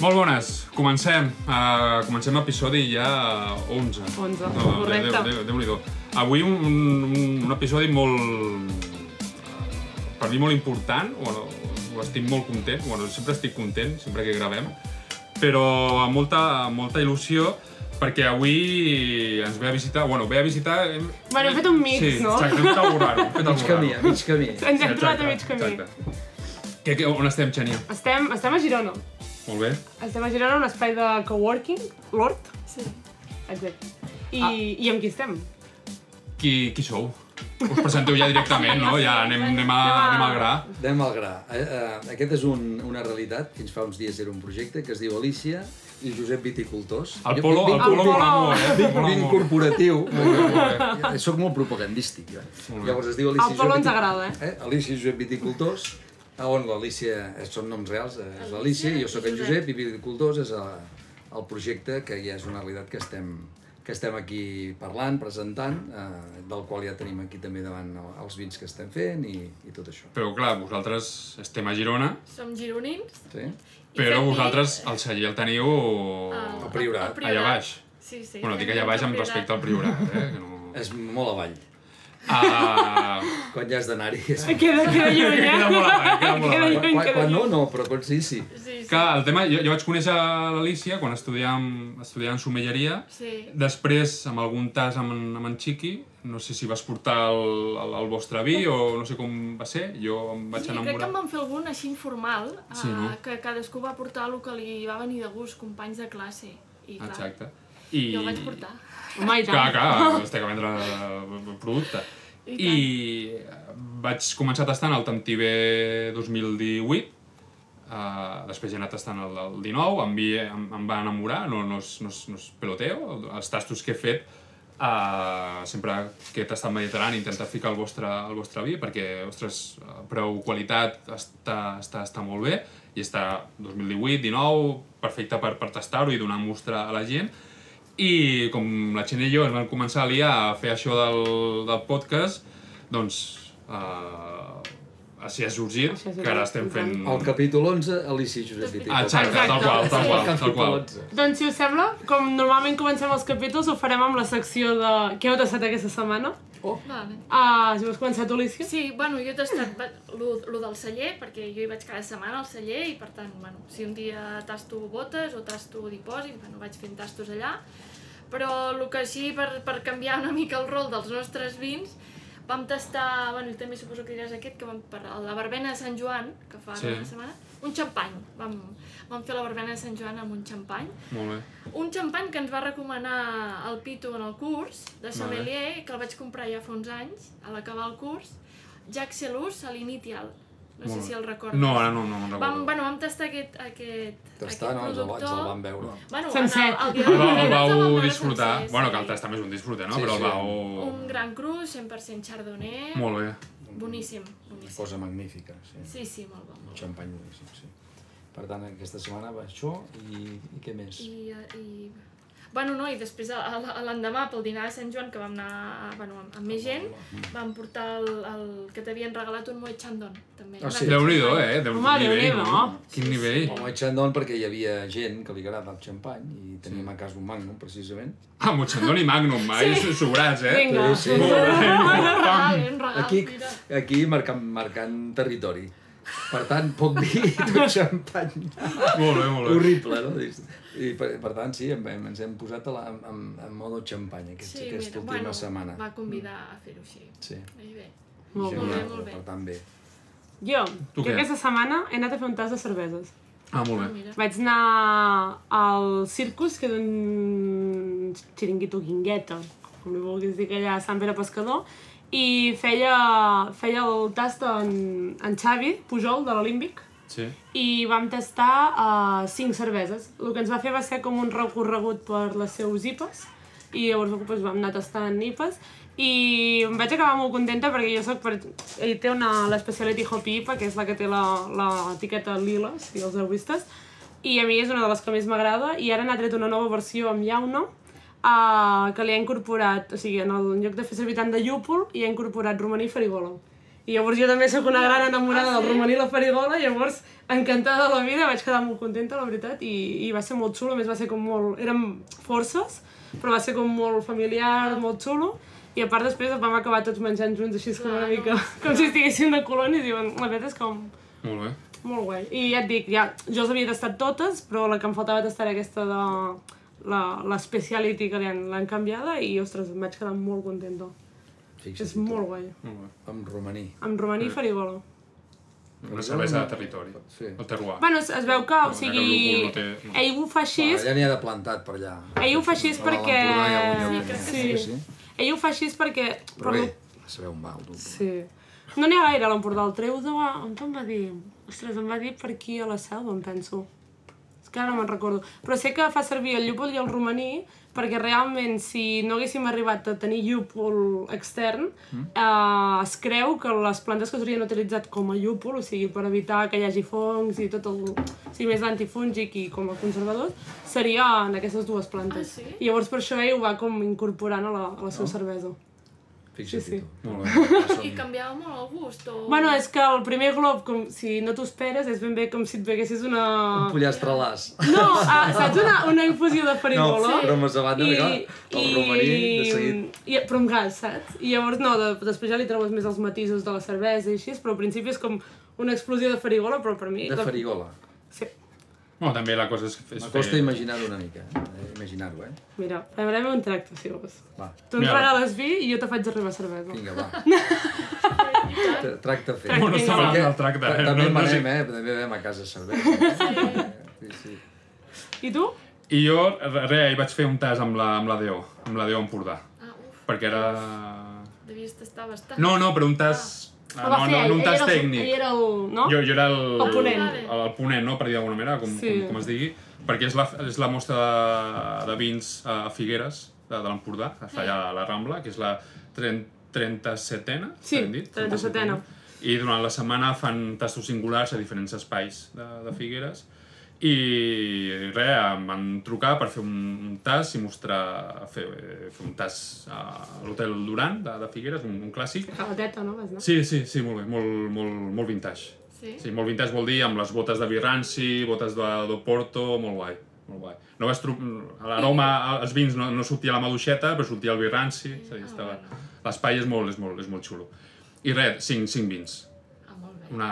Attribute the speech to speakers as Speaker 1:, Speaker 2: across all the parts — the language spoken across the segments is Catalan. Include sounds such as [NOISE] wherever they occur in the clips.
Speaker 1: Molt bones, comencem. Uh, comencem l'episodi ja 11.
Speaker 2: 11,
Speaker 1: No,
Speaker 2: correcte.
Speaker 1: Déu, Déu, Déu, Déu Avui un, un, un episodi molt... Per mi molt important, bueno, ho estic molt content, bueno, sempre estic content, sempre que gravem, però amb molta, amb molta il·lusió, perquè avui ens ve a visitar, bueno, ve a visitar... hem-
Speaker 2: Bueno, hem fet un mix,
Speaker 1: sí,
Speaker 2: no?
Speaker 1: Exacte, hem fet algo raro, hem fet
Speaker 3: Mig
Speaker 1: algo
Speaker 3: camí, eh?
Speaker 1: raro.
Speaker 3: a mig camí.
Speaker 2: Ens hem
Speaker 1: Exacte,
Speaker 2: trobat a mig camí.
Speaker 1: Exacte. Que, que, on estem, Xenia?
Speaker 2: Estem, estem a Girona.
Speaker 1: Molt bé.
Speaker 2: Estem a Girona, un espai de coworking, l'Hort.
Speaker 4: Sí. Ah.
Speaker 2: Exacte. I, I amb qui estem?
Speaker 1: qui, qui sou? Us presenteu ja directament, no? Ja anem, anem, a, anem al gra.
Speaker 3: [LAUGHS] Anem al gra. Eh, eh, Aquest és un, una realitat. Fins fa uns dies era un projecte que es diu Alicia i Josep Viticultors.
Speaker 1: El polo, el polo
Speaker 2: Polo.
Speaker 1: mola molt, eh?
Speaker 3: Vinc,
Speaker 1: Mola
Speaker 3: vinc
Speaker 1: molt.
Speaker 3: corporatiu.
Speaker 1: Molt
Speaker 3: Eh, Soc molt propagandístic, jo.
Speaker 1: Molt bé.
Speaker 3: Llavors es diu Alicia
Speaker 2: El polo
Speaker 3: Josep
Speaker 2: ens
Speaker 3: Viticultors.
Speaker 2: agrada, eh?
Speaker 3: eh? Alicia i Josep Viticultors, a on l'Alicia eh, són noms reals, eh, és l'Alicia, jo sóc en Josep, i Viticultors és el, el projecte que ja és una realitat que estem, que estem aquí parlant, presentant, eh, del qual ja tenim aquí també davant el- els vins que estem fent i, i tot això.
Speaker 1: Però clar, vosaltres estem a Girona,
Speaker 4: Som gironins.
Speaker 3: Sí?
Speaker 4: i Ah,
Speaker 1: però
Speaker 4: fem
Speaker 1: vosaltres
Speaker 4: nit
Speaker 1: el celler el teniu
Speaker 4: al-
Speaker 3: Al Priorat.
Speaker 4: al
Speaker 1: allà baix.
Speaker 4: Sí, sí.
Speaker 1: Bueno,
Speaker 4: fem
Speaker 1: dic
Speaker 4: nit
Speaker 1: allà baix amb
Speaker 4: Priorat.
Speaker 1: respecte al Priorat, eh? Que no...
Speaker 3: És molt avall.
Speaker 1: Ah,
Speaker 3: Quan ja has d'anar-hi. és-
Speaker 2: Queda, queda lluny, eh?
Speaker 1: queda molt avall, queda molt
Speaker 2: Queda
Speaker 1: avall.
Speaker 3: Quan,
Speaker 2: lluny,
Speaker 3: quan,
Speaker 2: queda
Speaker 3: quan no,
Speaker 2: lluny.
Speaker 3: no, però quan sí, sí.
Speaker 4: Sí, sí.
Speaker 1: Que el tema, jo, jo vaig conèixer l'Alicia quan estudiàvem, estudiàvem somelleria,
Speaker 4: Sí.
Speaker 1: Després, amb algun tas amb, en- amb en Chiqui, no sé si vas portar el, el, el vostre vi o no sé com va ser, jo em vaig
Speaker 4: Sí, crec que
Speaker 1: enamorar.
Speaker 4: en van fer algun així informal,
Speaker 1: Sí,
Speaker 4: sí,
Speaker 1: no?
Speaker 4: no? que cadascú va portar el que li va venir de gust, companys de classe. I clar,
Speaker 1: Exacte. I...
Speaker 4: jo el vaig portar.
Speaker 2: Home, i
Speaker 1: Clar,
Speaker 2: tant.
Speaker 1: clar, has de vendre el producte.
Speaker 4: I
Speaker 1: I, eh, vaig començar tastant el Tantivé 2018, Uh, després he anat tastant el, el 19, em, vi, em, em va enamorar, no, no, és, no, és, no és peloteo, els tastos que he fet uh, sempre que he tastat mediterrani intentar ficar el vostre, el vostre vi perquè, ostres, eh, preu qualitat està, està, està molt bé i està 2018, 19, perfecte per, per tastar-ho i donar mostra a la gent i com la Xena i jo ens vam començar a liar a fer això del, del podcast, doncs uh, així ha sorgit,
Speaker 2: Així ha sorgit,
Speaker 1: que ara estem
Speaker 2: i
Speaker 1: fent...
Speaker 3: El capítol 11, Alicia i Josep Viticultors.
Speaker 1: Ah, Exacte, tal qual, tal qual,
Speaker 3: El
Speaker 1: tal
Speaker 3: capítol
Speaker 1: qual.
Speaker 3: 11.
Speaker 2: Doncs, si us sembla, com normalment comencem els capítols, ho farem amb la secció de què heu tastat aquesta setmana.
Speaker 4: Vale.
Speaker 2: Ah, si vols començar tu, Lícia?
Speaker 4: Oh. Sí, bueno, jo he tastat el del celler, perquè jo hi vaig cada setmana al celler i per tant, bueno, si un dia tasto botes o tasto dipòsit, bueno, vaig fent tastos allà, però el que així per, per canviar una mica el rol dels nostres vins, vam tastar, bueno, i també suposo que diràs aquest, que vam per a la verbena de Sant Joan, que fa
Speaker 1: Sí.
Speaker 4: sí. una setmana, un xampany, vam, vam fer la verbena de Sant Joan amb un xampany,
Speaker 1: Molt bé.
Speaker 4: un xampany que ens va recomanar el Pitu en el curs de sommelier, que el vaig comprar ja fa uns anys, a l'acabar el curs, Jacques Celus a l'Initial. No sé
Speaker 1: Molt
Speaker 4: si
Speaker 1: bé.
Speaker 4: el recordes.
Speaker 1: No, ara no, no me'n
Speaker 4: Vam,
Speaker 1: recordo.
Speaker 4: bueno, vam tastar aquest, aquest,
Speaker 3: Tastar, no, ens
Speaker 4: aquest
Speaker 3: el, ens el vam
Speaker 4: productor.
Speaker 3: veure.
Speaker 4: Bueno,
Speaker 2: Sencer.
Speaker 4: El, el,
Speaker 1: El,
Speaker 4: dia
Speaker 1: va-
Speaker 4: de
Speaker 1: el
Speaker 4: divendres vam
Speaker 1: vau
Speaker 4: veure
Speaker 1: disfrutar.
Speaker 4: sencer,
Speaker 1: Bueno,
Speaker 4: sí.
Speaker 1: que el tastament és un disfrute, no?
Speaker 3: Sí,
Speaker 1: Però el
Speaker 3: sí.
Speaker 1: vau...
Speaker 4: Un gran cru, 100% chardonnay.
Speaker 1: Molt bé.
Speaker 4: Boníssim,
Speaker 3: Una
Speaker 4: boníssim.
Speaker 3: cosa magnífica, sí.
Speaker 4: Sí, sí, molt bon.
Speaker 3: Un xampany boníssim, sí. Per tant, aquesta setmana va això i, i què més?
Speaker 4: I, eh, i... Bueno, no, i després a- a- a l'endemà pel dinar de Sant Joan, que vam anar bueno, amb, amb més gent, vam portar el, el que t'havien regalat un Moet Chandon, també.
Speaker 3: Ah, sí?
Speaker 4: Una-
Speaker 1: Déu-n'hi-do, eh? Déu
Speaker 2: Home,
Speaker 1: nivell,
Speaker 2: Déu-n'hi-do.
Speaker 1: no? Quin nivell.
Speaker 3: Home, xandon perquè hi havia gent que li agrada el xampany i teníem a casa un magnum, precisament.
Speaker 1: Ah, Mochandon i Magnum, mai sí. sobrats, eh?
Speaker 2: Vinga.
Speaker 3: Sí,
Speaker 1: [LAUGHS]
Speaker 3: sí.
Speaker 1: Molt bé.
Speaker 4: Un regal, un regal,
Speaker 3: Aquí,
Speaker 4: Ah, mira.
Speaker 3: aquí marcant, marcant territori. Per tant, poc vi i tot xampany.
Speaker 1: [LAUGHS] Molt bé, molt bé.
Speaker 3: Horrible, no? Dius- I per, per tant, sí, em- em- ens hem posat a la, en, en, en modo xampany aquest,
Speaker 4: Sí,
Speaker 3: aquesta
Speaker 4: mira,
Speaker 3: última
Speaker 4: bueno,
Speaker 3: setmana.
Speaker 4: va convidar a fer-ho així.
Speaker 3: Sí.
Speaker 4: I bé.
Speaker 2: Molt bé.
Speaker 4: Molt bé,
Speaker 3: Genial,
Speaker 4: molt bé.
Speaker 3: Per tant, bé.
Speaker 2: Jo,
Speaker 1: Tu
Speaker 2: jo
Speaker 1: què?
Speaker 2: aquesta setmana he anat a fer un tas de cerveses.
Speaker 1: Ah, molt
Speaker 4: Ah,
Speaker 1: bé.
Speaker 4: mira.
Speaker 2: Vaig anar al Circus, que és un xiringuito guingueta, com li vulguis dir, que allà a Sant Pere Pescador, i feia, feia el tast en, en Xavi Pujol, de l'Olímpic,
Speaker 1: Sí.
Speaker 2: i vam tastar uh, cinc cerveses. El que ens va fer va ser com un recorregut per les seus IPAs, i llavors doncs, vam anar tastant IPAs, i em vaig acabar molt contenta perquè jo soc per... Ell té una, l'Speciality Hopi IPA, que és la que té la- l'etiqueta lila, si els heu vistes, i a mi és una de les que més m'agrada, i ara n'ha tret una nova versió amb llauna, uh, que li ha incorporat, o sigui, en, el, en lloc de fer servir tant de llúpol, hi ha incorporat romaní i farigola. I llavors jo també sóc una gran enamorada
Speaker 4: Ah, sí?
Speaker 2: del romaní la farigola, llavors encantada de la vida, vaig quedar molt contenta, la veritat, i, i va ser molt xulo, a més va ser com molt... érem forces, però va ser com molt familiar, molt xulo, i a part després vam acabar tots menjant junts, així és com una
Speaker 4: Clar, Ah, no?
Speaker 2: mica... com si estiguéssim de colònies, i bueno, la veritat és com...
Speaker 1: Molt bé.
Speaker 2: Molt guai. I ja et dic, ja, jo les havia tastat totes, però la que em faltava tastar era aquesta de la- l'especiality que li han- l'han canviada i, ostres, em vaig quedar molt contenta.
Speaker 3: Fixa't.
Speaker 2: És molt guai.
Speaker 1: Molt bé.
Speaker 3: Amb romaní.
Speaker 2: Amb romaní i
Speaker 3: Mm.
Speaker 2: farigola.
Speaker 1: Una cervesa de territori.
Speaker 3: Sí.
Speaker 1: El terroir.
Speaker 2: Bueno, es, es veu que, o
Speaker 1: no,
Speaker 2: sigui,
Speaker 1: que el lúpul no té- no.
Speaker 2: ell ho fa així,
Speaker 3: Va, allà Ah, n'hi ha de plantat per allà.
Speaker 2: ell ho fa així
Speaker 3: A l'Alt
Speaker 2: perquè...
Speaker 3: Empordà hi ha algun lloc que n'hi ha,
Speaker 2: Sí,
Speaker 3: sí.
Speaker 2: ell ho fa així perquè...
Speaker 3: Però
Speaker 2: per
Speaker 3: bé,
Speaker 2: lo-
Speaker 3: a saber on va el dubte.
Speaker 2: Sí. No n'hi ha gaire a l'Empordà, el treu de... On em va dir? Ostres, em va dir per aquí a la selva, em penso. És que ara no me'n recordo. Però sé que fa servir el llúpol i el romaní perquè realment si no haguéssim arribat a tenir llúpol extern, mm. eh, es creu que les plantes que s'haurien utilitzat com a llúpol, o sigui, per evitar que hi hagi fongs i tot el... O sigui, més antifúngic i com a conservador, serien aquestes dues plantes.
Speaker 4: Ah, sí?
Speaker 2: I llavors per això ell ho va com incorporant a la, a la seva cervesa.
Speaker 3: Fixa't
Speaker 2: Sí, sí.
Speaker 3: tu.
Speaker 1: Molt bé.
Speaker 4: I canviava molt el gust, o...
Speaker 2: Bueno, és que el primer glob, com si no t'ho esperes, és ben bé com si et beguessis una...
Speaker 3: Un pollastre l'as.
Speaker 2: No, ah, saps? Una, una infusió de farigola.
Speaker 3: No, però m'has abat de mirar el romaní de seguit.
Speaker 2: I, però amb gas, saps? I llavors, no, de, després ja li trobes més els matisos de la cervesa i així, però al principi és com una explosió de farigola, però per mi...
Speaker 3: De
Speaker 2: la-
Speaker 3: farigola.
Speaker 2: Sí,
Speaker 1: Bueno, també la cosa és... és
Speaker 3: M'acosta imaginar-ho una mica. eh? Imaginar-ho, eh?
Speaker 2: mira, farem un tracte, si vols.
Speaker 3: Va,
Speaker 2: Tu ens
Speaker 1: Mira.
Speaker 2: regales vi i jo te faig arribar cervesa.
Speaker 3: vinga, va. Tra- Tracte fet.
Speaker 1: Bueno, no
Speaker 2: Vinga,
Speaker 1: està
Speaker 2: va.
Speaker 1: malament el tracte, eh?
Speaker 3: També
Speaker 1: No- no sé-
Speaker 3: manem, eh? També vam a casa cervesa. eh? Sí, sí.
Speaker 2: I tu?
Speaker 1: I jo, re, hi vaig fer un tas amb la, amb la Déu, amb la Déu Empordà.
Speaker 4: Ah, uf,
Speaker 1: Perquè era...
Speaker 4: devies tastar bastant.
Speaker 1: No, no, però un tas...
Speaker 2: El
Speaker 1: Ah, no,
Speaker 2: Ah. va fer
Speaker 1: no,
Speaker 2: ell,
Speaker 1: no un
Speaker 2: ell
Speaker 1: tas
Speaker 2: era el-
Speaker 1: tècnic.
Speaker 2: Ell era el... No?
Speaker 1: Jo, jo era el,
Speaker 2: El ponent.
Speaker 1: El, el ponent, no? per dir d'alguna manera, com,
Speaker 2: Sí.
Speaker 1: com, com es digui, perquè és la, és la mostra de, de vins eh, a Figueres, de, de l'Empordà, que està allà a la Rambla, que és la 37a,
Speaker 2: Sí, 37a.
Speaker 1: I durant la setmana fan tastos singulars a diferents espais de, de Figueres. I res, em van trucar per fer un, un tas i mostrar, fer, fer un tas a l'Hotel Duran de, de Figueres, un, un clàssic.
Speaker 2: A la teta, no? Vas anar?
Speaker 1: Sí, sí, sí, molt bé, molt, molt, molt vintage.
Speaker 4: Sí?
Speaker 1: Sí, molt vintage vol dir amb les botes de birranci, botes de d'Oporto, molt guai. Molt guai. No vas tru... L'aroma als vins no, no sortia la maduixeta, però sortia el birranci. És a dir, estava... L'espai és molt, és molt, és molt xulo. I res, cinc, cinc vins.
Speaker 4: Ah, molt bé.
Speaker 1: Una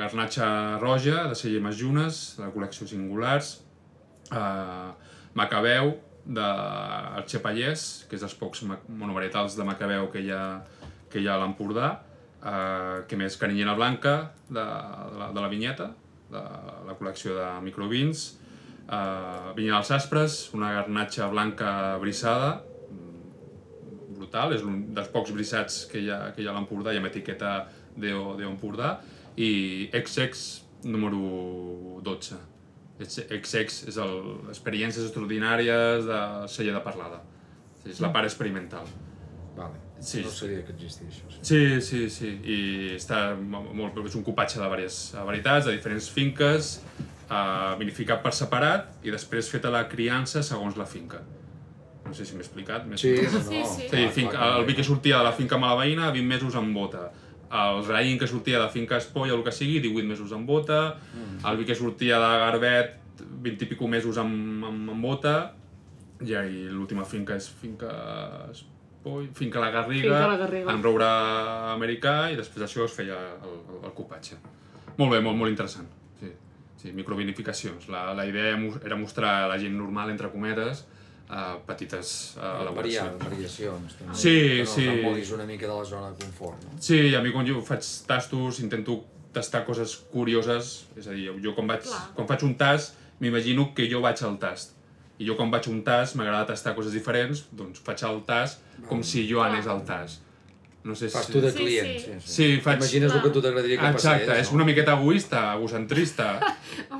Speaker 1: garnatxa roja de celler Junes, de la col·lecció Singulars, eh, Macabeu, de Arxepallès, que és dels pocs ma- monovarietals de Macabeu que hi ha, que hi ha a l'Empordà, eh, que més Carinyena Blanca, de, de, la, de la Vinyeta, de la col·lecció de microvins, eh, Vinya dels Aspres, una garnatxa blanca brissada, brutal, és un dels pocs brissats que hi ha, que hi ha a l'Empordà, hi ha amb etiqueta d'O- d'Empordà, i XX número 12. És- XX és el Experiències Extraordinàries de Celler de Parlada. És la part experimental.
Speaker 3: Vale.
Speaker 1: Sí.
Speaker 3: No sabia que existia això.
Speaker 1: Sí,
Speaker 3: Sí.
Speaker 1: sí, sí, i està mo- molt bé, és un copatge de diverses varietats, de diferents finques, eh, vinificat per separat i després feta la criança segons la finca. No sé si m'he explicat. Més
Speaker 3: Sí, no,
Speaker 4: Sí, sí.
Speaker 1: Sí,
Speaker 3: Ah,
Speaker 1: finca, el vi que sortia de la finca Malaveïna, 20 mesos en bota. El raïm que sortia de la finca Espolla, el que sigui, 18 mesos en bota. El vi que sortia de Garbet, 20 i pico mesos en, en, en bota. I ahí l'última finca és finca Espolla, finca La Garriga,
Speaker 2: Finca La Garriga.
Speaker 1: en roure americà, i després d'això es feia el, el, el copatge. Molt bé, molt, molt interessant. Sí, sí microvinificacions. La, la idea mos- era mostrar a la gent normal, entre cometes, eh, petites eh,
Speaker 3: Varia,
Speaker 1: elaboracions.
Speaker 3: variacions. També.
Speaker 1: Sí,
Speaker 3: que no
Speaker 1: sí.
Speaker 3: No moguis una mica de la zona de confort, no?
Speaker 1: Sí, a mi quan jo faig tastos intento tastar coses curioses, és a dir, jo quan, vaig,
Speaker 4: Clar.
Speaker 1: quan faig un tast m'imagino que jo vaig al tast. I jo quan vaig a un tast m'agrada tastar coses diferents, doncs faig el tast com si jo anés al tast. No sé si...
Speaker 3: Fas tu de
Speaker 4: Sí,
Speaker 3: client.
Speaker 4: sí.
Speaker 3: Sí, sí.
Speaker 1: Sí, faig...
Speaker 3: Imagines el que a tu t'agradaria que passés.
Speaker 1: Exacte, és una miqueta egoista, egocentrista,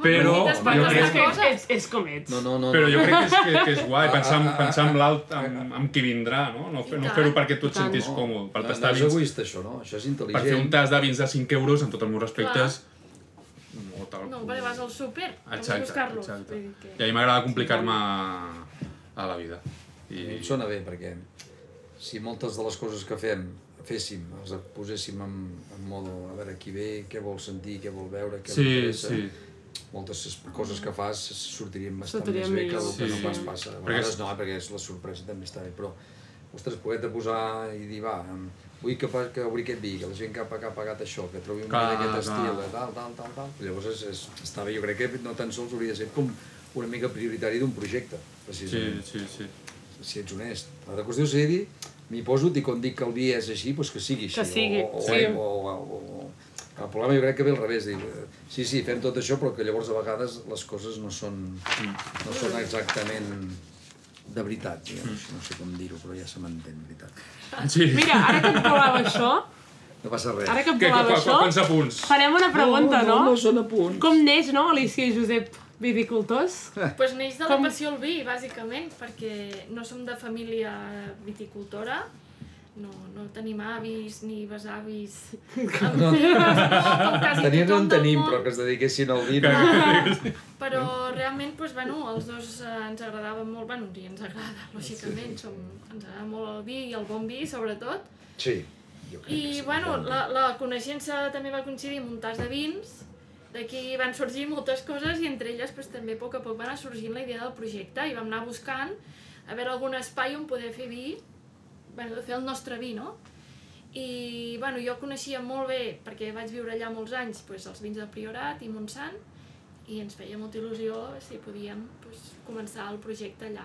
Speaker 1: però
Speaker 4: necessites
Speaker 1: jo
Speaker 4: tantes
Speaker 1: crec,
Speaker 2: és, que
Speaker 4: coses.
Speaker 2: és, és, és com ets.
Speaker 3: No, no, no.
Speaker 1: però
Speaker 3: no.
Speaker 1: jo crec que és, que, que és guai pensar, en, pensar en l'alt,
Speaker 3: Ah,
Speaker 1: amb, amb qui vindrà, no? No, fer- no fer-ho perquè tu et
Speaker 2: tant.
Speaker 1: sentis còmode, per
Speaker 3: no,
Speaker 1: tastar
Speaker 3: no és
Speaker 1: vins
Speaker 3: egoista, això, no? Això és
Speaker 1: per fer un
Speaker 3: intel·ligent.
Speaker 1: tas de vins de 5 euros, amb tots els meus respectes, no, tal.
Speaker 4: No, perquè vas al súper, has de
Speaker 1: Exacte,
Speaker 4: buscar-lo.
Speaker 1: exacte.
Speaker 4: Vull dir que-
Speaker 1: I a mi m'agrada complicar-me a la vida.
Speaker 3: I
Speaker 1: I...
Speaker 3: em sona bé, perquè si moltes de les coses que fem féssim, els poséssim en, en modo a veure qui ve, què vol sentir, què vol veure, què li
Speaker 1: Sí,
Speaker 3: interessa.
Speaker 1: sí.
Speaker 3: Moltes coses que fas sortirien bastant
Speaker 2: Sortirien
Speaker 3: més bé que el
Speaker 2: millor.
Speaker 3: que no
Speaker 1: Sí.
Speaker 3: pas passa. A
Speaker 1: Perquè
Speaker 3: vegades
Speaker 1: és-
Speaker 3: no, eh, perquè és la sorpresa també està bé, però ostres, poder-te posar i dir, va, em- vull que, fa- que obri aquest vi, que la gent que ha, pa- que ha pagat això, que trobi un vi
Speaker 1: Clar,
Speaker 3: d'aquest
Speaker 1: clar.
Speaker 3: estil, de tal, tal, tal, tal. Llavors és, és, està bé, jo crec que no tan sols hauria de ser com una mica prioritari d'un projecte,
Speaker 1: Sí,
Speaker 3: precisament
Speaker 1: sí, sí.
Speaker 3: si ets honest. La qüestió és ser-hi, m'hi poso, i quan dic que el dia és així, doncs que sigui així.
Speaker 2: Que sigui,
Speaker 3: o, o,
Speaker 2: sí.
Speaker 3: o, o, o, o, el problema jo crec que ve al revés. Dir, eh, sí, sí, fem tot això, però que llavors a vegades les coses no són, no són exactament de veritat, diguem No sé com dir-ho, però ja se m'entén, veritat.
Speaker 4: Ah,
Speaker 1: Sí.
Speaker 2: Mira, ara que et volava això,
Speaker 3: No passa res.
Speaker 2: ara que
Speaker 1: [LAUGHS]
Speaker 2: et
Speaker 1: Que, que,
Speaker 2: volava
Speaker 1: que,
Speaker 2: això,
Speaker 1: quants apunts?
Speaker 2: farem una pregunta, no?
Speaker 3: No, no són a punt.
Speaker 2: Com neix, no, Alicia i Josep Viticultors?
Speaker 4: Pues neix de la
Speaker 2: Com-
Speaker 4: passió al vi, bàsicament, perquè no som de família viticultora, no, no tenim avis ni besavis. [LAUGHS] No. Com quasi
Speaker 3: Tenir no
Speaker 4: tothom
Speaker 3: en
Speaker 4: del
Speaker 3: tenim,
Speaker 4: món.
Speaker 3: però que es dediquessin al
Speaker 4: [LAUGHS]
Speaker 3: vi. No.
Speaker 4: Ah, però realment, doncs, bueno, els dos eh, ens agradava molt, bueno, i ens agrada, [LAUGHS] lògicament, som, ens agrada molt el vi i el bon vi, sobretot.
Speaker 3: Sí. Jo crec que
Speaker 4: I,
Speaker 3: sí.
Speaker 4: bueno, la, la coneixença també va coincidir amb un tas de vins, d'aquí van sorgir moltes coses i entre elles pues, també a poc a poc va anar sorgint la idea del projecte i vam anar buscant a veure algun espai on poder fer vi, bueno, fer el nostre vi, no? I bueno, jo coneixia molt bé, perquè vaig viure allà molts anys, pues, els vins de Priorat i Montsant, i ens feia molta il·lusió si podíem pues, començar el projecte allà.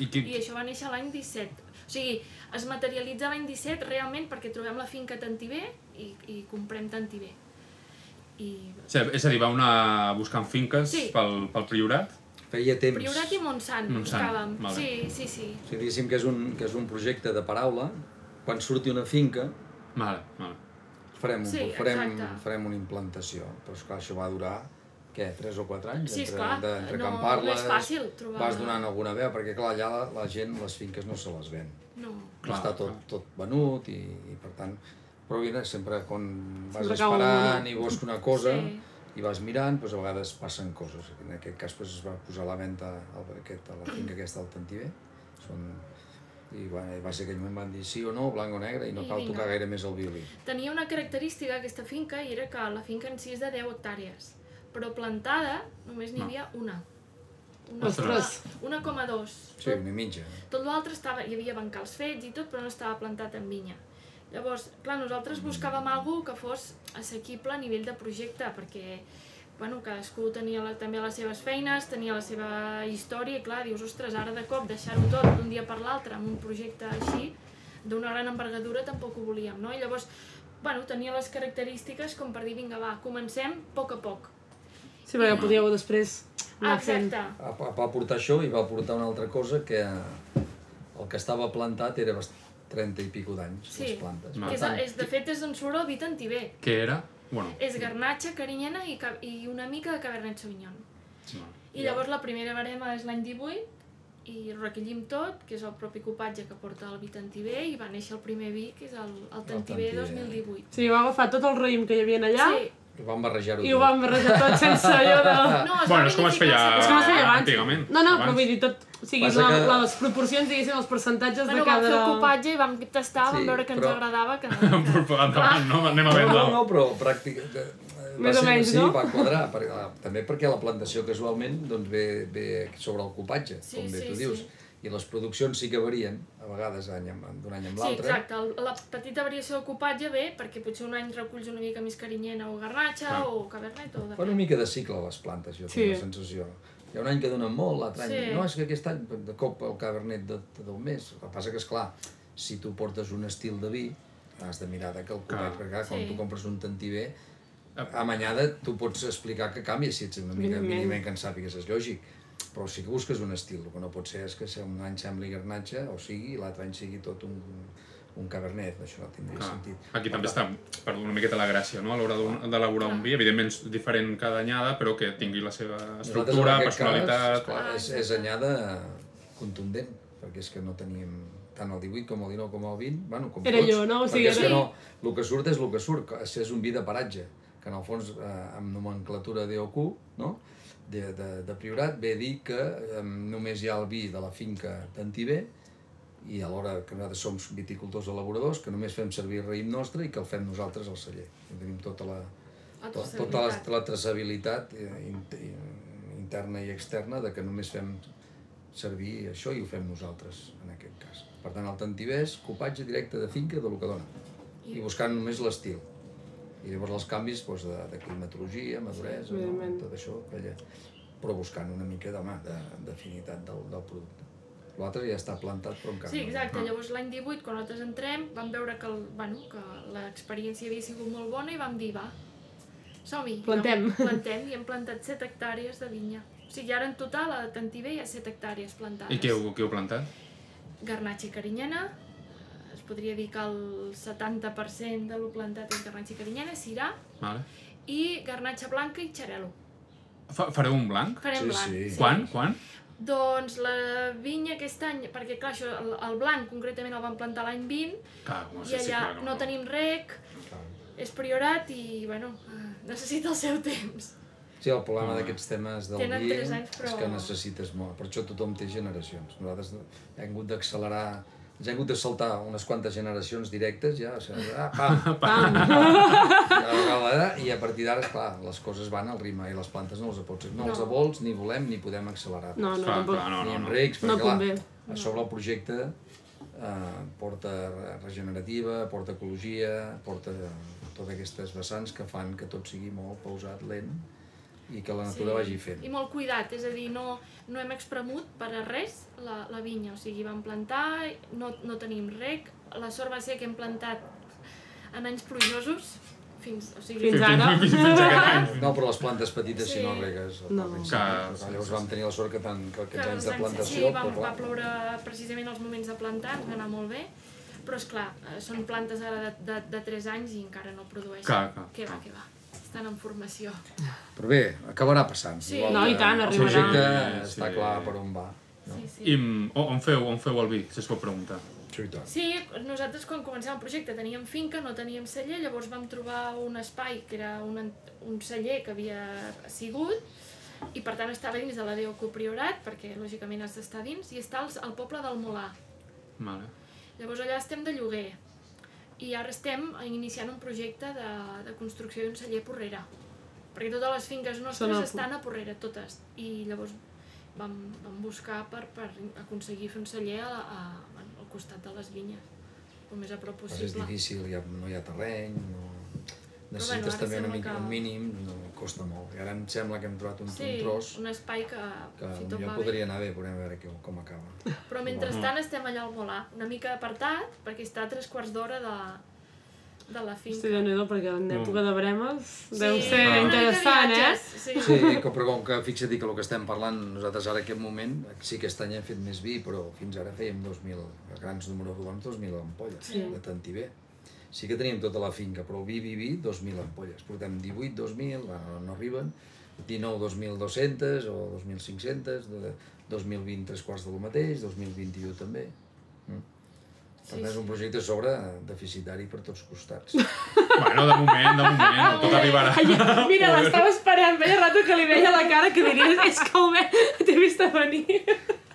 Speaker 1: I qui,
Speaker 4: I això va néixer l'any 17. O sigui, es materialitza l'any 17 realment perquè trobem la finca Tantivé i, i comprem Tantivé. I
Speaker 1: o sigui, és a dir, va anar buscant finques
Speaker 4: Sí.
Speaker 1: pel, pel Priorat.
Speaker 3: Feia temps.
Speaker 4: Priorat i Montsant,
Speaker 1: Montsant,
Speaker 4: buscàvem.
Speaker 1: vale.
Speaker 4: Sí, sí, sí.
Speaker 3: O sigui, diguéssim que és, un, que és un projecte de paraula, quan surti una finca,
Speaker 1: Vale, vale.
Speaker 3: farem, un,
Speaker 4: Sí,
Speaker 3: farem,
Speaker 4: exacte.
Speaker 3: farem una implantació. Però esclar, això va durar, què, 3 o 4 anys?
Speaker 4: Sí, esclar,
Speaker 3: de- entre
Speaker 4: no-
Speaker 3: que en
Speaker 4: no
Speaker 3: parles,
Speaker 4: és fàcil trobar-
Speaker 3: Vas donant alguna veu, perquè clar, allà la, la gent, les finques no se les ven.
Speaker 4: No.
Speaker 1: Clar,
Speaker 3: Clar, Està tot,
Speaker 1: clar.
Speaker 3: tot venut i, i per tant... Però mira, sempre quan vas
Speaker 2: Sempre cau
Speaker 3: esperant
Speaker 2: alguna.
Speaker 3: i vols que una cosa
Speaker 4: Sí.
Speaker 3: i vas mirant, doncs a vegades passen coses. En aquest cas doncs, es va posar a la venda el, aquest, a la finca aquesta del Tantivé. Són, i va, va ser aquell moment van dir sí o no, blanc o negre, i no
Speaker 4: I
Speaker 3: cal
Speaker 4: vinga.
Speaker 3: tocar gaire més el violí.
Speaker 4: Tenia una característica aquesta finca i era que la finca en si és de 10 hectàrees, però plantada només n'hi havia una. Una,
Speaker 2: Ostres.
Speaker 4: una, 1,2.
Speaker 3: Sí, una mitja.
Speaker 4: Tot l'altre estava, hi havia bancals fets i tot, però no estava plantat en vinya. Llavors, clar, nosaltres buscàvem algú que fos assequible a nivell de projecte, perquè bueno, cadascú tenia la, també les seves feines, tenia la seva història, i clar, dius, ostres, ara de cop deixar-ho tot d'un dia per l'altre amb un projecte així, d'una gran envergadura, tampoc ho volíem, no? I llavors, bueno, tenia les característiques com per dir, vinga, va, comencem a poc a poc.
Speaker 2: Sí, perquè podíeu després anar fent...
Speaker 4: Exacte.
Speaker 3: Va- Va portar això i va portar una altra cosa que el que estava plantat era bast- 30 i pico d'anys,
Speaker 4: Sí,
Speaker 3: les plantes.
Speaker 4: que és, és, de fet és d'on surt el vi tantivé.
Speaker 1: Què era? Bueno,
Speaker 4: És garnatxa, carinyena i, ca- i una mica de Cabernet Sauvignon.
Speaker 1: no.
Speaker 4: I llavors la primera verema és l'any 18 i ho recollim tot, que és el propi copatge que porta el vi Tantivé i va néixer el primer vi, que és el, el Tantivé
Speaker 3: Tantivé.
Speaker 4: 2018.
Speaker 2: Sí, vau agafar tot el raïm que hi havia allà
Speaker 4: Sí.
Speaker 3: I vam barrejar-ho
Speaker 2: i ho vam barrejar tot sense allò
Speaker 3: [LAUGHS]
Speaker 2: de...
Speaker 3: Ah,
Speaker 4: No, es va
Speaker 1: Bueno, és com es
Speaker 4: vinificar
Speaker 1: feia,
Speaker 4: sense-
Speaker 2: És com es feia abans.
Speaker 1: antigament.
Speaker 2: No, no, però
Speaker 1: Abans.
Speaker 2: vull dir tot... O sigui,
Speaker 3: Passa
Speaker 2: la,
Speaker 3: que-
Speaker 2: la, les proporcions, diguéssim, els percentatges de
Speaker 4: Bueno, vam
Speaker 2: cada...
Speaker 4: fer el copatge i vam tastar,
Speaker 3: Sí,
Speaker 4: vam veure que ens
Speaker 3: però- [LAUGHS]
Speaker 4: agradava. Que...
Speaker 1: Per [LAUGHS] endavant, no? Anem a
Speaker 3: No,
Speaker 1: vendre
Speaker 3: no, no, però pràctic... eh, Va
Speaker 2: Més o
Speaker 3: ser,
Speaker 2: menys,
Speaker 3: sí,
Speaker 2: no?
Speaker 3: va quadrar, perquè, ah, també perquè la plantació casualment doncs, ve, ve sobre el copatge,
Speaker 4: Sí,
Speaker 3: com bé
Speaker 4: sí,
Speaker 3: tu dius.
Speaker 4: sí.
Speaker 3: I les produccions sí que varien, a vegades any amb- d'un any amb
Speaker 4: Sí,
Speaker 3: l'altre.
Speaker 4: exacte. El, la petita variació de copatge ve perquè potser un any reculls una mica més carinyena o garnatxa o cabernet o... De...
Speaker 3: Fa una mica de cicle les plantes, jo tinc
Speaker 2: Sí.
Speaker 3: la sensació. Hi ha un any que donen molt, l'altre any...
Speaker 4: Sí.
Speaker 3: No, és que aquest any, de cop, el cabernet de, de deu mes. El que passa que, és clar, si tu portes un estil de vi, has de mirar de que el
Speaker 1: Clar.
Speaker 3: copet, perquè clar, quan
Speaker 4: Sí.
Speaker 3: tu compres un tantivé, amanyada tu pots explicar que canvia, si ets una mica
Speaker 2: Evidentment.
Speaker 3: mínimament que en sàpigues, és lògic. Però sí que busques un estil, el que no pot ser és que si un any sembli garnatxa, o sigui, i l'altre any sigui tot un, un cabernet, això no tindria
Speaker 1: Clar.
Speaker 3: sentit.
Speaker 1: Ah, Aquí també està, perdó, una miqueta la gràcia, no? A l'hora d'un- d'elaborar
Speaker 4: Ah.
Speaker 1: un vi, evidentment és diferent cada anyada, però que tingui la seva
Speaker 3: Nosaltres, en
Speaker 1: estructura,
Speaker 3: aquest Cas,
Speaker 1: personalitat...
Speaker 3: esclar, és, és anyada contundent, perquè és que no teníem tant el 18 com el 19 com el 20, bueno, com
Speaker 2: Era
Speaker 3: tots,
Speaker 2: jo, no? O sigui,
Speaker 3: perquè és
Speaker 2: era-
Speaker 3: que no, el que surt és el que surt, que és un vi de paratge, que en el fons, eh, amb nomenclatura DOQ, no? de, de, de priorat, ve a dir que eh, només hi ha el vi de la finca d'Antivé, i alhora que nosaltres som viticultors elaboradors, que només fem servir el raïm nostre i que el fem nosaltres al celler. I tenim tota la,
Speaker 4: La
Speaker 3: to, tota la,
Speaker 4: traçabilitat.
Speaker 3: la traçabilitat eh, in- in- interna i externa de que només fem servir això i ho fem nosaltres, en aquest cas. Per tant, el tantivès, copatge directe de finca de lo que dona. I buscant només l'estil. I llavors els canvis doncs, de, de climatologia, maduresa, no?
Speaker 2: evidentment.
Speaker 3: tot això, calla. però buscant una mica d'home, de- d'afinitat del, del producte. L'altre ja està plantat, però encara
Speaker 4: Sí,
Speaker 3: no.
Speaker 4: exacte. Llavors l'any 18, quan nosaltres entrem, vam veure que el- bueno, que l'experiència havia sigut molt bona i vam dir, va, som-hi.
Speaker 2: Plantem.
Speaker 4: Plantem i hem plantat 7 hectàrees de vinya. O sigui, ara en total a Tantiver hi ha 7 hectàrees plantades.
Speaker 1: I què heu, què heu plantat?
Speaker 4: Garnatxa i carinyena, es podria dir que el 70% de lo plantat és garnatxa i carinyena, cirà,
Speaker 1: Vale.
Speaker 4: i garnatxa blanca i xarelo.
Speaker 1: Fa, fareu un blanc?
Speaker 4: Farem
Speaker 3: Sí,
Speaker 4: blanc.
Speaker 3: sí.
Speaker 1: Quan? Quan?
Speaker 4: Doncs la vinya aquest any, perquè clar, això, el, el blanc concretament el vam plantar l'any 20,
Speaker 1: Cago,
Speaker 4: i allà no,
Speaker 1: [LAUGHS]
Speaker 4: tenim rec, és priorat i, bueno, eh, necessita el seu temps.
Speaker 3: Sí, el problema d'aquests temes del
Speaker 4: Ah. Tenen
Speaker 3: vi
Speaker 4: tres anys,
Speaker 3: és
Speaker 4: però-
Speaker 3: que necessites molt. Per això tothom té generacions. Nosaltres hem hagut d'accelerar ja hem hagut de saltar unes quantes generacions directes, ja, o sigui, ah,
Speaker 4: [LAUGHS]
Speaker 3: pam, ja, vegada, i a partir d'ara, esclar, les coses van al ritme i les plantes no les pots, no, no. els vols, ni volem, ni podem accelerar.
Speaker 2: No, no,
Speaker 1: Clar,
Speaker 2: tampoc.
Speaker 1: clar, no,
Speaker 3: ni
Speaker 1: no,
Speaker 3: amb
Speaker 1: no.
Speaker 3: recs,
Speaker 2: No
Speaker 3: perquè clar,
Speaker 2: convé.
Speaker 3: a sobre el projecte eh, porta re- regenerativa, porta ecologia, porta totes aquestes vessants que fan que tot sigui molt pausat, lent, i que la natura sí. vagi fent.
Speaker 4: I molt cuidat, és a dir, no, no hem espremut per a res la, la vinya, o sigui, vam plantar, no, no tenim rec, la sort va ser que hem plantat en anys plujosos, fins, o sigui,
Speaker 2: Fins ara.
Speaker 1: Fins, fins aquest
Speaker 4: [LAUGHS]
Speaker 1: any.
Speaker 3: No, però les plantes petites sí. si no
Speaker 4: Sí.
Speaker 3: regues.
Speaker 2: No.
Speaker 1: Que-
Speaker 3: Que... Llavors vam tenir la sort que, tant, que
Speaker 4: que
Speaker 3: aquests anys de
Speaker 4: els
Speaker 3: plantació...
Speaker 4: sí, va,
Speaker 3: però,
Speaker 4: va
Speaker 3: clar,
Speaker 4: ploure precisament els moments de plantar, ens va anar molt bé, però és clar, eh, són plantes ara de, de, de 3 anys i encara no produeixen.
Speaker 1: Clar, clar,
Speaker 4: que va,
Speaker 1: clar.
Speaker 4: que va, estan en formació.
Speaker 3: però bé, acabarà passant.
Speaker 4: Sí.
Speaker 3: Igual
Speaker 2: No,
Speaker 3: que
Speaker 2: i tant, arribarà.
Speaker 3: El projecte
Speaker 1: Sí, sí.
Speaker 3: està clar per on va. No?
Speaker 4: Sí, sí.
Speaker 1: I mm, on on feu, on feu el vi, si es pot preguntar?
Speaker 3: Sí, i tant.
Speaker 4: Sí, nosaltres quan començàvem el projecte teníem finca, no teníem celler, llavors vam trobar un espai que era un, ant- un celler que havia sigut i per tant estava dins de la Déu Copriorat, perquè lògicament has d'estar dins, i està al, al poble del Molar.
Speaker 1: Vale.
Speaker 4: Llavors allà estem de lloguer i ara estem iniciant un projecte de, de construcció d'un celler a Porrera perquè totes les finques nostres
Speaker 2: Són a Por-
Speaker 4: estan a Porrera, totes i llavors vam, vam buscar per, per aconseguir fer un celler a, a, bueno, al costat de les vinyes el més a prop
Speaker 3: Pues és
Speaker 4: possible
Speaker 3: difícil, hi ha, no hi ha terreny, no...
Speaker 4: bueno,
Speaker 3: necessites
Speaker 4: ara
Speaker 3: també una
Speaker 4: sembla
Speaker 3: mica
Speaker 4: que-
Speaker 3: un mínim, no costa molt. I ara em sembla que hem trobat un,
Speaker 4: sí,
Speaker 3: un tros
Speaker 4: un espai que,
Speaker 3: que
Speaker 4: si tot
Speaker 3: potser
Speaker 4: va bé
Speaker 3: podria anar bé, veurem a veure què, com acaba.
Speaker 4: però mentrestant estem allà al Molar una mica apartat perquè està a tres quarts d'hora de, de la
Speaker 2: Hosti,
Speaker 4: finca
Speaker 2: déu nhi perquè en època de bremes
Speaker 4: Sí,
Speaker 2: deu ser
Speaker 4: una mica
Speaker 2: interessant, eh?
Speaker 4: viatges, sí.
Speaker 3: Sí, que, però com que fixa't que el que estem parlant, nosaltres ara en aquest moment, sí que aquest any hem fet més vi, però fins ara fèiem 2.000, a grans números rodons, 2.000 ampolles
Speaker 2: Sí.
Speaker 3: de tantiver. Sí que teníem tota la finca, però vi, vi, vi, 2.000 ampolles. Portem 18, 2.000, bueno, no arriben, 19, 2.200 o 2.500, de- 2020 tres quarts de lo mateix, 2021 també. Mm. Per
Speaker 4: Sí,
Speaker 3: tant, és un projecte a sobre deficitari per tots costats.
Speaker 1: Bueno, de moment, de moment, no tot arribarà.
Speaker 2: [LAUGHS] Mira, l'estava esperant, feia rato que li veia la cara que diries, és que ho ve, t'he vist a venir.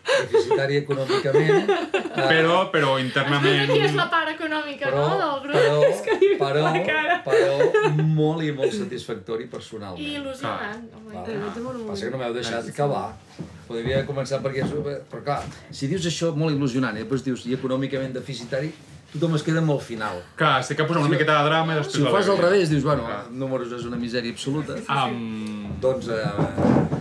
Speaker 3: Deficitari econòmicament, eh?
Speaker 1: Però, però
Speaker 4: Mira quina és
Speaker 1: internament...
Speaker 4: la part econòmica,
Speaker 3: però,
Speaker 4: no?, del grup.
Speaker 3: però, però,
Speaker 2: la cara.
Speaker 3: però, molt i molt satisfactori personalment.
Speaker 4: I il·lusionant. home.
Speaker 3: Val.
Speaker 2: Eh, té molt
Speaker 3: Passa que no m'heu deixat acabar. Podria començar perquè... és- Però clar, si dius això molt il·lusionant i després dius i econòmicament deficitari, tothom es queda amb el final.
Speaker 1: Clar, sí que posem una miqueta de drama i després...
Speaker 3: Si ho
Speaker 1: la
Speaker 3: fas al
Speaker 1: alegria.
Speaker 3: revés, dius, bueno, números és una misèria absoluta.
Speaker 1: Am,
Speaker 3: Doncs eh,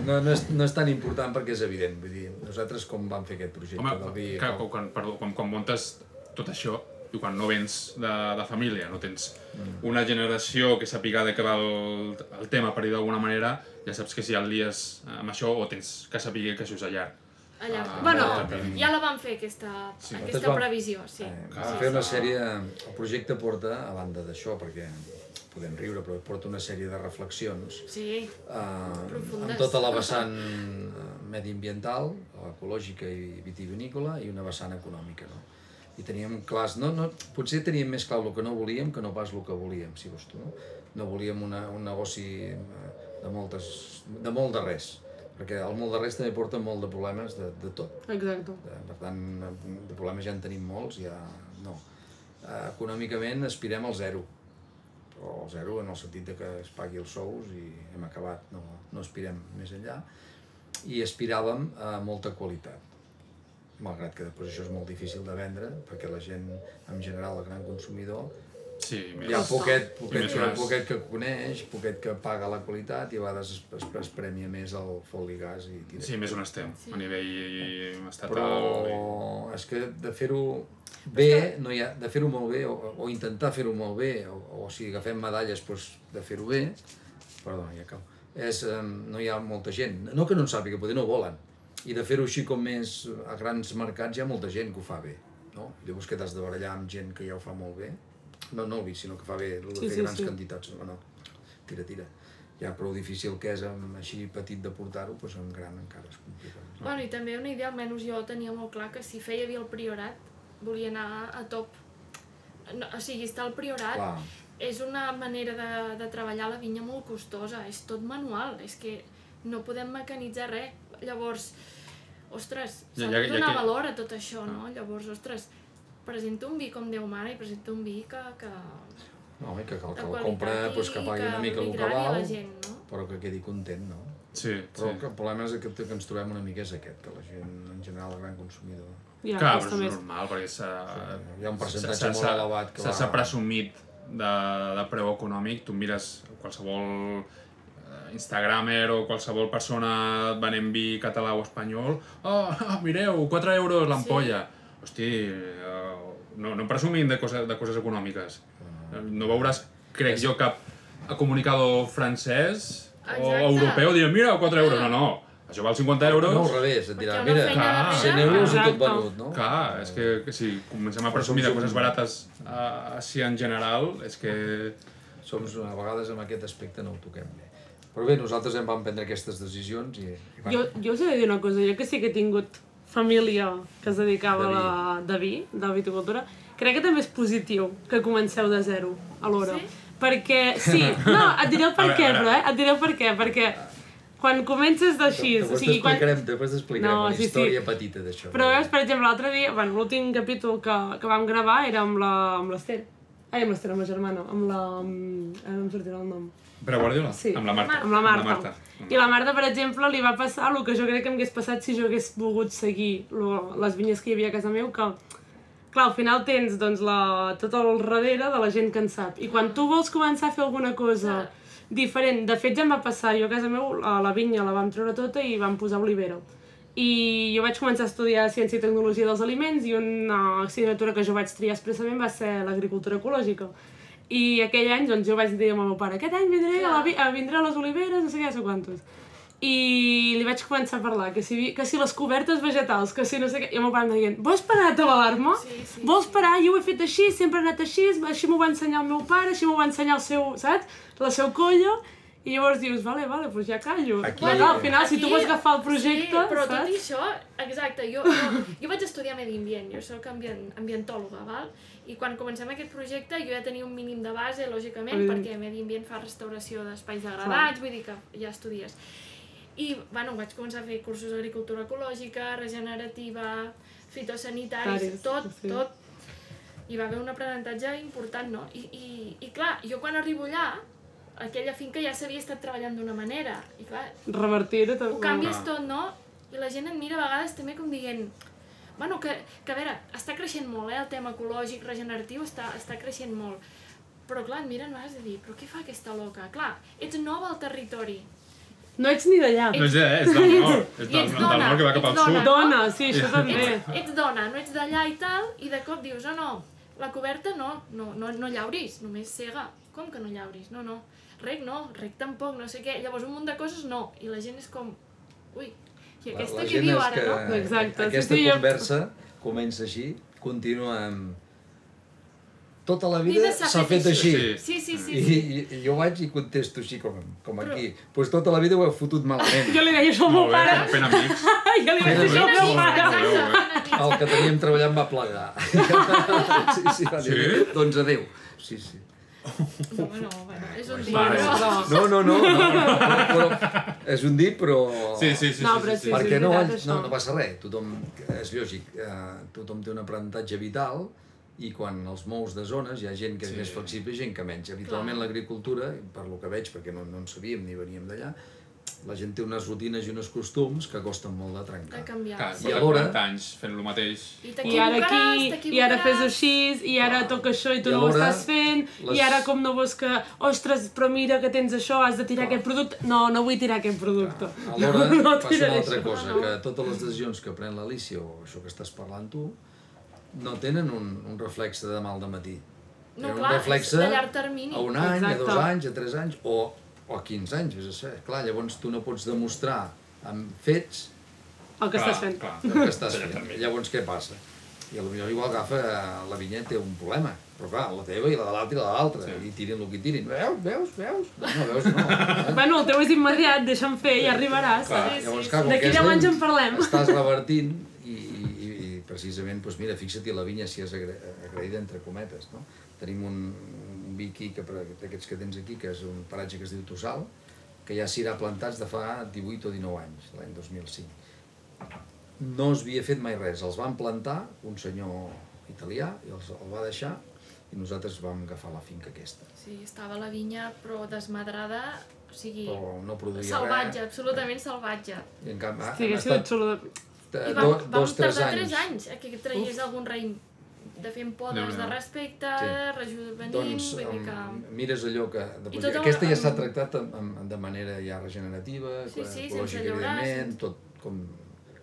Speaker 3: no, no, és, no és tan important perquè és evident. Vull dir, nosaltres com vam fer aquest projecte
Speaker 1: home,
Speaker 3: del vi...
Speaker 1: clar, quan, quan, perdó, quan, quan muntes tot això, i quan no vens de, de família, no tens
Speaker 3: Mm.
Speaker 1: una generació que sàpiga de què va el, el tema, per dir d'alguna manera, ja saps que si el lies amb això o tens que saber que això és allà.
Speaker 4: Allà.
Speaker 1: Ah,
Speaker 4: bueno,
Speaker 1: exactament.
Speaker 4: ja la vam fer, aquesta,
Speaker 3: Nosaltres
Speaker 4: aquesta
Speaker 3: vam-
Speaker 4: previsió, sí.
Speaker 3: Eh, vam fer una sèrie... El projecte porta, a banda d'això, perquè podem riure, però porta una sèrie de reflexions
Speaker 4: Sí,
Speaker 3: eh, amb
Speaker 4: Profundes.
Speaker 3: tota la vessant eh, mediambiental, ecològica i vitivinícola, i una vessant econòmica, no? I teníem clars, no, no, potser teníem més clar el que no volíem que no pas el que volíem, si vols tu, no? No volíem una, un negoci eh, de, moltes, de molt de res. perquè el molt de res també porta molt de problemes de, de tot.
Speaker 2: Exacte.
Speaker 3: De, Eh, per tant, de problemes ja en tenim molts, ja no. Eh, Econòmicament aspirem al zero, però al zero en el sentit de que es pagui els sous i hem acabat, no, no aspirem més enllà, i aspiràvem a molta qualitat malgrat que després això és molt difícil de vendre, perquè la gent, en general, el gran consumidor,
Speaker 1: Sí, més.
Speaker 3: hi ha poquet,
Speaker 1: I
Speaker 3: poquet,
Speaker 1: més
Speaker 3: que,
Speaker 1: gras.
Speaker 3: poquet que coneix, poquet que paga la qualitat i a vegades es, es, es premia més el foli gas i tira.
Speaker 1: Sí, més on estem, a nivell eh, estatal. i-
Speaker 3: Però és que de fer-ho bé, no hi ha, de fer-ho molt bé, o, o intentar fer-ho molt bé, o, o si agafem medalles doncs, de fer-ho bé, perdona, ja cau, és, eh, no hi ha molta gent. No que no en sàpiga, poder no volen. I de fer-ho així com més a grans mercats hi ha molta gent que ho fa bé. No? Llavors que t'has de barallar amb gent que ja ho fa molt bé, no, no el vi, sinó que fa bé el de
Speaker 2: Sí,
Speaker 3: fer
Speaker 2: sí,
Speaker 3: grans
Speaker 2: sí.
Speaker 3: quantitats. No, no. Tira, tira. Ja prou difícil que és amb, així petit de portar-ho, doncs amb gran encara és complicat.
Speaker 4: Bueno, i també una idea, almenys jo tenia molt clar que si feia via el priorat, volia anar a top. No, o sigui, estar al priorat
Speaker 3: Clar.
Speaker 4: és una manera de, de treballar la vinya molt costosa, és tot manual, és que no podem mecanitzar res. Llavors, ostres,
Speaker 1: Ja-
Speaker 4: s'ha
Speaker 1: ja-
Speaker 4: de
Speaker 1: ja
Speaker 4: donar
Speaker 1: que-
Speaker 4: valor a tot això,
Speaker 3: Ah.
Speaker 4: no? Llavors, ostres, presento un vi com Déu mana i presento un vi que, que
Speaker 3: No, home, que cal
Speaker 4: de
Speaker 3: que la compra
Speaker 4: qualitat
Speaker 3: pues, que
Speaker 4: i
Speaker 3: pagui una mica el
Speaker 4: li
Speaker 3: que
Speaker 4: agradi a
Speaker 3: val,
Speaker 4: la gent, no?
Speaker 3: però que quedi content, no?
Speaker 1: Sí,
Speaker 3: Però
Speaker 1: sí.
Speaker 3: que el problema és que, que ens trobem una mica és aquest, que la gent, en general, el gran consumidor.
Speaker 2: Ja,
Speaker 1: Clar,
Speaker 2: costa
Speaker 1: però és
Speaker 2: més.
Speaker 1: normal, perquè s'ha...
Speaker 3: hi ha un percentatge
Speaker 1: s'ha-
Speaker 3: molt
Speaker 1: s'ha-
Speaker 3: elevat que
Speaker 1: s'ha-
Speaker 3: va-
Speaker 1: S'ha presumit de, de preu econòmic, tu mires qualsevol eh, instagramer o qualsevol persona venent vi català o espanyol, oh, [LAUGHS] mireu, 4 euros l'ampolla. Sí. Hosti, eh, no, no presumim de coses, de coses econòmiques.
Speaker 3: Ah.
Speaker 1: No veuràs, crec jo, cap comunicador francès o
Speaker 4: Exacte.
Speaker 1: europeu dient, mira, 4 euros, no, no, això val 50 euros.
Speaker 3: No, al revés, et dirà,
Speaker 4: Perquè una
Speaker 3: mira,
Speaker 4: feina
Speaker 1: Clar.
Speaker 4: darrere...
Speaker 3: 100 euros i tot
Speaker 2: Exacte.
Speaker 3: venut, no?
Speaker 1: Clar, és que, que si comencem a presumir de coses barates uh, així en general, és que...
Speaker 3: Som, a vegades, en aquest aspecte no ho toquem bé. Però bé, nosaltres en vam prendre aquestes decisions i... i va.
Speaker 2: Jo, jo us he de dir una cosa, jo que sí que he tingut família que es dedicava a
Speaker 3: De vi.
Speaker 2: la, de vi, de la viticultura, crec que també és positiu que comenceu de zero alhora.
Speaker 4: Sí?
Speaker 2: Perquè, sí, no, et diré el per
Speaker 1: [LAUGHS] A
Speaker 2: què,
Speaker 1: veure, a
Speaker 2: però, eh? Et diré el per què, perquè quan comences d'així, o
Speaker 3: Després
Speaker 2: sigui, quan,
Speaker 3: t'explicarem, després t'explicarem
Speaker 2: No,
Speaker 3: una
Speaker 2: sí, sí.
Speaker 3: història petita d'això.
Speaker 2: Però veus, per exemple, l'altre dia, bueno, l'últim capítol que, que vam gravar era amb la, amb l'Ester. Ai, amb l'Ester, amb la germana, amb la... Amb... Ara no em sortirà el nom.
Speaker 1: Però Guardiola?
Speaker 2: Sí.
Speaker 1: Amb la Marta.
Speaker 2: Amb la Marta.
Speaker 1: Amb la Marta.
Speaker 2: I la Marta, per exemple, li va passar el que jo crec que m'hagués passat si jo hagués volgut seguir lo, les vinyes que hi havia a casa meu, que clar, al final tens doncs, la, tot el darrere de la gent que en sap. I quan tu vols començar a fer alguna cosa diferent, de fet ja em va passar, jo a casa meu a la vinya la vam treure tota i vam posar olivera. I jo vaig començar a estudiar Ciència i Tecnologia dels Aliments i una assignatura que jo vaig triar expressament va ser l'agricultura ecològica. I aquell any doncs, jo vaig dir al meu pare, aquest any vindré a, la, vi- a, vindré a les oliveres, no sé què, no sé quantos. I li vaig començar a parlar que si, vi- que si les cobertes vegetals, que si no sé què... I el meu pare em deia, vols parar a tabalar-me?
Speaker 4: Sí, sí,
Speaker 2: vols parar? Jo ho he fet així, sempre he anat així, així m'ho va ensenyar el meu pare, així m'ho va ensenyar el seu, saps? La seu colla. I llavors dius, vale, vale, doncs ja callo.
Speaker 3: Aquí-
Speaker 2: Bueno, al final, si tu
Speaker 4: Aquí-
Speaker 2: vols agafar el projecte,
Speaker 4: sí, però tot i
Speaker 2: saps?
Speaker 4: això, exacte, jo, jo, jo vaig estudiar medi ambient, jo sóc ambient, ambientòloga, val? I quan comencem aquest projecte jo ja tenia un mínim de base, lògicament,
Speaker 2: Evident.
Speaker 4: perquè medi ambient fa restauració d'espais degradats, vull dir que ja estudies. I, bueno, vaig començar a fer cursos d'agricultura ecològica, regenerativa, fitosanitaris,
Speaker 2: Sanitaris,
Speaker 4: tot,
Speaker 2: sí.
Speaker 4: tot. Hi va haver un aprenentatge important, no? I, i, i clar, jo quan arribo allà, aquella finca ja s'havia estat treballant d'una manera. I clar,
Speaker 2: Revertir-ho tot.
Speaker 4: ho canvies
Speaker 1: Ah.
Speaker 4: tot, no? I la gent et mira a vegades també com dient... Bueno, que, que a veure, està creixent molt, eh? El tema ecològic, regeneratiu, està, està creixent molt. Però clar, et miren a vegades de dir, però què fa aquesta loca? Clar, ets nova al territori.
Speaker 2: No ets ni d'allà.
Speaker 1: No és, eh, és del
Speaker 2: [LAUGHS]
Speaker 1: nord, és
Speaker 4: I
Speaker 1: del,
Speaker 4: ets
Speaker 1: del
Speaker 4: dona,
Speaker 1: nord que va cap
Speaker 4: ets
Speaker 1: al
Speaker 4: dona.
Speaker 1: sud.
Speaker 2: Dona, sí, això també.
Speaker 4: Ets, ets dona, no ets d'allà i tal, i de cop dius, oh no, la coberta no, no, no, no llauris, només cega. Com que no llauris? No, no. Rec no, rec tampoc, no sé què. Llavors un munt de coses no. I la gent és com, ui, i
Speaker 3: La-
Speaker 4: aquesta
Speaker 3: la
Speaker 4: què
Speaker 3: gent
Speaker 4: diu
Speaker 3: és
Speaker 4: ara, no?
Speaker 2: Exacte,
Speaker 3: Aquesta
Speaker 2: sí, sí, jo-
Speaker 3: conversa comença així, continua amb... Tota la vida
Speaker 4: Vida s'ha
Speaker 3: s'ha
Speaker 4: fet
Speaker 3: fet així.
Speaker 1: així.
Speaker 4: Sí, sí, sí.
Speaker 3: I,
Speaker 4: sí.
Speaker 3: i, I jo vaig i contesto així com, com aquí. Doncs pues tota la vida ho heu fotut malament.
Speaker 2: Jo li deia això al meu
Speaker 1: Molt bé,
Speaker 2: pare.
Speaker 1: fent amics.
Speaker 2: Jo li vaig dir això al meu
Speaker 1: Molt
Speaker 2: pare.
Speaker 1: bé, molt bé.
Speaker 3: El
Speaker 4: [LAUGHS]
Speaker 3: que teníem treballant va plegar. sí, sí, va dir,
Speaker 1: Sí?
Speaker 3: doncs adéu. Sí, sí.
Speaker 4: No, bueno, bueno, és un dia,
Speaker 1: Va,
Speaker 4: però...
Speaker 2: Però-
Speaker 3: No, no, no, no, no, però és un dit, però...
Speaker 1: Sí, sí, sí.
Speaker 2: No,
Speaker 1: sí,
Speaker 2: però
Speaker 1: sí, sí.
Speaker 2: sí,
Speaker 1: Perquè...
Speaker 3: perquè no,
Speaker 2: veritat,
Speaker 3: ells- no,
Speaker 2: això.
Speaker 3: no passa res, tothom, és lògic, eh, tothom té un aprenentatge vital i quan els mous de zones hi ha gent que és
Speaker 1: Sí.
Speaker 3: sí. més flexible i gent que menys. Habitualment l'agricultura, per lo que veig, perquè no, no en sabíem ni veníem d'allà, la gent té unes rutines i uns costums que costen molt de
Speaker 4: De
Speaker 3: trencar.
Speaker 4: canviar.
Speaker 1: Clar,
Speaker 4: sí.
Speaker 1: sí,
Speaker 3: alhora-
Speaker 1: 40 anys fent el mateix.
Speaker 2: I ara aquí, i ara fes així, i ara toca això i tu
Speaker 3: I
Speaker 2: no ho
Speaker 3: alhora,
Speaker 2: estàs fent,
Speaker 3: les-
Speaker 2: i ara com no vols que... Ostres, però mira que tens això, has de tirar aquest producte... No, no vull tirar aquest producte. [LAUGHS]
Speaker 3: Alhora
Speaker 2: No, no
Speaker 3: passa
Speaker 2: tiraré
Speaker 3: una altra
Speaker 2: això.
Speaker 3: cosa, que totes les decisions que pren l'Alícia o això que estàs parlant tu no tenen un, un reflexe de demà al matí.
Speaker 4: No, clar, és de llarg termini.
Speaker 3: a un any,
Speaker 2: Exacte.
Speaker 3: a dos anys, a tres anys o, o a 15 anys, és a ser. Clar, llavors tu no pots demostrar amb fets
Speaker 2: El que estàs fent.
Speaker 3: el que estàs
Speaker 1: Sí,
Speaker 3: fent.
Speaker 1: també.
Speaker 3: Llavors què passa? I potser igual agafa la vinyeta té un problema, però clar, la teva i la de l'altre i la de l'altre, i tirin el que tirin. Veus, veus, veus? No, no veus,
Speaker 2: [LAUGHS]
Speaker 3: no.
Speaker 2: Bueno, el teu és immediat, deixa'm fer i arribaràs.
Speaker 1: Clar.
Speaker 2: saps?
Speaker 3: Llavors,
Speaker 4: sí,
Speaker 3: clar,
Speaker 4: sí.
Speaker 3: com
Speaker 2: D'aquí
Speaker 3: que és
Speaker 2: deu anys
Speaker 3: lent,
Speaker 2: en parlem.
Speaker 3: Estàs revertint i, i, i, i precisament, doncs mira, fixa-t'hi la vinya si és agra agraïda entre cometes, no? Tenim un, un vi aquí, que, per- d'aquests que tens aquí, que és un paratge que es diu Tossal, que ja s'hi ha plantats de fa 18 o 19 anys, l'any 2005 no es havia fet mai res. Els van plantar un senyor italià i els, el va deixar i nosaltres vam agafar la finca aquesta.
Speaker 4: Sí, estava la vinya, però desmadrada, o sigui,
Speaker 3: Però no produïa
Speaker 4: salvatge,
Speaker 3: res.
Speaker 4: absolutament salvatge.
Speaker 3: I en canvi,
Speaker 2: Sí, hagués sigut xulo de...
Speaker 4: I
Speaker 3: eh,
Speaker 4: vam,
Speaker 3: do,
Speaker 4: vam
Speaker 3: dos, tres
Speaker 4: tardar
Speaker 3: anys.
Speaker 4: 3 anys a que tragués algun raïm de fent podes
Speaker 1: Déu-n'hi-do.
Speaker 4: de respecte,
Speaker 3: Sí.
Speaker 4: sí. rejuvenint,
Speaker 3: Doncs
Speaker 4: vull dir
Speaker 3: em,
Speaker 4: que...
Speaker 3: mires allò que... De,
Speaker 4: tot amb-
Speaker 3: aquesta ja s'ha
Speaker 4: amb-
Speaker 3: tractat amb, amb, de manera ja regenerativa,
Speaker 4: Sí, sí, sense
Speaker 3: ecològica,
Speaker 4: llaurar,
Speaker 3: evidentment,
Speaker 4: sense-
Speaker 3: tot com,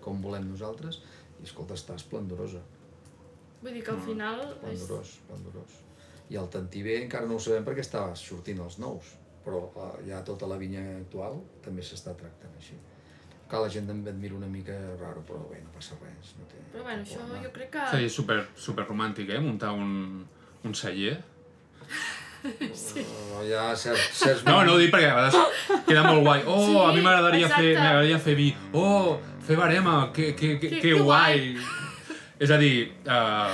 Speaker 3: com volem nosaltres. I escolta, està esplendorosa.
Speaker 4: Vull dir que al final... És...
Speaker 3: Esplendorós, esplendorós. I el tantiver encara no ho sabem perquè estava sortint els nous, però eh, ja tota la vinya actual també s'està tractant així. Clar, la gent també et mira una mica raro, però bé, no passa res. No té,
Speaker 4: Però bueno, això jo crec que...
Speaker 1: Seria super, super romàntic, eh? Muntar un, un celler.
Speaker 3: Sí. Uh, hi ha certs, certs
Speaker 1: No, no ho dic perquè a vegades queda molt guai. Oh,
Speaker 4: Sí,
Speaker 1: a mi m'agradaria fer,
Speaker 4: exacte.
Speaker 1: m'agradaria fer vi. Oh, fer barema, que, que, que,
Speaker 4: Que-
Speaker 1: que,
Speaker 4: que
Speaker 1: guai. És a dir,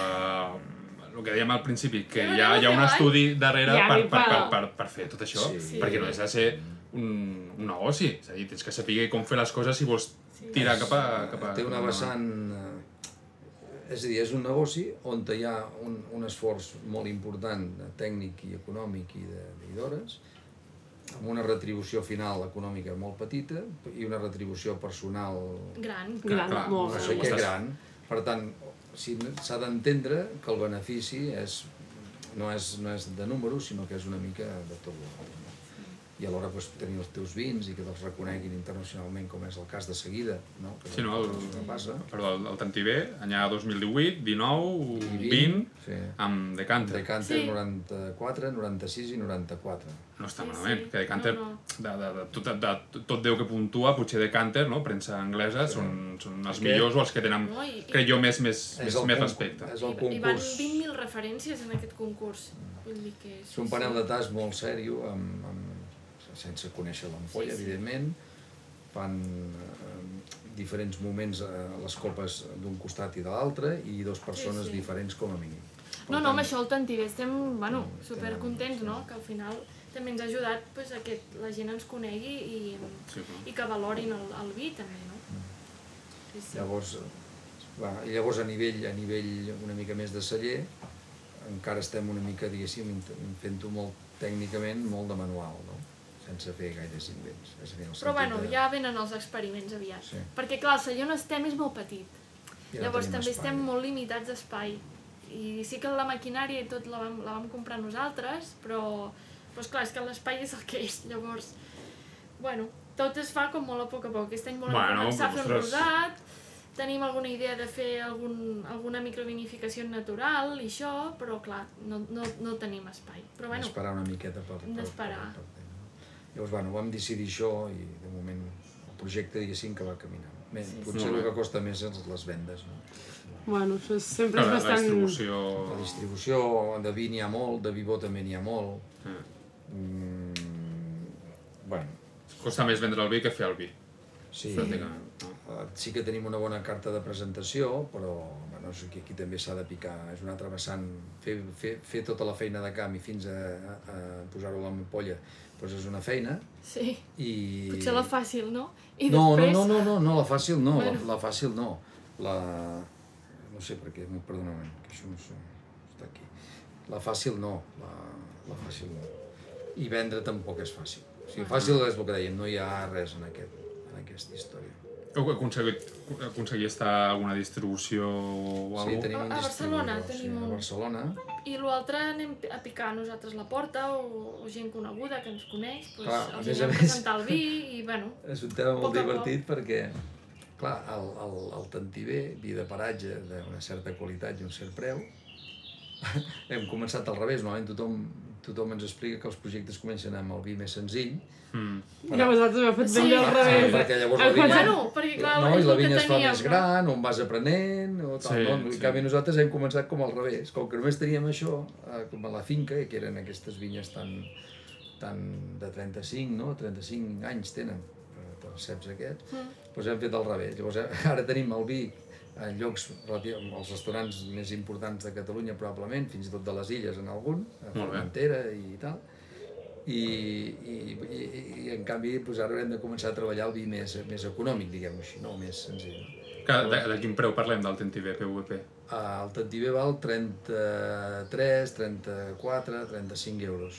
Speaker 1: eh, el que dèiem al principi, que
Speaker 4: Que
Speaker 1: hi ha, hi ha
Speaker 4: barema,
Speaker 1: un
Speaker 4: que
Speaker 1: estudi darrere
Speaker 2: Ja,
Speaker 1: per,
Speaker 2: mi
Speaker 1: per, per,
Speaker 2: pala.
Speaker 1: per, per fer tot això,
Speaker 3: Sí. Sí.
Speaker 1: perquè no és de ser un, un negoci. És a dir, tens que saber com fer les coses si vols tirar cap a... Cap a
Speaker 3: Té una
Speaker 1: cap a-
Speaker 3: vessant... eh, És a dir, és un negoci on hi ha un, un esforç molt important eh, tècnic i econòmic i de- i d'hores, amb una retribució final econòmica molt petita i una retribució personal
Speaker 4: Gran.
Speaker 1: Clar,
Speaker 2: Gran,
Speaker 1: clar,
Speaker 2: molt
Speaker 3: no
Speaker 1: clar,
Speaker 3: sé
Speaker 2: gran.
Speaker 1: ho
Speaker 3: què
Speaker 1: estàs-
Speaker 3: gran. Per tant, si s'ha d'entendre que el benefici és, no, és, no és de números, sinó que és una mica de tot l'altre. No? I alhora pues, tenir els teus vins i que te'ls reconeguin internacionalment, com és el cas de seguida, no? Que
Speaker 1: Sí, no, el-
Speaker 3: és el que passa.
Speaker 1: Perdó, el, el Tantivé, anyà 2018, 19,
Speaker 3: I
Speaker 1: 20,
Speaker 3: Sí.
Speaker 1: amb Decanter.
Speaker 3: Decanter
Speaker 4: Sí.
Speaker 3: 94, 96 i 94.
Speaker 1: No està
Speaker 4: Sí,
Speaker 1: malament,
Speaker 4: sí.
Speaker 1: que Decanter,
Speaker 4: No,
Speaker 1: no,
Speaker 4: no.
Speaker 1: De, de, de, tot, de, tot Déu que puntua, potser Decanter, no? premsa anglesa, sí. són, són els
Speaker 3: Aquest-
Speaker 1: millors o els que tenen,
Speaker 4: No, i-
Speaker 1: crec jo, més, més, més, més
Speaker 3: concurs-
Speaker 1: respecte.
Speaker 3: És el
Speaker 4: I van
Speaker 3: concurs.
Speaker 4: 20.000 referències en aquest concurs. Vull dir que és...
Speaker 3: És un panel de tas molt sèrio, amb, amb, sense conèixer l'ampolla, sí,
Speaker 4: Sí, sí.
Speaker 3: sí. evidentment. Fan eh, diferents moments eh, les copes d'un costat i de l'altre i dues persones sí,
Speaker 4: sí.
Speaker 3: sí. diferents com a mínim.
Speaker 4: No, no, amb això el Tantivé estem, bueno, supercontents, no? Que al final també ens ha ajudat pues, a que la gent ens conegui i,
Speaker 1: Sí, clar.
Speaker 4: i que valorin el, el vi també, no?
Speaker 3: Mm.
Speaker 4: Sí, sí.
Speaker 3: Llavors, eh, va, i llavors a nivell a nivell una mica més de celler, encara estem una mica, diguéssim, int- fent-ho molt tècnicament, molt de manual, no? sense fer gaires invents. És a dir, en el
Speaker 4: Però
Speaker 3: sentit
Speaker 4: bueno,
Speaker 3: de-
Speaker 4: ja venen els experiments aviat.
Speaker 3: Sí.
Speaker 4: Perquè clar, el celler on estem és molt petit.
Speaker 3: ja no
Speaker 4: Llavors
Speaker 3: tenim
Speaker 4: també
Speaker 3: espai.
Speaker 4: estem molt limitats d'espai. I sí que la maquinària i tot la vam, la vam comprar nosaltres, però, però esclar, és que l'espai és el que és. Llavors, bueno, tot es fa com molt a poc a poc. Aquest any volem
Speaker 1: Bueno,
Speaker 4: bueno, començar a fer un
Speaker 1: ostres.
Speaker 4: rosat, tenim alguna idea de fer algun, alguna microvinificació natural i això, però clar, no, no, no tenim espai.
Speaker 3: bueno,
Speaker 4: Però bueno,
Speaker 3: d'esperar una miqueta per...
Speaker 4: hem d'esperar.
Speaker 3: Per, per, per, per, Llavors, bueno, vam decidir això i de moment el projecte, diguéssim, que va caminant. Bé, sí, potser
Speaker 1: Molt
Speaker 3: el
Speaker 1: bé.
Speaker 3: que costa més és les vendes, no?
Speaker 2: Bueno, això és, sempre
Speaker 1: Clar,
Speaker 2: és
Speaker 1: la, la
Speaker 2: bastant...
Speaker 1: distribució...
Speaker 3: La distribució, de vi n'hi ha molt, de vi bo també n'hi ha molt.
Speaker 1: Eh.
Speaker 3: Mm, bueno,
Speaker 1: Costa més vendre el vi que fer el vi.
Speaker 3: sí,
Speaker 1: pràcticament, no?
Speaker 3: eh, sí que tenim una bona carta de presentació, però bueno, doncs aquí, aquí també s'ha de picar, és una altra vessant, fer, fer, fer tota la feina de camp i fins a, a, a posar-ho a l'ampolla, doncs és una feina
Speaker 4: Sí,
Speaker 3: i...
Speaker 4: potser la fàcil, no? I
Speaker 3: no,
Speaker 4: després...
Speaker 3: no, no, no, no, no, la fàcil no,
Speaker 4: Bueno.
Speaker 3: la, la fàcil no. La... No sé per què, perdona, que això no sé, està aquí. La fàcil no, la, la fàcil no. I vendre tampoc és fàcil. O sigui, fàcil és el que dèiem, no hi ha res en, aquest, en aquesta història.
Speaker 1: Heu aconseguit, aconseguir estar a alguna distribució o alguna
Speaker 3: Sí,
Speaker 1: cosa?
Speaker 3: tenim
Speaker 4: A-
Speaker 3: un
Speaker 4: a Barcelona
Speaker 3: distribuïdor, sí,
Speaker 4: tenim un-
Speaker 3: a Barcelona.
Speaker 4: I l'altre anem a picar a nosaltres la porta o, o gent coneguda que ens coneix, doncs
Speaker 3: Clar, a
Speaker 4: els
Speaker 3: més a
Speaker 4: anem a
Speaker 3: més.
Speaker 4: presentar el vi i bueno,
Speaker 3: És un tema molt
Speaker 4: Poc a poc.
Speaker 3: divertit perquè, clar, el, el, el tantiver, vi de paratge d'una certa qualitat i un cert preu, [LAUGHS] hem començat al revés, normalment tothom, tothom ens explica que els projectes comencen amb el vi més senzill.
Speaker 1: Mm.
Speaker 2: Que vosaltres ho heu fet
Speaker 4: Sí.
Speaker 2: ben bé al
Speaker 4: Ah,
Speaker 2: revés. eh?
Speaker 3: perquè llavors
Speaker 2: Heu
Speaker 3: la vinya,
Speaker 2: començat-
Speaker 4: Bueno, perquè clar,
Speaker 3: no,
Speaker 4: és
Speaker 3: i la
Speaker 4: el que
Speaker 3: vinya es fa
Speaker 4: teníem,
Speaker 3: més
Speaker 4: no?
Speaker 3: gran, on vas aprenent, o tal,
Speaker 1: Sí,
Speaker 3: sí, no? En
Speaker 1: sí.
Speaker 3: canvi nosaltres hem començat com al revés, com que només teníem això, eh, com a la finca, que eren aquestes vinyes tan, tan de 35, no? 35 anys tenen, eh, els ceps aquests, doncs hem fet al revés. Llavors, eh, [LAUGHS] ara tenim el vi en llocs, relatiu- en els restaurants més importants de Catalunya, probablement, fins i tot de les illes en algun, a
Speaker 1: Molt bé.
Speaker 3: Formentera i tal, i, i, i, i en canvi doncs ara haurem de començar a treballar el vi més, més econòmic, diguem-ho així, no? més senzill.
Speaker 1: Que, de, de, quin preu parlem del TNTV PVP?
Speaker 3: Ah, El tantiver val 33, 34, 35 euros.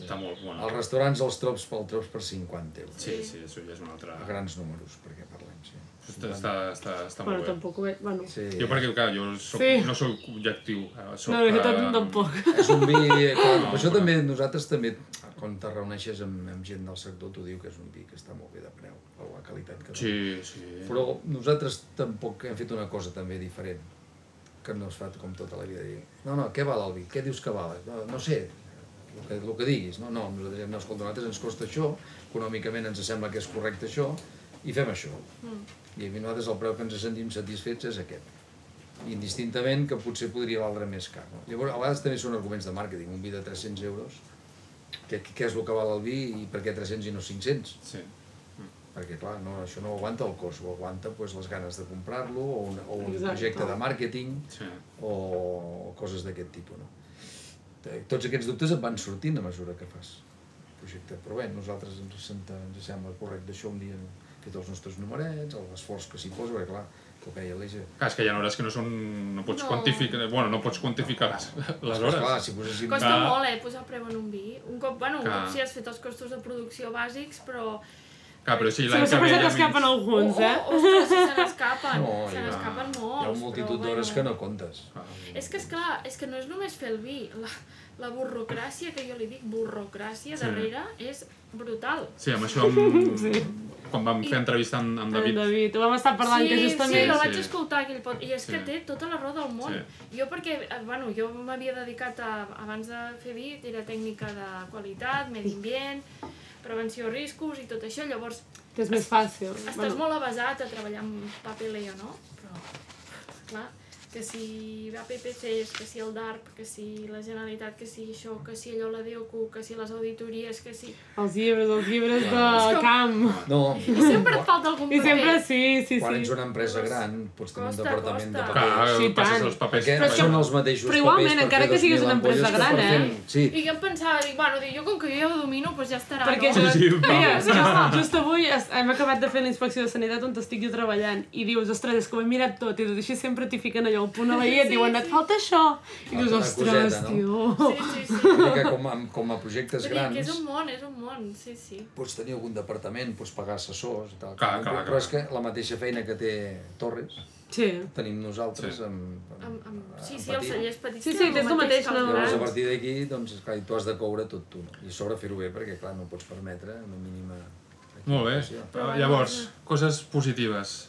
Speaker 1: Està molt bon.
Speaker 3: Als restaurants els trops pel trops per 50 euros.
Speaker 1: Sí, sí, això ja és un altre...
Speaker 3: A grans números, perquè parlem, sí.
Speaker 1: Està, està, està, està
Speaker 2: Bueno,
Speaker 1: molt bé.
Speaker 2: tampoc ho veig. Bueno,
Speaker 3: sí.
Speaker 1: Jo perquè, clar, jo soc,
Speaker 2: Sí.
Speaker 1: no sóc objectiu. eh, Soc,
Speaker 2: no, jo
Speaker 1: eh,
Speaker 2: tot, tampoc.
Speaker 3: És un vi... eh, Clar,
Speaker 1: No,
Speaker 3: no, això
Speaker 1: però-
Speaker 3: també, nosaltres també, quan te reuneixes amb, amb gent del sector, t'ho diu que és un vi que està molt bé de preu, per la qualitat que té.
Speaker 1: Sí, sí.
Speaker 3: Però nosaltres tampoc hem fet una cosa també diferent, que no es fa com tota la vida. Dir, no, no, què val el vi? Què dius que val? No, no sé, el que, el que diguis. No, no, nosaltres, no, escolta, a nosaltres ens costa això, econòmicament ens sembla que és correcte això, i fem això. I a mi nosaltres el preu que ens sentim satisfets és aquest indistintament que potser podria valdre més car. No? Llavors, a vegades també són arguments de màrqueting, un vi de 300 euros, què, què és el que val el vi i per què 300 i no 500?
Speaker 1: Sí.
Speaker 3: Perquè, clar, no, això no ho aguanta el cost, ho aguanta pues, les ganes de comprar-lo o un, o un
Speaker 2: Exacte.
Speaker 3: projecte de màrqueting
Speaker 1: Sí.
Speaker 3: o, o coses d'aquest tipus. No? Te- Tots aquests dubtes et van sortint a mesura que fas el projecte. Però bé, nosaltres ens, senta, ens sembla correcte això un dia hem fet els nostres numerets, l'esforç que s'hi posa, perquè clar, com deia l'Eix,
Speaker 1: Clar, és que hi ha hores que no són... No pots
Speaker 4: No.
Speaker 1: quantificar... Bueno, no pots quantificar les, les
Speaker 3: Pues
Speaker 1: hores.
Speaker 3: doncs, clar, si poséssim...
Speaker 4: Costa
Speaker 1: Clar.
Speaker 4: molt, eh, posar preu en un vi. Un cop, bueno, un
Speaker 1: Clar.
Speaker 4: cop sí has fet els costos de producció bàsics, però...
Speaker 1: Clar, però si
Speaker 2: Sí,
Speaker 1: l'any que
Speaker 2: sempre
Speaker 1: ve...
Speaker 2: [LAUGHS] se
Speaker 1: ja
Speaker 2: t'escapen
Speaker 1: menys-
Speaker 2: alguns, eh?
Speaker 4: Oh, ostres, si se n'escapen,
Speaker 3: No,
Speaker 4: se
Speaker 3: hi ha-
Speaker 4: n'escapen molts.
Speaker 3: Hi ha multitud
Speaker 4: però,
Speaker 3: d'hores
Speaker 4: bueno.
Speaker 3: que no comptes.
Speaker 1: Ah,
Speaker 4: És que, esclar, és que no és només fer el vi. La, la burrocràcia, que jo li dic
Speaker 1: Sí.
Speaker 4: burrocràcia, darrere, és brutal.
Speaker 1: Sí, amb això... Amb...
Speaker 2: Sí.
Speaker 1: Quan vam fer entrevista amb, amb
Speaker 2: David.
Speaker 1: David.
Speaker 2: David, ho vam estar parlant, que
Speaker 4: oh, Sí,
Speaker 2: justament...
Speaker 4: el
Speaker 1: Sí,
Speaker 4: vaig
Speaker 1: sí.
Speaker 4: escoltar, aquell pot... I és que
Speaker 1: Sí.
Speaker 4: té tota la raó del món. Jo perquè, eh, bueno, jo m'havia dedicat a... Abans de fer vi, era tècnica de qualitat, medi ambient, prevenció de riscos i tot això. Llavors,
Speaker 2: Que és més fàcil.
Speaker 4: estàs molt avasat a treballar amb papeleo, no? Però, clar, que si APPCs, que si el DARP, que si la Generalitat, que si això, que si allò la DOQ, que si les auditories, que si...
Speaker 2: Els llibres, els llibres
Speaker 4: És
Speaker 2: de
Speaker 4: com-
Speaker 2: camp.
Speaker 3: No,
Speaker 4: I sempre et falta algun
Speaker 2: I
Speaker 4: paper.
Speaker 2: sempre sí, sí,
Speaker 3: quan ets
Speaker 2: sí.
Speaker 3: una empresa gran, pots tenir un
Speaker 4: Costa,
Speaker 3: departament de
Speaker 4: costa.
Speaker 1: Clar,
Speaker 3: papers.
Speaker 2: Sí,
Speaker 1: passes
Speaker 2: tant.
Speaker 1: els papers.
Speaker 3: Perquè
Speaker 2: això-
Speaker 3: són els mateixos
Speaker 2: però igualment,
Speaker 3: papers per
Speaker 2: encara
Speaker 3: fer
Speaker 2: que siguis
Speaker 3: 2.000
Speaker 2: una empresa
Speaker 3: ampolles que
Speaker 2: gran, eh?
Speaker 3: per fer- Sí,
Speaker 4: I jo em pensava, dic, bueno, dic, jo com que jo ja ho domino, doncs ja estarà,
Speaker 2: Perquè
Speaker 4: no?
Speaker 2: just,
Speaker 1: Sí, sí,
Speaker 2: mira,
Speaker 1: vamos.
Speaker 2: just, just avui es- hem acabat de fer la inspecció de sanitat on estic jo treballant i dius, ostres, és que ho he mirat tot i tot així sempre t'hi fiquen allò, el punt a la i et
Speaker 4: Sí,
Speaker 2: diuen, et
Speaker 4: sí.
Speaker 2: falta això i dius,
Speaker 3: Falta una
Speaker 2: ostres,
Speaker 3: coseta, no?"
Speaker 2: tio
Speaker 4: Sí, sí,
Speaker 1: [LAUGHS]
Speaker 4: sí.
Speaker 3: Vull dir que com a, com a projectes
Speaker 4: Vull dir que
Speaker 3: grans
Speaker 4: és un món, és un món, sí, sí.
Speaker 3: pots tenir algun departament, pots pagar assessors i tal.
Speaker 1: Clar, clar,
Speaker 3: Però
Speaker 1: clar.
Speaker 3: és que la mateixa feina que té Torres,
Speaker 2: sí,
Speaker 3: tenim nosaltres
Speaker 1: Sí.
Speaker 3: amb,
Speaker 4: Amb, amb...
Speaker 1: Ah,
Speaker 4: Sí,
Speaker 3: amb
Speaker 4: sí, els
Speaker 3: Patí.
Speaker 4: cellers petits.
Speaker 2: Sí, sí,
Speaker 4: tenen
Speaker 2: tens el mateix,
Speaker 4: que els
Speaker 2: no?
Speaker 3: Llavors, a
Speaker 4: grans.
Speaker 3: partir d'aquí, doncs, clar, i tu has de coure tot tu. No? I a sobre fer-ho bé, perquè, clar, no pots permetre una mínima...
Speaker 1: Molt bé.
Speaker 3: equivocació.
Speaker 1: Ah, Llavors, coses positives.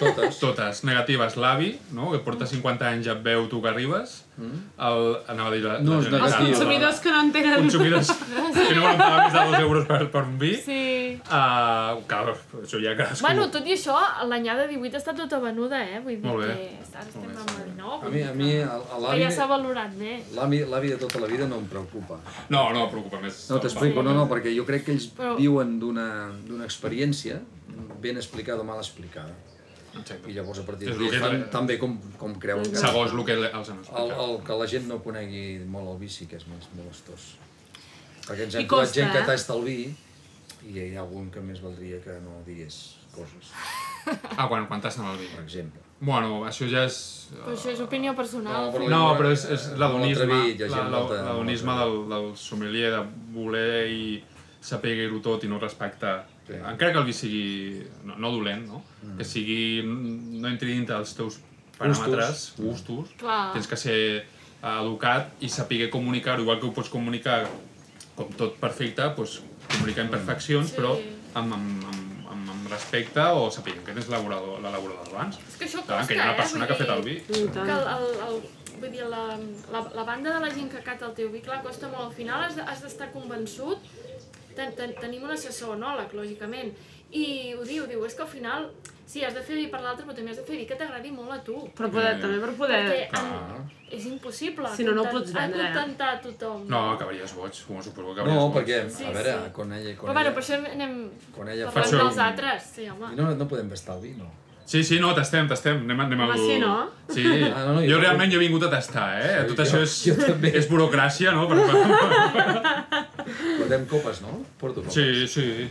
Speaker 3: Totes.
Speaker 1: [LAUGHS] Totes. Negatives, l'avi, no? que porta 50 anys ja et veu tu que arribes. El, anava a dir la,
Speaker 3: Mm. No,
Speaker 1: la
Speaker 3: és
Speaker 2: els
Speaker 3: negatiu.
Speaker 1: Generalitat.
Speaker 2: consumidors que no en tenen
Speaker 1: Consumidors que no volen pagar més de 2 euros per, per un vi. Sí.
Speaker 2: sí
Speaker 1: Uh, clar, això ja cadascú...
Speaker 4: Bueno, tot i això, l'anyada 18 ha estat tota venuda, eh? Vull dir
Speaker 1: Molt bé.
Speaker 4: que ara estem
Speaker 1: Molt bé,
Speaker 4: amb el 9.
Speaker 3: A mi, a mi, a, a
Speaker 4: Que
Speaker 3: l'avi...
Speaker 4: ja s'ha valorat bé.
Speaker 3: L'avi l'avi de tota la vida no em preocupa.
Speaker 1: No, no, preocupa més.
Speaker 3: No, t'explico, no, no, perquè jo crec que ells
Speaker 4: Però-
Speaker 3: viuen d'una d'una experiència ben explicada o mal explicada.
Speaker 1: Exacte.
Speaker 3: I llavors a partir
Speaker 1: És
Speaker 3: d'ahí
Speaker 1: el que
Speaker 3: fan
Speaker 1: tra-
Speaker 3: tan bé com, com creuen que...
Speaker 1: Segons el que els han explicat.
Speaker 3: El, el que la gent no conegui molt el vi sí que és més molestós. Perquè ens
Speaker 2: I
Speaker 3: hem
Speaker 2: costa,
Speaker 3: trobat gent que
Speaker 2: eh?
Speaker 3: tasta el vi i hi ha algun que més valdria que no digués coses,
Speaker 1: Ah, quan, quan tasten el vi.
Speaker 3: per exemple.
Speaker 1: Bueno, això ja és... eh,
Speaker 4: Però això és opinió personal.
Speaker 3: però-
Speaker 1: No, però és, és
Speaker 3: Eh,
Speaker 1: l'adonisme,
Speaker 3: molt atrevit, hi ha gent molta-
Speaker 1: l'adonisme
Speaker 3: molta-
Speaker 1: del, del sommelier de voler i saber-ho tot i no respectar.
Speaker 3: Sí. Mm.
Speaker 1: Encara que el vi sigui, no, no dolent, no? Que sigui, no entri dintre dels teus paràmetres, gustos,
Speaker 4: Clar.
Speaker 1: tens que ser eh, educat i saber comunicar-ho, igual que ho pots comunicar com tot perfecte, doncs comunicar
Speaker 3: Mm.
Speaker 1: imperfeccions,
Speaker 4: Sí.
Speaker 1: però amb, amb, amb, amb, amb respecte o sapiguem que tens l'elaborador l'elaborador abans.
Speaker 4: És que això
Speaker 1: Clar,
Speaker 4: costa,
Speaker 1: que hi ha
Speaker 4: eh?
Speaker 1: una persona que ha
Speaker 4: Vull
Speaker 1: fet el
Speaker 4: dir-
Speaker 1: vi.
Speaker 2: I tant.
Speaker 4: que el, el, el, vull dir, la, la, la banda de la gent que cata el teu vi, clar, costa molt. Al final has de- has d'estar convençut. Ten, ten, tenim un assessor enòleg, lògicament, i ho diu, diu, és que al final, sí, has de fer vi per l'altre, però també has de fer vi que t'agradi molt a tu.
Speaker 2: Per poder, també per poder...
Speaker 4: Perquè
Speaker 1: Clar.
Speaker 4: en, és impossible
Speaker 2: Si no, no ho
Speaker 4: content-
Speaker 2: pots vendre. eh?
Speaker 4: contentar a tothom.
Speaker 1: No, acabaries boig, suposo, suposo que acabaries
Speaker 3: No,
Speaker 1: boig.
Speaker 3: perquè,
Speaker 4: Sí,
Speaker 3: a veure,
Speaker 4: sí.
Speaker 3: con ella... Con
Speaker 4: Però bueno,
Speaker 3: ella-
Speaker 4: per això anem
Speaker 3: Quan ella fa
Speaker 4: parlant
Speaker 1: això-
Speaker 4: dels altres. Sí, home.
Speaker 3: I no, no podem gastar el vi, no.
Speaker 1: Sí, sí, no, tastem, tastem. Anem, anem
Speaker 2: Home,
Speaker 1: al...
Speaker 2: sí, no?
Speaker 1: Sí,
Speaker 3: Ah, no, no,
Speaker 1: jo
Speaker 3: jo-
Speaker 1: realment jo he vingut a tastar, eh?
Speaker 3: Sí,
Speaker 1: Tot
Speaker 3: jo-
Speaker 1: això és,
Speaker 3: jo també.
Speaker 1: és burocràcia, no?
Speaker 3: [LAUGHS]
Speaker 1: Per...
Speaker 3: Portem copes, no? Porto copes.
Speaker 1: Sí, sí.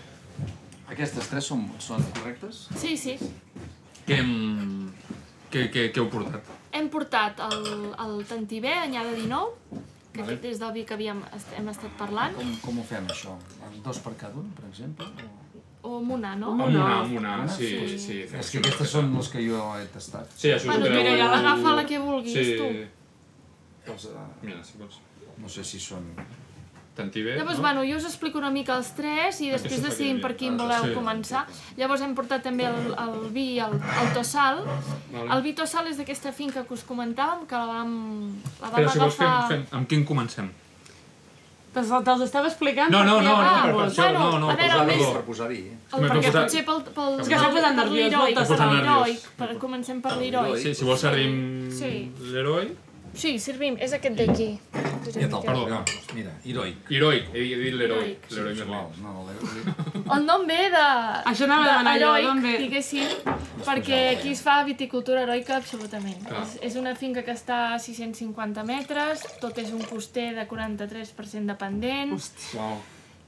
Speaker 5: Aquestes tres són, són correctes?
Speaker 4: Sí, sí.
Speaker 1: Què hem... Què, què, què heu portat?
Speaker 4: Hem portat el, el Tantibé, anyada 19, que
Speaker 5: Vale.
Speaker 4: aquest és del vi que havíem, est- hem estat parlant,
Speaker 5: Com, com ho fem, això? En Dos per cada un, per exemple? O...
Speaker 4: o amb una, no?
Speaker 1: Amb una, amb una,
Speaker 5: Una?
Speaker 1: sí,
Speaker 4: Sí.
Speaker 1: sí. fem
Speaker 5: És que
Speaker 1: això.
Speaker 5: aquestes són les que jo he tastat.
Speaker 1: Sí, això
Speaker 4: Bueno,
Speaker 1: us ho treu...
Speaker 4: mira, ja l'agafa la que vulguis,
Speaker 1: sí.
Speaker 4: tu.
Speaker 5: Els, eh,
Speaker 1: Mira, si vols.
Speaker 5: no sé si són...
Speaker 1: Tantivé, no?
Speaker 4: Llavors, doncs, bueno, jo us explico una mica els tres i després
Speaker 1: Aquesta és la que
Speaker 4: decidim
Speaker 1: hi havia.
Speaker 4: per quin voleu
Speaker 1: Sí.
Speaker 4: començar. Llavors hem portat també el, el vi, el, el Tossal.
Speaker 1: Vale.
Speaker 4: El vi Tossal és d'aquesta finca que us comentàvem, que la vam, la vam
Speaker 1: Espera, si vols fem,
Speaker 4: agafar...
Speaker 1: fem... Amb quin comencem?
Speaker 2: Te'ls te'ls estava explicant?
Speaker 1: No, no,
Speaker 2: perquè-
Speaker 1: no, no,
Speaker 2: Ah,
Speaker 1: per
Speaker 2: vols.
Speaker 1: això,
Speaker 4: bueno,
Speaker 1: no, no,
Speaker 4: a veure,
Speaker 1: posar
Speaker 4: el més-
Speaker 1: perdó.
Speaker 3: Per posar vi.
Speaker 5: eh?
Speaker 4: El,
Speaker 1: M'he
Speaker 4: perquè
Speaker 1: posat-
Speaker 4: potser pel, pel,
Speaker 1: És
Speaker 2: que s'ha posat
Speaker 4: per
Speaker 2: nerviós,
Speaker 4: l'heroic,
Speaker 2: m'ha
Speaker 4: per
Speaker 1: posat
Speaker 4: l'heroic,
Speaker 1: nerviós.
Speaker 4: per, comencem per l'heroic.
Speaker 1: Sí, si vols servim
Speaker 4: Sí.
Speaker 1: l'heroi.
Speaker 4: Sí, servim, és aquest d'aquí.
Speaker 5: Ja te'l
Speaker 1: Perdó.
Speaker 5: perdó. Mira, heroic.
Speaker 1: Heroi, he he dit l'heroi.
Speaker 4: Heroic,
Speaker 1: L'heroi
Speaker 5: És
Speaker 1: Merlin.
Speaker 5: igual, no, no, l'he-
Speaker 4: El nom ve de...
Speaker 2: Això anava a demanar jo,
Speaker 4: heroic,
Speaker 2: d'on ve?
Speaker 4: diguéssim, perquè aquí es fa viticultura heroica absolutament.
Speaker 1: Ah.
Speaker 4: És, és una finca que està a 650 metres, tot és un coster de 43% de pendent.
Speaker 1: Wow.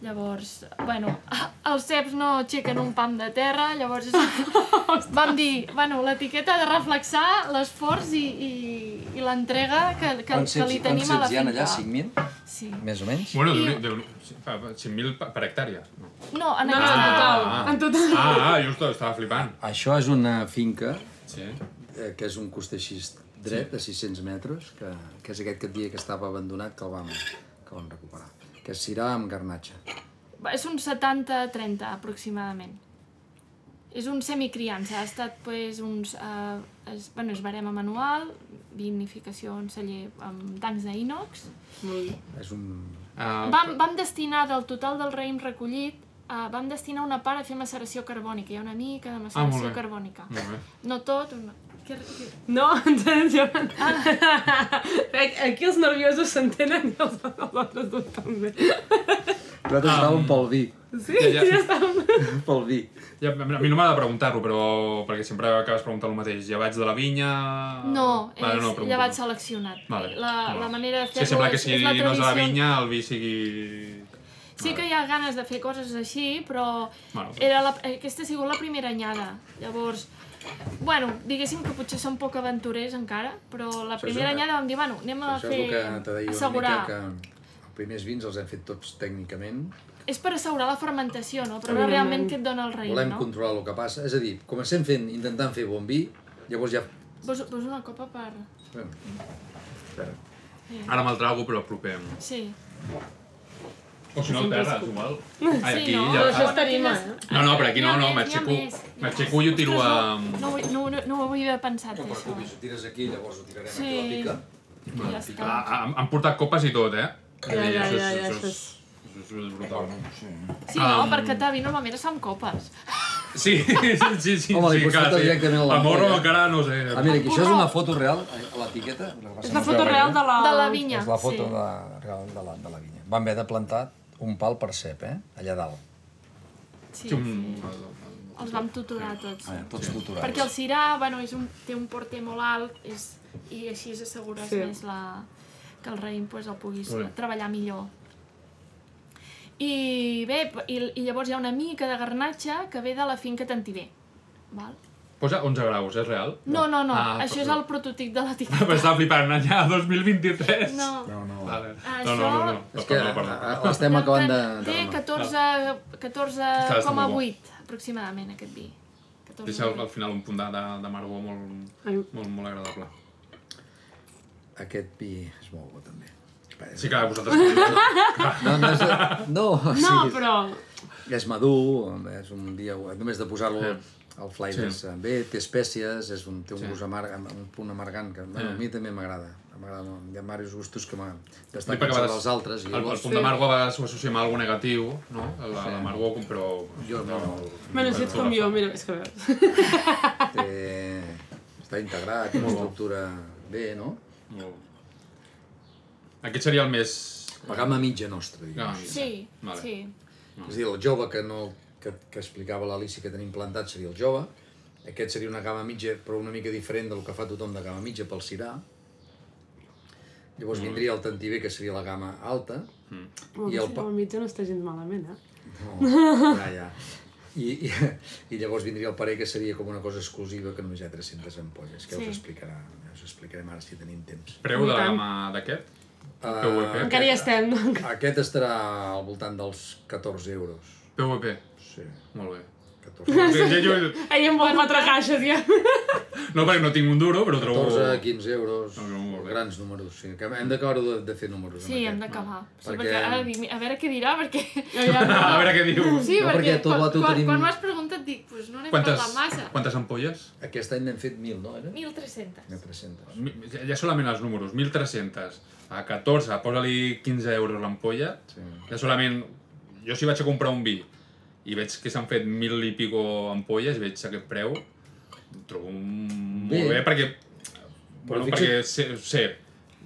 Speaker 4: Llavors, bueno, els ceps no aixequen un pam de
Speaker 2: [LAUGHS]
Speaker 4: terra, llavors vam dir, bueno, l'etiqueta ha de reflexar l'esforç i, i, i l'entrega que, que,
Speaker 5: Quants
Speaker 4: que
Speaker 5: ceps-
Speaker 4: li
Speaker 5: quants
Speaker 4: tenim a la
Speaker 5: ceps hi ha
Speaker 4: finca.
Speaker 5: allà? 5.000?
Speaker 4: Sí.
Speaker 5: Més o menys?
Speaker 1: Bueno,
Speaker 4: I-
Speaker 1: déu, déu, 5.000 per, per hectàrea. No.
Speaker 4: No, en
Speaker 2: No, no,
Speaker 4: aquesta...
Speaker 2: en total.
Speaker 1: Ah.
Speaker 2: En total.
Speaker 1: Ah, ah, jo estava, estava flipant.
Speaker 3: Això és una finca
Speaker 1: Sí.
Speaker 3: eh, que és un cos així dret, sí. a 600 metres, que, que és aquest que et dia que estava abandonat que el vam, que el vam recuperar. Que és cirà amb garnatxa.
Speaker 4: És un 70-30 aproximadament. És un semicriança, ha estat pues, uns... Uh, es, bueno, és barema manual, vinificació en celler amb tancs d'ínox.
Speaker 2: Molt bé.
Speaker 3: És un...
Speaker 1: Uh,
Speaker 4: Vam, vam destinar del total del raïm recollit, uh, vam destinar una part a fer maceració carbònica, hi ha una mica de maceració
Speaker 1: Ah, bé.
Speaker 4: carbònica.
Speaker 1: Molt bé.
Speaker 4: No tot, una... Que, que...
Speaker 2: No, [LAUGHS] entens, jo... Aquí els nerviosos s'entenen i els els altres dos també.
Speaker 1: Ah.
Speaker 3: Nosaltres anàvem pel vi,
Speaker 2: Sí,
Speaker 1: Ja,
Speaker 2: ja,
Speaker 1: ja.
Speaker 2: estàvem...
Speaker 3: pel vi.
Speaker 1: Ja, a mi no m'ha de preguntar-ho, però... Perquè sempre acabes preguntant el mateix. Ja vaig de la vinya...
Speaker 4: No, és,
Speaker 1: Ah, Vale, no,
Speaker 4: ja vaig
Speaker 1: pregunto.
Speaker 4: seleccionat.
Speaker 1: Vale.
Speaker 4: La, la
Speaker 1: Vale.
Speaker 4: manera de
Speaker 1: Sí,
Speaker 4: fer-ho
Speaker 1: sembla que
Speaker 4: és,
Speaker 1: si
Speaker 4: és
Speaker 1: no
Speaker 4: la
Speaker 1: és
Speaker 4: tradició.
Speaker 1: de la vinya, el vi sigui...
Speaker 4: Sí que hi ha ganes de fer coses així, però
Speaker 1: Bueno.
Speaker 4: era la, aquesta ha sigut la primera anyada. Llavors, bueno, diguéssim que potser som poc aventurers encara, però la
Speaker 3: és
Speaker 4: primera
Speaker 3: una-
Speaker 4: anyada vam dir, bueno, anem a
Speaker 3: Això és
Speaker 4: fer...
Speaker 3: el que te deia una
Speaker 4: Ah, assegurar.
Speaker 3: mica, que els primers vins els hem fet tots tècnicament.
Speaker 4: És per assegurar la fermentació, no? Però
Speaker 2: Evidentment.
Speaker 4: realment què et dona el raïm,
Speaker 3: Volem
Speaker 4: no?
Speaker 3: controlar el que passa. És a dir, comencem fent, intentant fer bon vi, llavors ja...
Speaker 4: Vols, vols una copa per...
Speaker 3: Bueno, espera.
Speaker 1: Ara me'l trago, però apropem.
Speaker 4: Sí.
Speaker 1: O si no, el terra, és igual. Ai, aquí,
Speaker 4: sí, no?
Speaker 1: ja...
Speaker 2: Això es tarima, eh?
Speaker 1: No, no, però aquí no,
Speaker 4: N'hi ha
Speaker 1: no,
Speaker 4: més,
Speaker 1: m'aixeco...
Speaker 4: n'hi ha més.
Speaker 1: M'aixeco i ho tiro a...
Speaker 4: Ostres, No, no, vull- no, no, no ho havia pensat,
Speaker 3: No
Speaker 4: eh,
Speaker 3: et
Speaker 4: això.
Speaker 3: preocupis, ho tires aquí, llavors ho tirarem
Speaker 4: Sí.
Speaker 3: aquí a la pica.
Speaker 4: I ja
Speaker 1: Ah,
Speaker 4: està.
Speaker 1: ah, han- han portat copes i tot, eh?
Speaker 2: Ja, ja,
Speaker 1: Això és-
Speaker 2: ja, ja,
Speaker 1: això
Speaker 2: això
Speaker 1: és... Això és brutal.
Speaker 4: Sí, no,
Speaker 1: Um,
Speaker 4: per catar vi normalment es fa amb copes.
Speaker 1: Sí, sí, sí, sí.
Speaker 3: Home, li
Speaker 1: sí,
Speaker 3: pots
Speaker 1: clar,
Speaker 3: fotre
Speaker 1: sí.
Speaker 3: directament a la
Speaker 1: El morro
Speaker 3: ampolla.
Speaker 1: encara no sé.
Speaker 3: Ah, mira, aquí això és una foto real, a l'etiqueta.
Speaker 2: És la foto real de la...
Speaker 4: De la vinya,
Speaker 3: És la foto
Speaker 4: sí.
Speaker 3: de, real de la, de la vinya. Van haver de plantar un pal per cep, eh? Allà dalt.
Speaker 1: Sí,
Speaker 4: Sí, sí.
Speaker 1: un-
Speaker 4: els vam tutorar tots.
Speaker 5: Ah, tots tutorats.
Speaker 4: Perquè el cirà, bueno, és un, té un porter molt alt és, i així assegures
Speaker 2: Sí.
Speaker 4: sí. més la, que el raïm pues, el puguis
Speaker 1: Molt bé.
Speaker 4: treballar millor. I bé, p- i, i llavors hi ha una mica de garnatxa que ve de la finca Tantiver. Val?
Speaker 1: Posa 11 graus, és real?
Speaker 4: No, no, no,
Speaker 1: Ah,
Speaker 4: ah, això és
Speaker 1: però-
Speaker 4: el prototip
Speaker 1: [LAUGHS]
Speaker 4: de
Speaker 1: Però
Speaker 4: l'etiqueta.
Speaker 1: estava flipant allà, 2023.
Speaker 4: No, Ah,
Speaker 5: No, no.
Speaker 1: Vale.
Speaker 4: Això-
Speaker 1: No, no, no, no.
Speaker 3: És que
Speaker 1: Ah, Perdó, perdó.
Speaker 3: a- a- l'estem acabant de... de
Speaker 4: Té
Speaker 3: remar.
Speaker 4: 14,8 14,
Speaker 1: Està molt bo.
Speaker 4: 14,8 aproximadament aquest vi. 14,8.
Speaker 1: Deixa al, al final un punt de, de, de margor molt,
Speaker 2: Ai,
Speaker 1: molt, molt agradable.
Speaker 3: Aquest pi és molt bo, també.
Speaker 1: Sí que [LAUGHS] vosaltres...
Speaker 3: No, no, és, no,
Speaker 2: No,
Speaker 3: sí,
Speaker 2: però...
Speaker 3: és madur, és un dia... Només de posar-lo al fly
Speaker 1: Sí.
Speaker 3: sí. bé, té espècies, és un, té un
Speaker 1: Sí.
Speaker 3: gust amarg, un punt amargant, que bueno, a mi també m'agrada. M'agrada, molt. hi ha diversos gustos que m'agraden.
Speaker 1: Sí,
Speaker 3: Destaquen
Speaker 1: perquè a
Speaker 3: sobre
Speaker 1: vegades
Speaker 3: els altres. I
Speaker 1: El, el
Speaker 3: llavors,
Speaker 1: punt de margo a vegades ho associem a alguna negatiu, no? El, sí.
Speaker 3: Sí.
Speaker 1: L'amargor, però...
Speaker 3: Jo no.
Speaker 2: Bueno, si ets com jo, mira, és que veus.
Speaker 3: té, està integrat, té una estructura bé, no?
Speaker 1: Molt. Aquest seria el més...
Speaker 3: La gamma mitja nostra,
Speaker 1: Ah,
Speaker 3: diguem.
Speaker 4: Sí,
Speaker 1: Vale.
Speaker 4: sí.
Speaker 3: És a dir, el jove que, no, que, que explicava l'Alici que tenim plantat seria el jove, aquest seria una gamma mitja, però una mica diferent del que fa tothom de gamma mitja pel cirà. Llavors vindria el tantiver, que seria la gamma alta.
Speaker 2: I el pa...
Speaker 3: pa-
Speaker 2: mitja no està gens malament, eh?
Speaker 3: No, ja, ja. I, i, I llavors vindria el parer, que seria com una cosa exclusiva, que només hi ha 300 ampolles, que ja
Speaker 4: Sí.
Speaker 3: us, explicarà, ja us explicarem ara si tenim temps.
Speaker 1: Preu de la
Speaker 2: Tant.
Speaker 1: gamma d'aquest?
Speaker 3: Ah,
Speaker 2: Encara hi estem, no? [LAUGHS]
Speaker 3: Aquest estarà al voltant dels 14 euros.
Speaker 1: PVP.
Speaker 3: Sí,
Speaker 1: Molt bé.
Speaker 2: [LAUGHS]
Speaker 3: 14 euros.
Speaker 1: Sí, jo, jo-
Speaker 2: Ahir hem vol quatre caixes, [LAUGHS] ja.
Speaker 1: no, perquè no tinc un duro, però trobo...
Speaker 3: 14, 15 euros,
Speaker 1: No, no, molt bé.
Speaker 3: grans números, sí. Que hem d'acabar-ho de, de fer números.
Speaker 4: Sí, hem
Speaker 3: amb aquest.
Speaker 4: d'acabar. Sí,
Speaker 3: Perquè-
Speaker 4: perquè... ara dic, a veure què dirà, perquè...
Speaker 1: [LAUGHS] A veure què diu.
Speaker 4: Sí,
Speaker 3: No, perquè
Speaker 4: perquè,
Speaker 3: tot
Speaker 4: quan,
Speaker 3: va, tu
Speaker 4: quan,
Speaker 3: tenim-
Speaker 4: quan m'has preguntat dic, doncs no n'hem
Speaker 1: Quantes,
Speaker 4: parlat massa.
Speaker 1: quantes ampolles?
Speaker 3: Aquest any n'hem fet 1.000, no? Era?
Speaker 4: 1.300.
Speaker 3: 1.300.
Speaker 1: Mi- Ja, ja solament els números, 1.300 a 14, posa-li 15 euros l'ampolla,
Speaker 3: Sí.
Speaker 1: ja solament... Jo si vaig a comprar un vi i veig que s'han fet 1.000 i pico ampolles i veig aquest preu, ho trobo un...
Speaker 3: Bé.
Speaker 1: molt bé perquè...
Speaker 3: Però
Speaker 1: Bueno,
Speaker 3: fixa't-
Speaker 1: perquè sé, sé,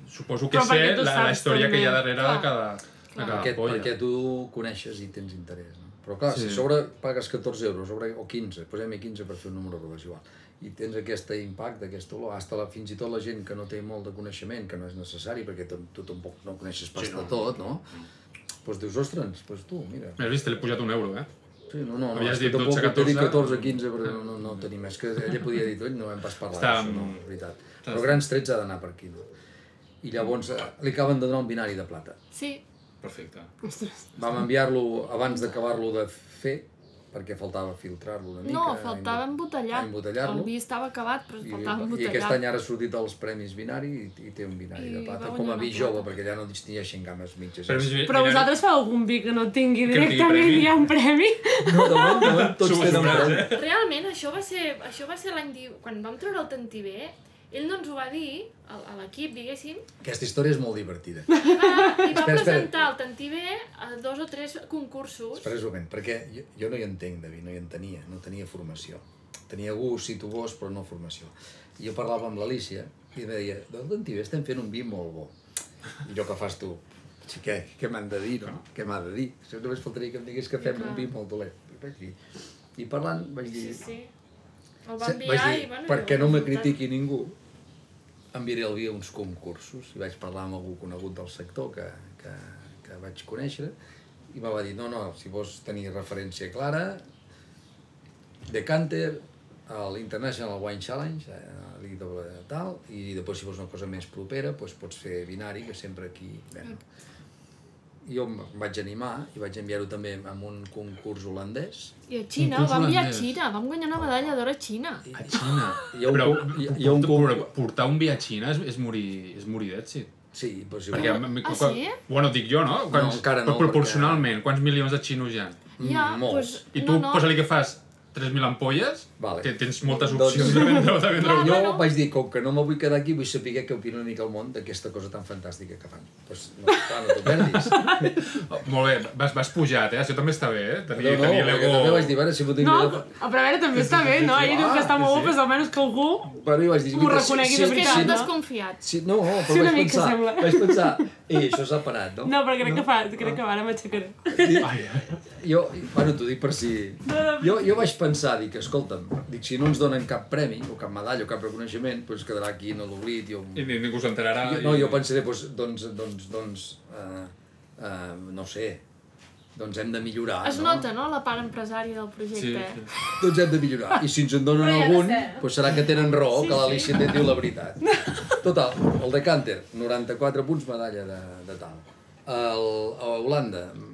Speaker 1: suposo que
Speaker 2: Però perquè
Speaker 1: sé
Speaker 2: tu
Speaker 1: la, la
Speaker 2: saps
Speaker 1: història que hi ha
Speaker 2: també.
Speaker 1: darrere de
Speaker 4: Clar.
Speaker 1: cada, de cada
Speaker 3: Perquè,
Speaker 1: ampolla.
Speaker 3: perquè tu coneixes i tens interès, no? Però clar, sí.
Speaker 1: Sí.
Speaker 3: si a sobre pagues 14 euros sobre, o 15, posem-hi 15 per fer un número rodó, és igual, i tens aquest impacte, aquesta olor, hasta la, fins i tot la gent que no té molt de coneixement, que no és necessari, perquè tu, tu tampoc no coneixes pas sí, no. de tot, no? Doncs pues dius, ostres, doncs pues tu, mira,
Speaker 1: M'has vist? L'he pujat un euro, eh?
Speaker 3: Sí, no, no, no,
Speaker 1: Havies
Speaker 3: és que
Speaker 1: dit
Speaker 3: tampoc
Speaker 1: 12,
Speaker 3: que t'he dit
Speaker 1: 14,
Speaker 3: 14, 15, però no, no, no tenim més, que ella podia dir tot, no hem pas parlat
Speaker 1: Està-
Speaker 3: d'això, no, és veritat. Però grans trets ha d'anar per aquí, no? I llavors eh, li acaben de donar un binari de plata.
Speaker 4: Sí,
Speaker 1: Perfecte.
Speaker 3: Vam enviar-lo abans d'acabar-lo de fer, perquè faltava filtrar-lo una mica.
Speaker 4: no, faltava embotellar.
Speaker 3: embotellar-lo.
Speaker 4: El vi estava acabat, però
Speaker 3: I, I
Speaker 4: faltava
Speaker 3: aquest
Speaker 4: embotellar.
Speaker 3: any ara ha sortit als Premis Binari i, i té un binari
Speaker 4: I
Speaker 3: de
Speaker 4: va
Speaker 3: plata,
Speaker 4: guanyar
Speaker 3: com a
Speaker 4: una
Speaker 3: vi
Speaker 4: plata.
Speaker 3: jove, perquè ja no distingeixen games mitges.
Speaker 1: Però,
Speaker 2: Però vosaltres feu algun vi que no tingui
Speaker 1: no tingui
Speaker 2: directament
Speaker 1: premi.
Speaker 2: hi ha un premi?
Speaker 3: No, de moment, de moment tots
Speaker 1: S'ho
Speaker 3: tenen
Speaker 1: sobrats,
Speaker 3: premi.
Speaker 4: Realment, això va ser, això va ser l'any... di- Quan vam treure el Tantiver, ell no ens ho va dir, a, a l'equip, diguéssim,
Speaker 3: Aquesta història és molt divertida.
Speaker 4: i va
Speaker 3: Espera, espera.
Speaker 4: presentar el Tantiver a dos o tres concursos.
Speaker 3: Espera un moment, perquè jo, jo no hi entenc, David, no hi entenia, no tenia formació. Tenia gust, si tu vols, però no formació. I jo parlava amb l'Alicia i em deia, doncs d'on estem fent un vi molt bo. I allò que fas tu, sí, què, què m'han de dir, no? Què m'ha de dir? Si només faltaria que em digués que fem un vi molt dolent. I vaig dir- I parlant vaig dir,
Speaker 4: Sí, sí. El va
Speaker 3: se-
Speaker 4: enviar
Speaker 3: vaig
Speaker 4: i, bueno...
Speaker 3: perquè
Speaker 4: jo-
Speaker 3: no me critiqui ningú, enviaré el vi a uns concursos i vaig parlar amb algú conegut del sector que, que, que vaig conèixer i me va dir, no, no, si vols tenir referència clara, Decanter, a l'International Wine Challenge, a l'IW tal, i després si vols una cosa més propera, doncs pots fer binari, que sempre aquí... Bé, no?
Speaker 4: Mm.
Speaker 3: Jo em vaig animar i vaig enviar-ho també a un concurs holandès,
Speaker 4: I a Xina,
Speaker 1: Concurs
Speaker 4: va enviar a
Speaker 1: holandès.
Speaker 4: Xina, vam guanyar una medalla d'or a Xina.
Speaker 1: A Xina.
Speaker 3: Hi ha un
Speaker 1: però,
Speaker 3: cu- hi ha- hi ha un
Speaker 1: portar-
Speaker 3: cu-
Speaker 1: però portar un vi a Xina és, és morir, és morir d'èxit.
Speaker 3: Sí, però si
Speaker 1: Perquè,
Speaker 3: vols-
Speaker 1: m- m-
Speaker 4: Ah,
Speaker 1: quan-
Speaker 4: sí?
Speaker 1: Bueno, dic jo, no? Quants,
Speaker 3: encara no,
Speaker 1: però Proporcionalment, quants milions de xinos hi ha?
Speaker 4: Ja,
Speaker 3: molts.
Speaker 4: doncs,
Speaker 1: Mm, I tu,
Speaker 4: no,
Speaker 1: no.
Speaker 4: no.
Speaker 1: posa-li que fas 3.000 ampolles,
Speaker 3: Vale.
Speaker 1: te- tens moltes
Speaker 3: Doncs-
Speaker 1: opcions de vendre, de vendre
Speaker 4: Clar,
Speaker 1: un.
Speaker 3: jo
Speaker 4: bueno.
Speaker 3: vaig dir, com que no me vull quedar aquí, vull saber què opina una mica el món d'aquesta cosa tan fantàstica que fan. Doncs no, clar, no t'ho perdis.
Speaker 1: Oh, Molt bé, vas, vas pujat, eh? Això també està bé, eh?
Speaker 3: No,
Speaker 1: Tenir,
Speaker 3: no,
Speaker 1: tenir
Speaker 3: perquè
Speaker 1: l'ego...
Speaker 3: també vaig dir, a veure si m'ho tinc...
Speaker 2: No,
Speaker 3: de-
Speaker 2: però a veure, també està bé, no? Ahir dius que està molt bo, però almenys que algú...
Speaker 3: Però jo vaig dir...
Speaker 2: Ho
Speaker 3: mira,
Speaker 2: reconegui de
Speaker 4: És que
Speaker 2: veritat,
Speaker 4: eren
Speaker 2: no?
Speaker 4: desconfiats.
Speaker 3: Sí, no,
Speaker 2: Sí,
Speaker 3: però
Speaker 2: una
Speaker 3: vaig
Speaker 2: mica
Speaker 3: pensar,
Speaker 2: sembla.
Speaker 3: vaig pensar, eh, això s'ha parat, no?
Speaker 2: No, Ah. però crec que fa, crec que va, ara m'aixecaré.
Speaker 3: Jo, bueno, t'ho dic per si... Jo, jo vaig pensar, dic, escolta'm, dic, si no ens donen cap premi, o cap medalla, o cap reconeixement, doncs quedarà aquí en l'oblit i...
Speaker 1: I ni- ningú s'enterarà.
Speaker 3: Jo,
Speaker 1: Ah, i-
Speaker 3: no, jo pensaré, doncs, doncs, doncs, doncs eh, eh, no sé, doncs hem de millorar,
Speaker 4: Es
Speaker 3: no?
Speaker 4: nota, no?, la part empresària del
Speaker 1: Ah, Sí,
Speaker 4: projecte.
Speaker 1: sí.
Speaker 3: Doncs hem de millorar. I si ens en donen
Speaker 6: Però ja no
Speaker 3: algun,
Speaker 6: sé, eh?
Speaker 3: doncs serà que tenen raó, que l'Alicia sí. diu la veritat. Total, el de Canter, 94 punts, medalla de, de tal. El, a Holanda, mm,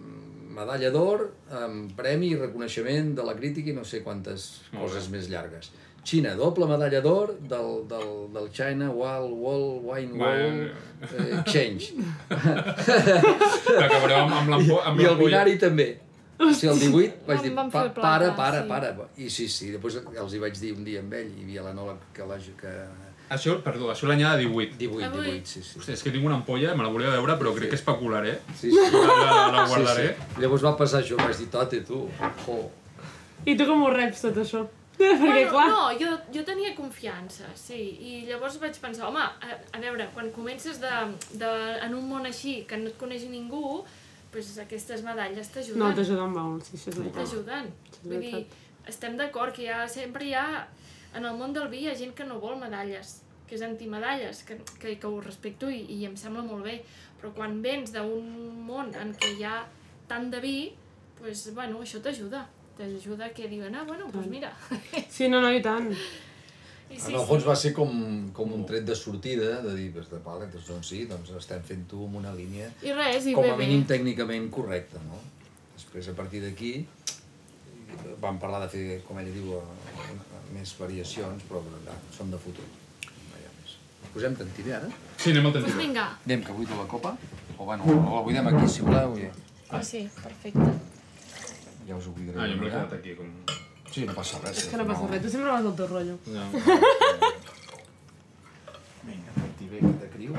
Speaker 3: medalla d'or, amb premi i reconeixement de la crítica i no sé quantes
Speaker 1: Molt bé.
Speaker 3: coses més llargues. Xina, doble medalla d'or del, del, del China Wall Wall Wine Wall
Speaker 1: Wine-
Speaker 3: eh, Exchange.
Speaker 1: Acabareu amb, amb l'ampolla. Oh, amb
Speaker 3: I el
Speaker 1: l'ampolla.
Speaker 3: binari també. O sigui, el 18 vaig
Speaker 4: Em
Speaker 3: dir,
Speaker 4: van fer
Speaker 3: pa,
Speaker 4: el pla,
Speaker 3: para,
Speaker 4: clar,
Speaker 3: para,
Speaker 4: sí.
Speaker 3: para. I sí, sí, després els hi vaig dir un dia amb ell, hi havia l'anòleg que la... Que...
Speaker 1: Això, perdó, això l'anyada 18.
Speaker 3: 18,
Speaker 4: Avui.
Speaker 3: 18, sí, sí.
Speaker 1: Hòstia, és que tinc una ampolla, me la volia veure, però crec que especularé.
Speaker 3: Sí, sí.
Speaker 1: La, la, la
Speaker 3: Sí,
Speaker 1: guardaré.
Speaker 3: sí. Llavors va passar això, vaig dir, tate, tu, jo.
Speaker 2: I tu com ho reps tot [LAUGHS] això? Perquè, clar...
Speaker 4: No, jo, jo tenia confiança, sí. I llavors vaig pensar, home, a, a veure, quan comences de, de, en un món així, que no et coneix ningú, doncs aquestes medalles t'ajuden.
Speaker 2: No, t'ajuden molt, sí, això és veritat.
Speaker 4: t'ajuden.
Speaker 2: és
Speaker 4: Vull dir,
Speaker 2: veritat.
Speaker 4: estem d'acord que hi ha, sempre hi ha, en el món del vi hi ha gent que no vol medalles, que és antimedalles, que, que, que ho respecto i, i em sembla molt bé, però quan vens d'un món en què hi ha tant de vi, doncs, bueno, això t'ajuda t'ajuda que diuen, ah, bueno, doncs mira. [LAUGHS]
Speaker 2: Sí, no, no, i tant.
Speaker 4: I
Speaker 3: En el fons va ser com, com un tret de sortida, de dir, pues, de pala, doncs, doncs sí, doncs estem fent-ho amb una línia
Speaker 4: I res, i
Speaker 3: com
Speaker 4: bé,
Speaker 3: a
Speaker 4: bé.
Speaker 3: mínim tècnicament correcta, no? Després, a partir d'aquí, vam parlar de fer, com ella diu, eh, més variacions, però ja, som de futur. No hi ha més. Posem eh? tantiner, ara?
Speaker 1: Sí, anem al
Speaker 4: Doncs
Speaker 1: tentatiu.
Speaker 4: vinga.
Speaker 5: Anem, que buido la copa. O bueno, no la buidem aquí, si voleu. Ja,
Speaker 4: Ah, sí, perfecte.
Speaker 5: ja us ho buidaré.
Speaker 1: Ah, jo m'he
Speaker 5: ja.
Speaker 1: quedat aquí, com...
Speaker 5: Sí, no passa res.
Speaker 2: És que no passa res, tu sempre vas al teu rotllo.
Speaker 1: No.
Speaker 5: Vinga, Tantivé, que te criu.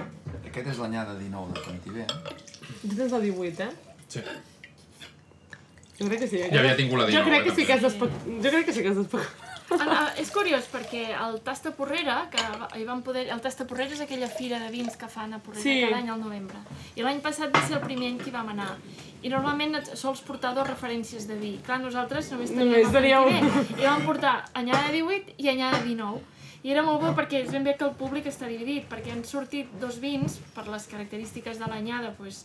Speaker 5: Aquest és l'anyada 19 de Tantivé. eh?
Speaker 2: Tu tens el 18, eh?
Speaker 1: Sí.
Speaker 2: Jo crec que sí. eh?
Speaker 1: Ja havia tingut la
Speaker 2: Jo
Speaker 1: 19.
Speaker 2: crec que
Speaker 1: eh,
Speaker 2: sí que
Speaker 1: també.
Speaker 2: has d'especular. Jo crec que sí que has d'especular.
Speaker 4: Ah, ah, és curiós perquè el Tasta Porrera, que va- hi van poder... El Tasta Porrera és aquella fira de vins que fan a Porrera
Speaker 2: Sí.
Speaker 4: sí. cada any al novembre. I l'any passat va ser el primer any que hi vam anar. I normalment et sols portar dues referències de vi. Clar, nosaltres només teníem
Speaker 2: Només
Speaker 4: el
Speaker 2: teníeu
Speaker 4: Martínez. I vam portar anyada de 18 i anyada de 19. I era molt bo perquè és ben bé que el públic està dividit, perquè han sortit dos vins, per les característiques de l'anyada, doncs,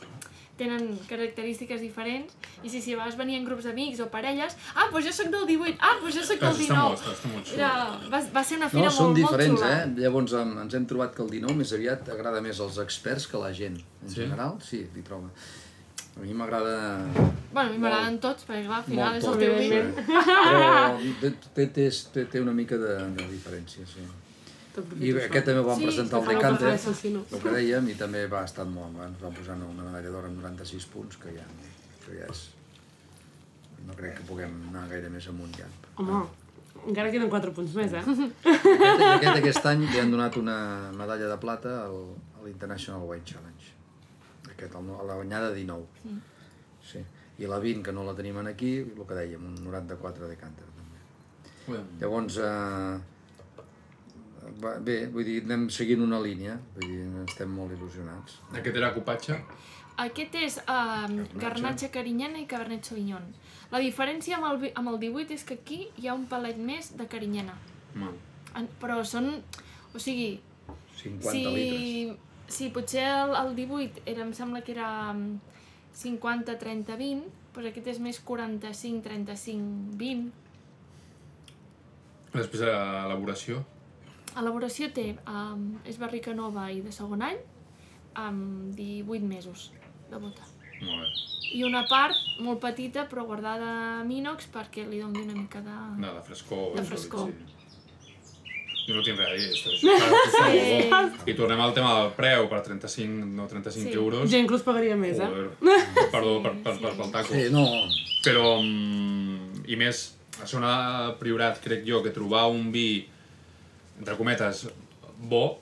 Speaker 4: tenen característiques diferents, i si, si a vegades venien grups d'amics o parelles, ah, doncs jo sóc del 18, ah, doncs jo sóc
Speaker 1: Clar,
Speaker 4: del
Speaker 1: Està,
Speaker 4: 19.
Speaker 1: molt, està, està molt xulo.
Speaker 4: Era, va, va ser una
Speaker 3: No,
Speaker 4: fira molt,
Speaker 3: són diferents,
Speaker 4: molt xula.
Speaker 3: eh? Llavors em, ens hem trobat que el 19 més aviat agrada més als experts que a la gent. En
Speaker 1: Sí?
Speaker 3: general, sí, li troba. A mi m'agrada...
Speaker 4: Bueno, a mi m'agraden tots, perquè clar, al final
Speaker 3: molt
Speaker 4: és
Speaker 3: poc,
Speaker 4: el teu vi.
Speaker 2: evidentment.
Speaker 3: sí.
Speaker 4: [LAUGHS]
Speaker 3: Però té, té, té, té, té una mica de, de diferència, sí. I
Speaker 2: T'aprofito
Speaker 3: aquest
Speaker 2: això.
Speaker 3: també ho vam
Speaker 4: Sí,
Speaker 3: presentar al
Speaker 2: que no
Speaker 3: Decanter,
Speaker 2: passa res, sí, no.
Speaker 3: el que dèiem, i també va estar molt bé. Ens va posar una medalla d'or amb 96 punts, que ja, que ja és... No crec que puguem anar gaire més amunt ja.
Speaker 2: Home, encara queden 4 punts més, eh?
Speaker 3: Aquest, aquest, aquest any li han donat una medalla de plata al, a l'International Wine Challenge. Aquest, el, no- a la banyada 19. Sí. I la 20, que no la tenim en aquí, el que dèiem, un 94 de Canter. També. Llavors, eh, va- bé, vull dir, anem seguint una línia, vull dir, estem molt il·lusionats.
Speaker 1: Aquest era copatge.
Speaker 4: Aquest és um, garnatxa carinyana i cabernet sauvignon. La diferència amb el, vi- amb el 18 és que aquí hi ha un palet més de carinyana.
Speaker 1: Mal.
Speaker 4: En- Però són... O sigui,
Speaker 3: 50
Speaker 4: si,
Speaker 3: litres.
Speaker 4: si potser el, el 18 era, em sembla que era mm, 50, 30, 20, doncs aquest és més 45, 35, 20.
Speaker 1: Després de l'elaboració.
Speaker 4: Elaboració té, um, és barrica nova i de segon any, amb 18 mesos de bota.
Speaker 1: Molt bé.
Speaker 4: I una part molt petita però guardada amb inox perquè li doni una mica de...
Speaker 1: De, de frescor.
Speaker 4: De
Speaker 1: és
Speaker 4: frescor.
Speaker 1: sòlid, Sí. Jo no tinc res a dir.
Speaker 4: [LAUGHS]
Speaker 1: Això, això, està molt bo. I tornem al tema del preu, per 35, no, 35
Speaker 4: Sí.
Speaker 1: euros.
Speaker 2: Jo inclús pagaria més, eh?
Speaker 1: Joder, perdó per, per, per, pel taco.
Speaker 3: Sí, no,
Speaker 1: però mm, i més a zona de Priorat crec jo que trobar un vi entre cometes bo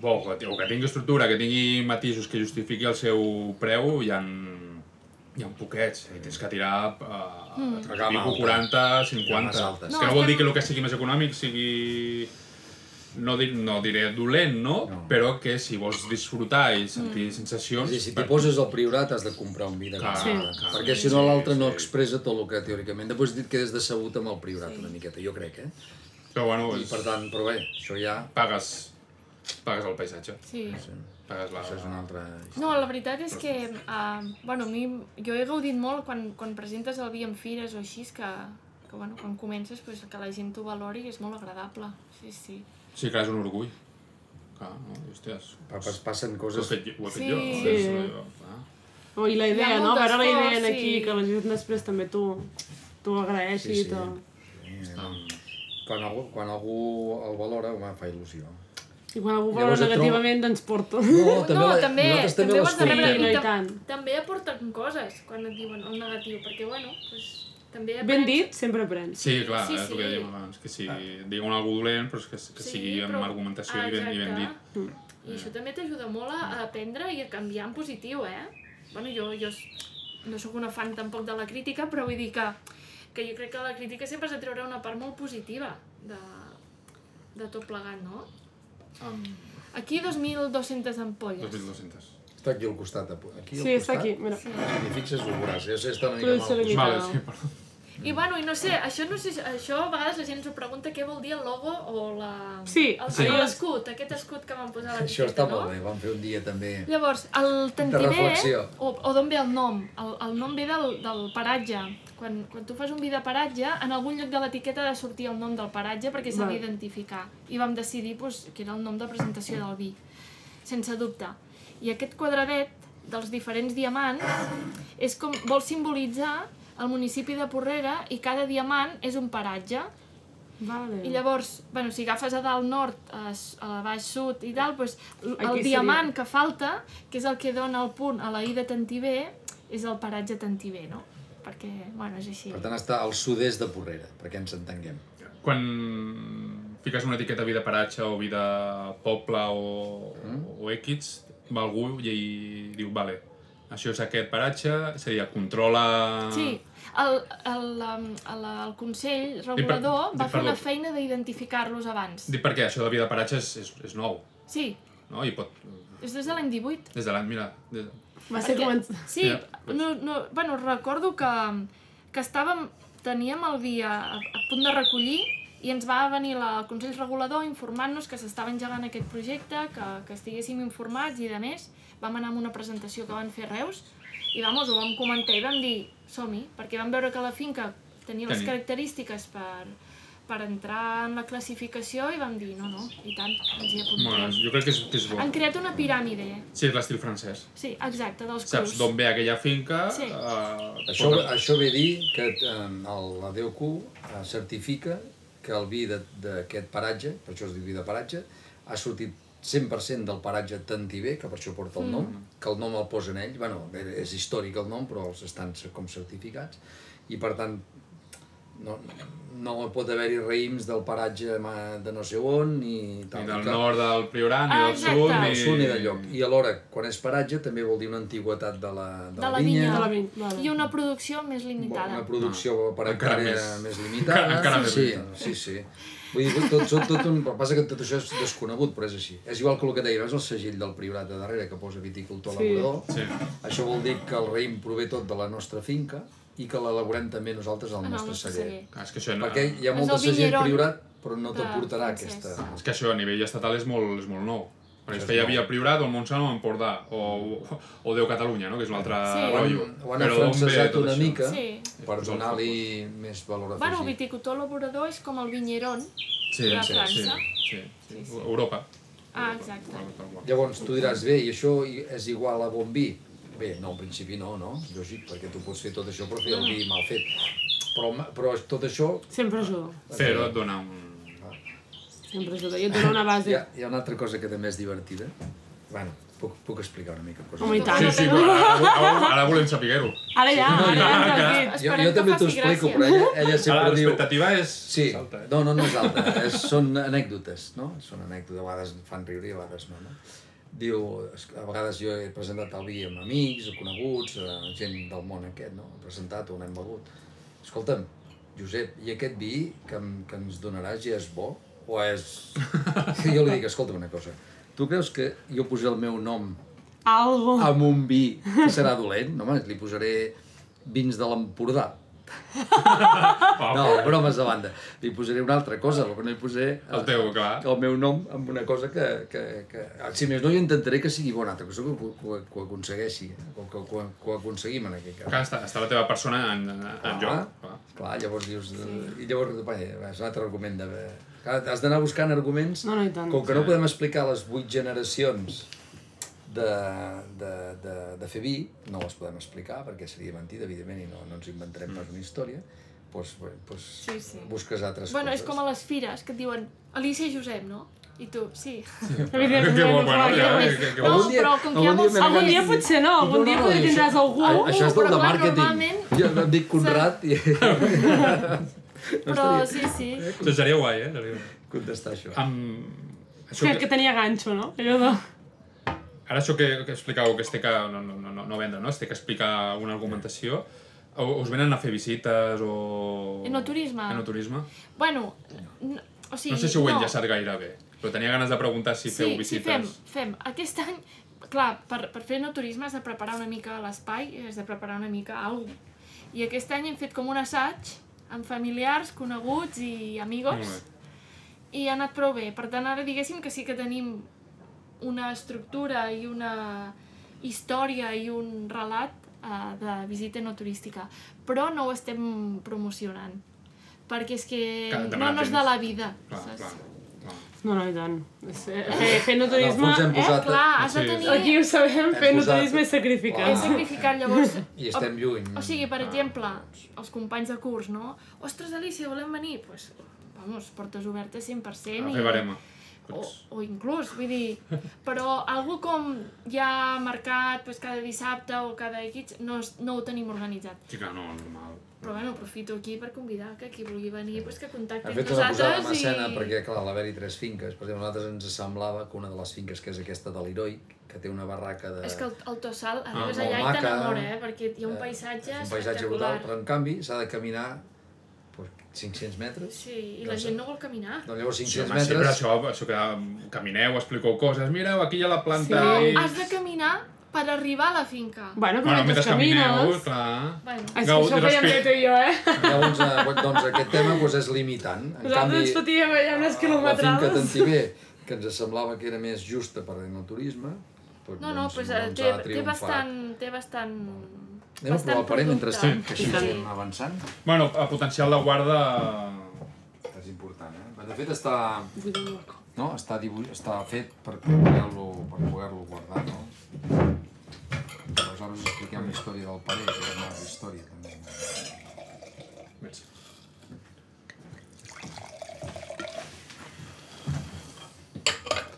Speaker 1: bo, que, o que tingui estructura, que tingui matisos que justifiqui el seu preu hi ha, hi ha poquets i tens que tirar eh, a, a,
Speaker 3: La
Speaker 1: a
Speaker 3: gamma
Speaker 1: 40,
Speaker 3: alta.
Speaker 1: 50
Speaker 3: Gammes altes.
Speaker 1: és que
Speaker 4: Mm. No,
Speaker 1: no vol dir
Speaker 4: estem-
Speaker 1: que el que sigui més econòmic sigui no, dir, no diré dolent, no? no? Però que si vols disfrutar i sentir mm. sensacions...
Speaker 5: És a dir, si t'hi poses al priorat has de comprar un vi de
Speaker 1: Clar,
Speaker 5: cada
Speaker 2: Sí.
Speaker 5: vegada,
Speaker 1: clar.
Speaker 5: perquè si no l'altre no expressa tot el que teòricament... Després has dit que és decebut amb el priorat una miqueta, jo crec, eh?
Speaker 1: Però bueno,
Speaker 5: I
Speaker 1: és,
Speaker 5: per tant, però bé, això ja...
Speaker 1: pagues, pagues el paisatge.
Speaker 4: Sí.
Speaker 1: Pagues la...
Speaker 5: Això és una altra...
Speaker 4: No, la veritat és que, uh, bueno, a mi, jo he gaudit molt quan, quan presentes el vi en fires o així, és que, que bueno, quan comences, pues, que la gent t'ho valori és molt agradable. Sí, sí.
Speaker 1: Sí, clar, és un orgull. Clar, no? I, Hòsties,
Speaker 5: Papas passen
Speaker 1: ho he
Speaker 5: coses...
Speaker 1: fet, jo- ho he fet
Speaker 4: Sí.
Speaker 1: jo. ho he fet jo, clar.
Speaker 2: Oh, I la
Speaker 4: Hi ha
Speaker 2: idea, no?
Speaker 4: molt
Speaker 2: Veure la idea
Speaker 4: d'esforç,
Speaker 2: aquí,
Speaker 4: sí.
Speaker 2: que la gent després també tu, tu ho agraeixi
Speaker 5: Sí,
Speaker 2: sí,
Speaker 5: sí.
Speaker 2: sí. i tot.
Speaker 5: Quan algú, quan algú el valora, home, fa il·lusió.
Speaker 2: I quan algú
Speaker 5: Llavors
Speaker 2: valora
Speaker 5: et trobo-
Speaker 2: negativament, doncs porto. [LAUGHS]
Speaker 5: No,
Speaker 4: no, també,
Speaker 5: nosaltres
Speaker 4: també
Speaker 5: Oh, també,
Speaker 4: ho has de rebre
Speaker 2: l'escoltem.
Speaker 4: i,
Speaker 2: I tant.
Speaker 4: tam, també aporten coses quan et diuen el negatiu, perquè, bueno, pues, també...
Speaker 2: Ben
Speaker 4: aprens-
Speaker 2: dit, sempre aprens.
Speaker 1: Sí, clar,
Speaker 4: Sí,
Speaker 1: sí, sí. és el que
Speaker 4: sí.
Speaker 1: dèiem abans, que si diuen alguna cosa dolent, però és que, que sigui amb
Speaker 4: però-
Speaker 1: argumentació i, ben, i ben dit.
Speaker 4: Exacte. I això també t'ajuda molt a a aprendre i a canviar en positiu, eh? Bueno, jo, jo s- no sóc una fan tampoc de la crítica, però vull dir que, que jo crec que la crítica sempre has de treure una part molt positiva de, de tot plegat, no? Aquí 2.200 ampolles.
Speaker 1: 2.200.
Speaker 5: Està aquí al costat, a- aquí al
Speaker 2: Sí, està
Speaker 5: costat.
Speaker 2: aquí, mira.
Speaker 5: I fixes, ho veuràs, ja sé, està una mica
Speaker 2: Però
Speaker 5: mal.
Speaker 2: se
Speaker 1: Vale,
Speaker 2: Mira.
Speaker 1: sí, perdó.
Speaker 4: I bueno, i no sé, això no sé, si- això a vegades la gent s'ho pregunta què vol dir el logo o la...
Speaker 2: Sí,
Speaker 4: el,
Speaker 2: sí.
Speaker 4: o l'escut, aquest escut que van posar a l'etiqueta,
Speaker 5: Això està
Speaker 4: no?
Speaker 5: molt bé, vam fer un dia també...
Speaker 4: Llavors, el tentiver,
Speaker 5: reflexió.
Speaker 4: o, o d'on ve el nom? El, el nom ve del, del paratge. Quan, quan tu fas un vi de paratge, en algun lloc de l'etiqueta ha de sortir el nom del paratge perquè s'ha
Speaker 2: Val.
Speaker 4: d'identificar. I vam decidir pues, que era el nom de presentació del vi, sense dubte. I aquest quadradet dels diferents diamants és com vol simbolitzar el municipi de Porrera i cada diamant és un paratge.
Speaker 2: Vale.
Speaker 4: I llavors, bueno, si agafes a dalt nord, a, s- a baix sud i tal, doncs, l- el
Speaker 2: Aquí
Speaker 4: Aquí
Speaker 2: seria.
Speaker 4: diamant que falta, que és el que dona el punt a la I de Tantiver, és el paratge Tantiver, no? Perquè, bueno, és així.
Speaker 5: Per tant, està al sud-est de Porrera, perquè ens entenguem.
Speaker 1: Quan fiques una etiqueta vida paratge o vida poble o, o equits, va algú i, i diu, vale, això és aquest paratge, seria controla...
Speaker 4: Sí, el, el, um, el, el Consell Regulador
Speaker 1: dic,
Speaker 4: va fer
Speaker 1: perdó.
Speaker 4: una feina d'identificar-los abans.
Speaker 1: Dic perquè això de vida paratge és, és, és nou,
Speaker 4: Sí,
Speaker 1: no? I pot...
Speaker 4: és des de l'any 18.
Speaker 1: Des de l'any, mira... Des,
Speaker 2: Va ser
Speaker 4: Perquè-
Speaker 2: començar...
Speaker 4: Sí,
Speaker 1: Ja, vaig.
Speaker 4: no, no, bueno, recordo que, que estàvem, teníem el vi a, a punt de recollir i ens va venir la, el Consell Regulador informant-nos que s'estava engegant aquest projecte, que, que estiguéssim informats i de més. Vam anar a una presentació que van fer a Reus i vamos, ho vam comentar i vam dir som-hi, perquè vam veure que la finca tenia les
Speaker 1: Tenia.
Speaker 4: característiques per, per entrar en la classificació i vam dir no, no, i tant, ens hi
Speaker 1: bueno,
Speaker 4: apuntem.
Speaker 1: jo crec que és, que és bo.
Speaker 4: Han creat una piràmide,
Speaker 1: Sí, és l'estil francès.
Speaker 4: sí, exacte, dels
Speaker 1: Saps
Speaker 4: crus.
Speaker 1: d'on ve aquella finca...
Speaker 4: Sí.
Speaker 1: eh,
Speaker 5: Això,
Speaker 1: posa-
Speaker 5: això ve a dir que eh, el, la DOQ eh, certifica que el vi de- d'aquest paratge, per això es diu vi de paratge, ha sortit 100% del paratge Tantiver, que per això porta el nom,
Speaker 1: Mm.
Speaker 5: que el nom el posen ells, bueno, és històric el nom, però els estan cer- com certificats, i per tant no, no pot haver-hi raïms del paratge ma- de no sé on, ni tal.
Speaker 1: Ni del
Speaker 5: que-
Speaker 1: nord del Priorat, ni
Speaker 4: Ah,
Speaker 1: del
Speaker 4: exacte.
Speaker 1: sud,
Speaker 4: Ni
Speaker 1: ni...
Speaker 5: del sud ni del lloc. I alhora, quan és paratge, també vol dir una antigüetat de la, de la, vinya.
Speaker 2: De la vinya, vale.
Speaker 4: I una producció més limitada.
Speaker 5: Una producció per
Speaker 1: encara
Speaker 5: hectàrea
Speaker 1: més.
Speaker 5: més.
Speaker 1: [LAUGHS]
Speaker 5: limitada.
Speaker 1: Encara més
Speaker 5: sí,
Speaker 1: limitada.
Speaker 5: sí, sí. Vull dir, tot, tot, tot un... El que passa que tot això és desconegut, però és així. És igual que el que deia, veus el segell del priorat de darrere que posa viticultor
Speaker 2: Sí.
Speaker 5: sí. laborador?
Speaker 1: Sí.
Speaker 5: Això vol dir que el raïm prové tot de la nostra finca i que l'elaborem també nosaltres al
Speaker 4: En el
Speaker 5: nostre
Speaker 4: nostre
Speaker 5: celler.
Speaker 4: celler.
Speaker 1: Clar, és que això,
Speaker 5: Perquè hi ha
Speaker 4: És
Speaker 5: molt
Speaker 4: el
Speaker 5: de segell
Speaker 4: viñeron
Speaker 5: priorat, però no t'aportarà
Speaker 4: francès.
Speaker 5: aquesta...
Speaker 1: és que això a nivell estatal és molt, és molt nou. Perquè
Speaker 5: Això
Speaker 1: es
Speaker 5: és
Speaker 1: feia
Speaker 5: nou.
Speaker 1: via Priorat, el Montsant o Empordà, o, o Déu Catalunya, no? que és un altre
Speaker 4: Sí.
Speaker 5: Ho han,
Speaker 1: rotllo.
Speaker 5: ho han
Speaker 1: Però d'on ve
Speaker 5: afrancesat
Speaker 1: tot
Speaker 5: una
Speaker 1: això?
Speaker 5: mica
Speaker 4: Sí.
Speaker 5: per donar-li més valor afegit.
Speaker 4: Bueno, viticultor laborador és com el vinyeron.
Speaker 1: Sí,
Speaker 4: de
Speaker 1: sí, sí,
Speaker 4: França.
Speaker 1: sí, sí, sí. Europa.
Speaker 4: Ah, exacte.
Speaker 1: Tal qual.
Speaker 5: Llavors, tu diràs, bé, i això i- és igual a bon vi? Bé, no, al principi no, no? Lògic, perquè tu pots fer tot això però fer el vi mal fet. Però, ma- però tot això...
Speaker 2: Sempre ajuda.
Speaker 1: Però et dona un...
Speaker 2: Sempre ajuda. I et dona una base.
Speaker 5: Hi ha, hi ha una altra cosa que també és divertida. Bueno, puc, puc explicar una mica coses.
Speaker 2: Home, i
Speaker 4: Ah,
Speaker 2: tant.
Speaker 1: Sí, sí, però ara, ara, ara volem saber-ho.
Speaker 2: Ara ja, ara ja ens has dit.
Speaker 5: Jo,
Speaker 4: Esperem
Speaker 5: jo
Speaker 4: que
Speaker 5: també
Speaker 4: faci
Speaker 5: t'ho explico,
Speaker 4: gràcia.
Speaker 5: però ella, ella
Speaker 1: Ara
Speaker 5: sempre diu...
Speaker 1: l'expectativa és...
Speaker 5: Sí,
Speaker 1: Salta, eh?
Speaker 5: no, no, no és alta, és, són anècdotes, no? Són anècdotes, a vegades fan riure i a vegades no, no? Diu, es- a vegades jo he presentat el vi amb amics, o coneguts, eh, gent del món aquest, no? He presentat o n'hem begut. Escolta'm, Josep, i aquest vi que, em- que ens donaràs ja és bo?
Speaker 3: o és... Jo li dic, escolta una cosa, tu creus que jo posaré el meu nom
Speaker 5: Ah,
Speaker 2: Algo.
Speaker 3: amb un vi que serà dolent? No, home, li posaré vins de
Speaker 1: [LAUGHS]
Speaker 3: l'Empordà. No, bromes de banda. Li posaré una altra cosa, però no hi posaré eh,
Speaker 1: El teu, clar.
Speaker 3: el meu nom amb una cosa que, que, que... Si més no, jo intentaré que sigui bona, que, que, ho- que, ho- que ho aconsegueixi, que, que, que, ho- que ho aconseguim en aquest cas.
Speaker 1: Clar, està, està la teva persona en, en,
Speaker 5: Ah,
Speaker 1: en joc. Clar.
Speaker 3: Ah, Clar, llavors dius... Sí. I llavors, vaja, és un altre argument de... Clar, has d'anar buscant arguments...
Speaker 2: No, no, i tant.
Speaker 3: Com que no podem explicar les vuit generacions de, de, de, de fer vi, no les podem explicar perquè seria mentida, evidentment, i no, no ens inventarem
Speaker 1: Mm.
Speaker 3: pas una història, doncs, bé, doncs
Speaker 4: Sí, sí.
Speaker 3: busques altres
Speaker 4: Bueno, és
Speaker 3: coses.
Speaker 4: com a les fires, que et diuen Alicia i Josep, no? I tu, sí.
Speaker 2: Evidentment,
Speaker 1: Que bo, bueno,
Speaker 2: clar,
Speaker 1: ja,
Speaker 2: clar.
Speaker 1: eh, que, que
Speaker 4: No,
Speaker 1: bo.
Speaker 3: Algun dia-
Speaker 4: però com que hi ha
Speaker 3: algun me
Speaker 4: molts-
Speaker 3: n'hauràs
Speaker 2: Algun dia
Speaker 3: de-
Speaker 2: potser no, algun dia potser
Speaker 3: això-
Speaker 2: tindràs algú.
Speaker 3: Ah, Això és del
Speaker 4: Però,
Speaker 3: de
Speaker 4: clar,
Speaker 3: màrqueting.
Speaker 4: normalment-
Speaker 3: Jo em dic Conrad i... [LAUGHS]
Speaker 4: Però sí, sí.
Speaker 1: Això seria guai, eh? Seria... guai.
Speaker 3: Contestar això.
Speaker 1: Ah. Amb... Això
Speaker 2: Que, que
Speaker 1: que,
Speaker 2: tenia ganxo, no? Allò de...
Speaker 1: ara això que, que explicàveu, que es té que... No, no, no, no- no vendre, no? Es té que explicar una argumentació. O, us venen a fer visites o...
Speaker 4: Enoturisme.
Speaker 1: Enoturisme.
Speaker 4: Bueno, n- o sigui...
Speaker 1: No sé si ho he enllaçat gaire bé, però tenia ganes de preguntar si feu
Speaker 4: sí,
Speaker 1: visites.
Speaker 4: fem, fem. Aquest any, clar, per, per fer no turisme has de preparar una mica l'espai, has de preparar una mica alguna cosa. I aquest any hem fet com un assaig amb familiars, coneguts i amigos,
Speaker 1: Molt
Speaker 4: i ha anat prou bé. Per tant, ara diguéssim que sí que tenim una estructura i una història i un relat eh, de visita no turística, però no ho estem promocionant, perquè és que
Speaker 1: Clar,
Speaker 4: no,
Speaker 1: demanar
Speaker 4: no és de
Speaker 1: temps.
Speaker 4: la vida,
Speaker 1: Clar,
Speaker 4: saps?
Speaker 1: clar. clar.
Speaker 2: No, no, i tant. És, eh, Fer, fer no
Speaker 3: En el
Speaker 2: turisme...
Speaker 3: fons hem
Speaker 2: Eh?
Speaker 3: posat...
Speaker 4: Clar, has de
Speaker 1: Sí, sí.
Speaker 4: tenir...
Speaker 2: Aquí ho sabem, fer no
Speaker 3: posat-
Speaker 2: turisme és sacrificar.
Speaker 4: He sacrificat, llavors...
Speaker 3: I estem lluny.
Speaker 4: O sigui, per exemple, els companys de curs, no? Ostres, Alicia, volem venir? Doncs, pues, vamos, portes obertes 100%
Speaker 1: A
Speaker 4: i...
Speaker 1: fer barema.
Speaker 4: O, o inclús, vull dir... Però algú com ja mercat pues, cada dissabte o cada X, no, es- no ho tenim organitzat.
Speaker 1: Sí que no, normal.
Speaker 4: Però bueno, aprofito aquí per convidar que qui vulgui venir, pues, que contacti
Speaker 3: Hem
Speaker 4: amb
Speaker 3: fet una posada en
Speaker 4: nosaltres i...
Speaker 3: escena perquè, clar, a l'haver-hi tres finques. Per exemple, a nosaltres ens semblava que una de les finques, que és aquesta de l'Heroi, que té una barraca de...
Speaker 4: És que el, el Tossal arribes
Speaker 1: molt
Speaker 4: allà i
Speaker 3: Ah, maca.
Speaker 4: t'enamora, eh? Perquè hi ha un
Speaker 3: eh,
Speaker 4: paisatge,
Speaker 3: és un paisatge
Speaker 4: espectacular.
Speaker 3: brutal, però en canvi s'ha de caminar pues, 500 metres.
Speaker 4: Sí, i la gent no vol caminar.
Speaker 3: Doncs llavors
Speaker 1: Sí,
Speaker 3: 500
Speaker 1: home, sí, però
Speaker 3: metres...
Speaker 1: això, això que um, camineu, expliqueu coses, mireu, aquí hi ha la planta...
Speaker 4: No,
Speaker 1: i...
Speaker 4: has de caminar per arribar a la finca.
Speaker 2: Bueno, però
Speaker 1: Bueno, mentre
Speaker 2: mentre
Speaker 1: camineu,
Speaker 2: camines...
Speaker 1: clar...
Speaker 4: Bueno,
Speaker 2: És que
Speaker 1: Gau-
Speaker 2: això ho fèiem bé
Speaker 1: respecte.
Speaker 2: tu i jo, eh?
Speaker 3: Llavors, eh, bueno, doncs aquest tema pues, és limitant. En
Speaker 2: Nosaltres ens
Speaker 3: canvi,
Speaker 2: fotíem allà unes
Speaker 3: la finca
Speaker 2: quilometrades.
Speaker 3: d'Antivé, que ens semblava que era més justa per al turisme, doncs,
Speaker 4: no, no,
Speaker 3: doncs,
Speaker 4: pues, eh,
Speaker 3: doncs
Speaker 4: té,
Speaker 3: ha
Speaker 4: té
Speaker 3: triomfat.
Speaker 4: bastant... Té bastant...
Speaker 3: Anem a provar el parell mentrestant, que així
Speaker 4: Sí.
Speaker 3: ens
Speaker 5: Anem avançant,
Speaker 1: Bueno, a potencial de guarda...
Speaker 5: és important, eh? De fet, està... No, està, dibu... està fet per poder-lo per poder guardar, no? Aleshores expliquem la història del parell, que és una altra història, també.
Speaker 1: Merci.